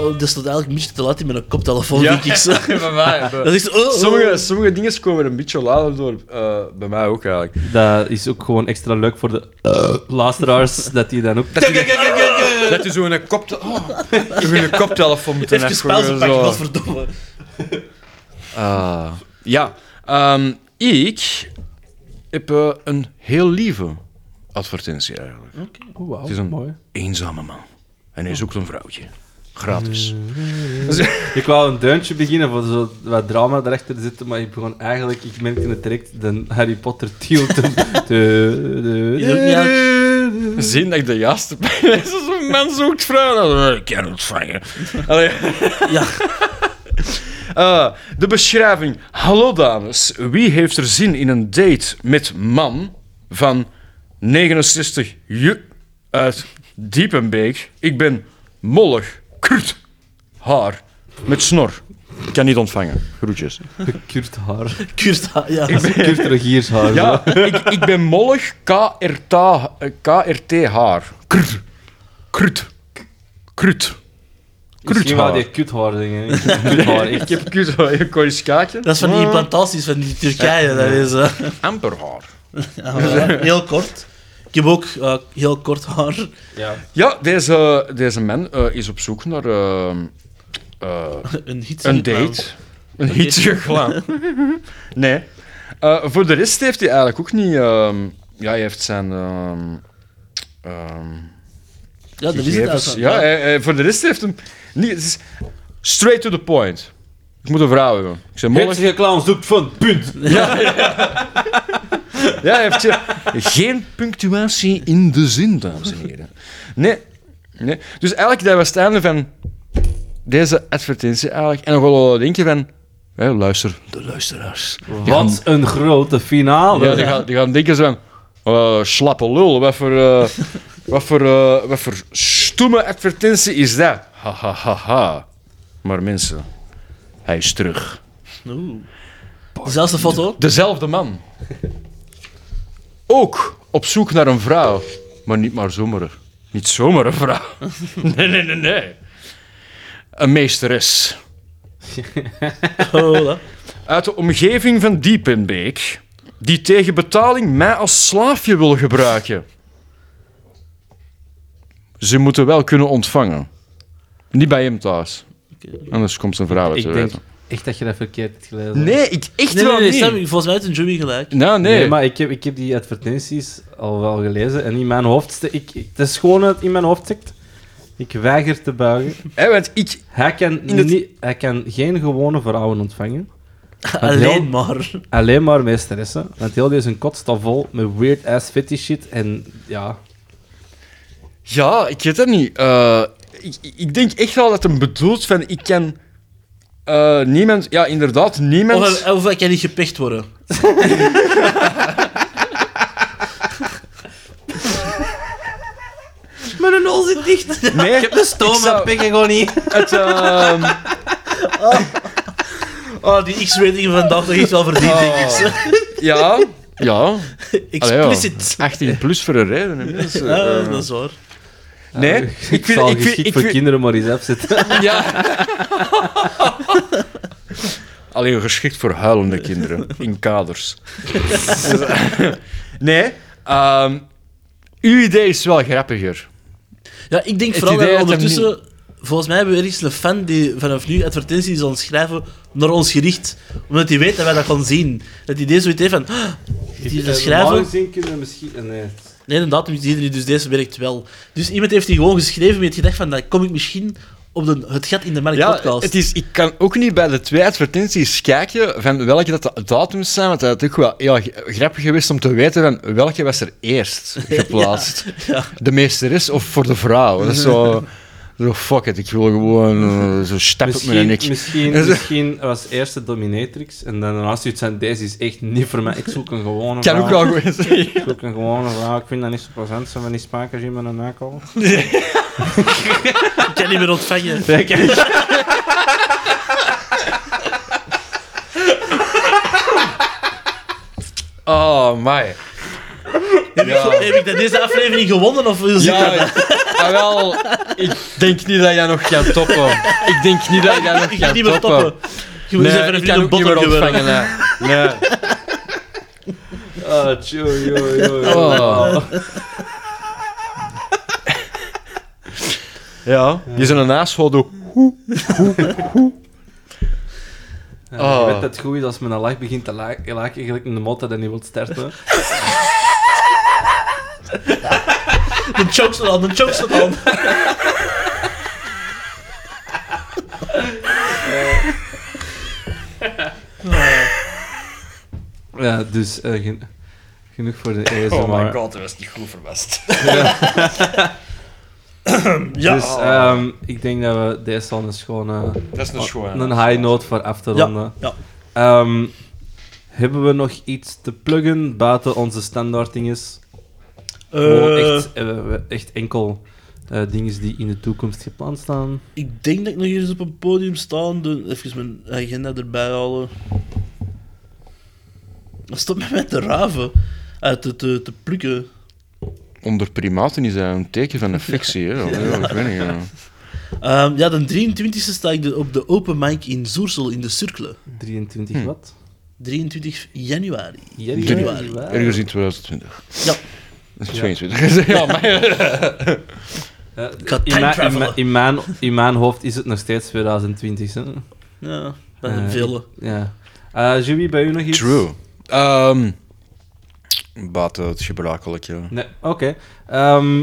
Speaker 3: Oh, dat stond eigenlijk een beetje te laat in mijn koptelefoon,
Speaker 4: Ja.
Speaker 3: denk ik. Zo.
Speaker 4: bij mij.
Speaker 3: Dat is, oh, oh.
Speaker 4: Sommige, sommige dingen komen er een beetje later door. eh, bij mij ook eigenlijk.
Speaker 2: Dat is ook gewoon extra leuk voor de eh, luisteraars, dat die dan ook...
Speaker 4: Dat je, dat je zo'n kopte oh, een koptelefoon moet
Speaker 3: Even pauze pakken, wat verdomme.
Speaker 4: Ah, ja, ehm, ik heb eh, een heel lieve advertentie eigenlijk.
Speaker 2: Oh, wauw,
Speaker 4: Het is een-
Speaker 2: mooi.
Speaker 4: Eenzame man. En hij zoekt een vrouwtje. Gratis.
Speaker 2: Mm. Ik wou een deuntje beginnen voor zo wat drama erachter te zitten, maar ik begon eigenlijk, ik merkte het direct, de Harry Potter tune te... de- de-
Speaker 3: Je hebt niet
Speaker 2: de-
Speaker 4: Zien dat ik de juiste ben. Is als een man zoekt vrouwen. Ik kan ontvangen. Allee.
Speaker 3: Ja.
Speaker 4: Eh, de beschrijving. Hallo dames, wie heeft er zin in een date met man van 69 ju uit Diepenbeek? Ik ben mollig, kurt, haar, met snor. Ik kan niet ontvangen. Groetjes.
Speaker 2: Kurt haar.
Speaker 3: Kurta, ja.
Speaker 2: Kurt Regiershaar.
Speaker 4: Ja, ik, ik ben mollig, KRT, eh, KRT haar. Krt, krut, krut, krut
Speaker 2: Misschien wel
Speaker 4: haar.
Speaker 2: die kuthaar dingen. Kuthaar,
Speaker 4: Ik heb kut haar, ik kon eens kijken.
Speaker 3: Dat is van die implantaties van die Turkije. Dat is, eh,
Speaker 4: amper haar.
Speaker 3: heel kort. Ik heb ook eh, heel kort haar.
Speaker 2: Ja.
Speaker 4: Ja, deze, deze man eh, is op zoek naar eh, eh,
Speaker 3: Een hit.
Speaker 4: een date. Een hietje glam. nee. Eh, voor de rest heeft hij eigenlijk ook niet... ehm, ja, hij heeft zijn... ehm, ehm,
Speaker 3: Ja, dat is het.
Speaker 4: Gegevens.
Speaker 3: eigenlijk.
Speaker 4: Ja, hij- hij- voor de rest heeft hem niet. Het is straight to the point. Ik moet een vrouw hebben. Ik zei mollig.
Speaker 2: Hitsige clown zoekt van punt.
Speaker 4: Ja, hij heeft ze- geen punctuatie in de zin, dames en heren. Nee, nee. Dus eigenlijk, dat was het einde van deze advertentie eigenlijk. En dan gaan we denken van, hè, luister, de luisteraars. Die gaan-
Speaker 2: Wat een grote finale.
Speaker 4: Ja, die gaan, die gaan denken zo van, eh, slappe lul, wat voor, eh, wat, voor, eh, wat voor stoeme advertentie is dat? Ha, ha, ha, ha. Maar mensen, hij is terug.
Speaker 3: Oeh. Dezelfde foto.
Speaker 4: Dezelfde man. Ook op zoek naar een vrouw, maar niet maar zomaar. een- Niet zomaar een vrouw. Nee, nee, nee, nee. Een meesteres.
Speaker 3: Oh, dat.
Speaker 4: uit de omgeving van Diepenbeek, die tegen betaling mij als slaafje wil gebruiken. Ze moeten wel kunnen ontvangen. Niet bij hem thuis. Anders komt zijn vrouw uit
Speaker 2: Ik
Speaker 4: te
Speaker 2: denk
Speaker 4: weten.
Speaker 2: echt dat je dat verkeerd hebt gelezen.
Speaker 4: Nee, ik echt
Speaker 3: Nee, nee,
Speaker 4: wel
Speaker 3: nee,
Speaker 4: niet.
Speaker 3: Sam, volgens mij heeft een Jimmy gelijk.
Speaker 4: Nou, nee.
Speaker 2: Nee, maar ik heb, ik heb die advertenties al wel gelezen en in mijn hoofd... ste- Ik, ik, het is gewoon dat het in mijn hoofd stikt. Ik weiger te buigen.
Speaker 4: Hè, want ik...
Speaker 2: Hij kan,
Speaker 4: het-
Speaker 2: niet, hij kan geen gewone vrouwen ontvangen.
Speaker 3: Alleen maar.
Speaker 2: Alleen maar meesteressen. Want heel deze kot staat vol met weird-ass fetish shit en ja...
Speaker 4: Ja, ik weet dat niet. Eh, ik, ik denk echt wel dat hem bedoelt van... Ik kan eh, niemand... Ja, inderdaad, niemand...
Speaker 3: Of, of hij kan niet gepecht worden.
Speaker 2: Mijn nul zit dicht.
Speaker 4: nee, ik heb de
Speaker 2: Toon, dat pik ik gewoon niet.
Speaker 4: Het, ehm,
Speaker 3: Oh, die X-rating vandaag nog iets wel verdiend,
Speaker 4: Oh.
Speaker 3: denk ik.
Speaker 4: ja, ja. Allee, ja.
Speaker 3: Explicit.
Speaker 4: 18 plus voor een reden, hè, mensen.
Speaker 3: Ja,
Speaker 4: Eh,
Speaker 3: dat is waar.
Speaker 4: nee,
Speaker 2: Ik
Speaker 4: ik vind...
Speaker 2: zal
Speaker 4: Ik vind,
Speaker 2: geschikt
Speaker 4: ik
Speaker 2: voor
Speaker 4: vind-
Speaker 2: kinderen maar eens afzetten.
Speaker 4: ja. Alleen geschikt voor huilende kinderen. In kaders. Dus, eh, nee. ehm, uw idee is wel grappiger.
Speaker 3: Ja, ik denk
Speaker 4: Het
Speaker 3: vooral dat
Speaker 4: idee
Speaker 3: we
Speaker 4: dat hem
Speaker 3: ondertussen... Volgens mij hebben we ergens een fan die vanaf nu advertenties zal schrijven naar ons gericht. Omdat hij weet dat wij dat gaan zien. Dat hij deze zoiets heeft van... "Ah, Die dat schrijven...
Speaker 2: gezien kunnen we misschien... eh, Nee.
Speaker 3: Nee, de datum is hier niet, dus deze werkt wel. Dus iemand heeft die gewoon geschreven met het gedacht van... Dan kom ik misschien op de, het gat in de markt
Speaker 4: Ja,
Speaker 3: podcast.
Speaker 4: het is, ik kan ook niet bij de twee advertenties kijken van welke dat de datums zijn, want dat is ook wel heel g- grappig geweest om te weten van welke was er eerst geplaatst.
Speaker 3: ja.
Speaker 4: De meesteres of voor de vrouw. Dat is zo... Zo, fuck it, ik wil gewoon eh, zo stappen met een
Speaker 2: Misschien,
Speaker 4: nek.
Speaker 2: misschien, misschien was eerst de dominatrix en dan daarnaast iets van deze is echt niet voor mij. Ik zoek een gewone
Speaker 4: Kan
Speaker 2: vrouw.
Speaker 4: ook wel goed zijn.
Speaker 2: Ik zoek een gewone vrouw. Ik vind dat niet zo plezant. Zijn van die spakers in mijn nakkel?
Speaker 3: Ik kan niet meer ontvangen.
Speaker 4: Oh, my. Ja.
Speaker 3: Heb ik dat deze aflevering gewonnen of hoe zit
Speaker 4: Ja,
Speaker 3: dat?
Speaker 4: ja, wel, ik denk niet dat jij nog gaat toppen. Ik denk niet dat jij nog
Speaker 3: Ik ga
Speaker 4: gaat
Speaker 3: niet meer
Speaker 4: toppen.
Speaker 3: toppen. Je moet eens even een
Speaker 4: ik kan
Speaker 3: vriend een
Speaker 4: ook niet meer
Speaker 3: bottom gewinnen.
Speaker 4: ontvangen. Nee. nee.
Speaker 2: Ah, tjoe, joh, joh,
Speaker 4: Oh. Ja, die zijn een asshole. doe.
Speaker 2: Je
Speaker 4: Oh.
Speaker 2: weet dat het goed is als men een lach begint te laken, laken eigenlijk in de mot dat hij niet wil starten.
Speaker 3: Een chokeslam, een chokeslam.
Speaker 2: Ja, dus eh, gen- genoeg voor
Speaker 3: Oh
Speaker 2: de ASMR.
Speaker 4: god, dat was niet goed verwest.
Speaker 3: Ja.
Speaker 2: Dus ehm, ik denk dat we deze al eens gewoon eh,
Speaker 4: Dat is een schoon.
Speaker 2: een high note voor af te
Speaker 3: Ja,
Speaker 2: ronden.
Speaker 3: ja.
Speaker 2: Ehm, hebben we nog iets te pluggen buiten onze standaard dinges? Gewoon
Speaker 3: Eh,
Speaker 2: echt, eh, echt enkel eh dingen die in de toekomst gepland staan.
Speaker 3: Ik denk dat ik nog eens op een podium sta. Doen. Even mijn agenda erbij halen. Stop me met te raven. Uit te, te, te plukken.
Speaker 4: Onder primaten is dat een teken van infectie, hè? Ja, ik weet niet. ja.
Speaker 3: Ehm, ja, de 23e sta ik de- op de open mic in Zoersel in de Cirkelen.
Speaker 2: 23
Speaker 3: Hm.
Speaker 2: wat?
Speaker 3: 23 januari.
Speaker 2: Januari.
Speaker 4: Ergens in 2020.
Speaker 3: Ja.
Speaker 4: 22. Ja, maar...
Speaker 2: Eh,
Speaker 3: ga
Speaker 2: in,
Speaker 3: time
Speaker 2: mijn- in,
Speaker 3: travelen.
Speaker 2: mijn- in mijn, in mijn hoofd is het nog steeds 2020. Hè?
Speaker 3: Ja, bij
Speaker 2: Eh,
Speaker 3: een vele.
Speaker 2: Ja. Eh Jimmy, bij u nog iets?
Speaker 4: True. Ehm Baten het gebruikelijke.
Speaker 2: Nee, oké. Ehm,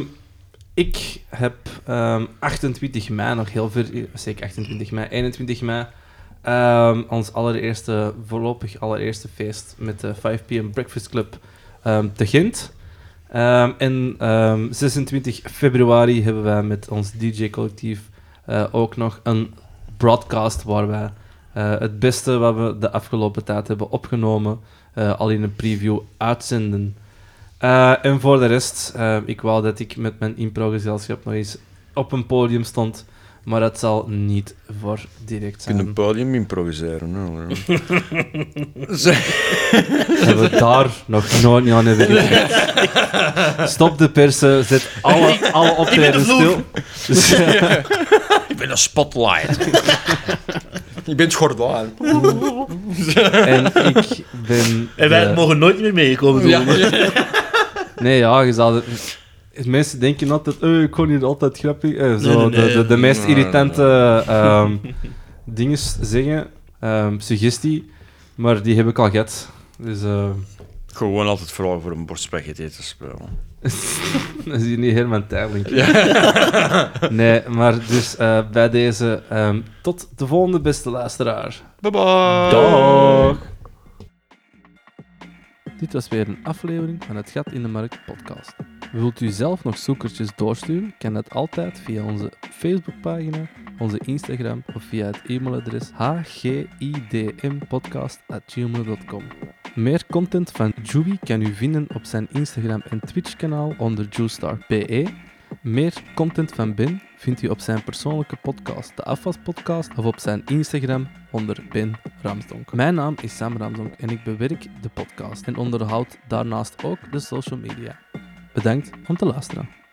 Speaker 2: ik heb ehm, 28 mei nog heel ver, zeker 28 mei, 21 mei, ehm, ons allereerste, voorlopig allereerste feest met de 5 p.m. Breakfast Club ehm, te Gent. Ehm, en ehm, 26 februari hebben wij met ons DJ-collectief eh, ook nog een broadcast waar wij eh, het beste wat we de afgelopen tijd hebben opgenomen eh, al in een preview uitzenden. Eh, en voor de rest, eh, ik wou dat ik met mijn improgezelschap nog eens op een podium stond, maar dat zal niet voor direct
Speaker 4: Je kunt een
Speaker 2: zijn.
Speaker 4: podium improviseren. hè.
Speaker 2: Hebben we daar nog nooit aan hebben gedacht. Stop de persen, zet alle, alle optredens
Speaker 3: de vloer.
Speaker 2: stil. Dus, eh,
Speaker 4: Ik ben een spotlight. Ik ben Schordaan.
Speaker 2: en ik ben...
Speaker 3: En wij
Speaker 2: de-
Speaker 3: mogen nooit meer meekomen. doen.
Speaker 2: Nee, ja, je zou... het- Mensen denken altijd, eh ik kon hier altijd grappig... eh, zo,
Speaker 3: Nee, nee, nee.
Speaker 2: de, de, de meest
Speaker 4: Nee, nee,
Speaker 2: irritante ehm, dingen zeggen, ehm, suggestie, maar die heb ik al gehad. Dus eh,
Speaker 4: Gewoon altijd vragen voor een bord spaghetti te spelen.
Speaker 2: dat is hier niet helemaal tijdelijk. nee, maar dus eh, bij deze, ehm, tot de volgende beste luisteraar.
Speaker 4: Bye bye.
Speaker 2: Dag! Dit was weer een aflevering van het Gat in de Markt podcast. Wilt u zelf nog zoekertjes doorsturen? Kan dat altijd via onze Facebookpagina, onze Instagram of via het e-mailadres hgidmpodcast.gmail.com Meer content van Juby kan u vinden op zijn Instagram en Twitch-kanaal onder juestar.be. E. Meer content van Ben vindt u op zijn persoonlijke podcast, de Afwaspodcast, of op zijn Instagram onder Ben Ramsdonk. Mijn naam is Sam Ramsdonk en ik bewerk de podcast en onderhoud daarnaast ook de social media. Bedankt om te luisteren.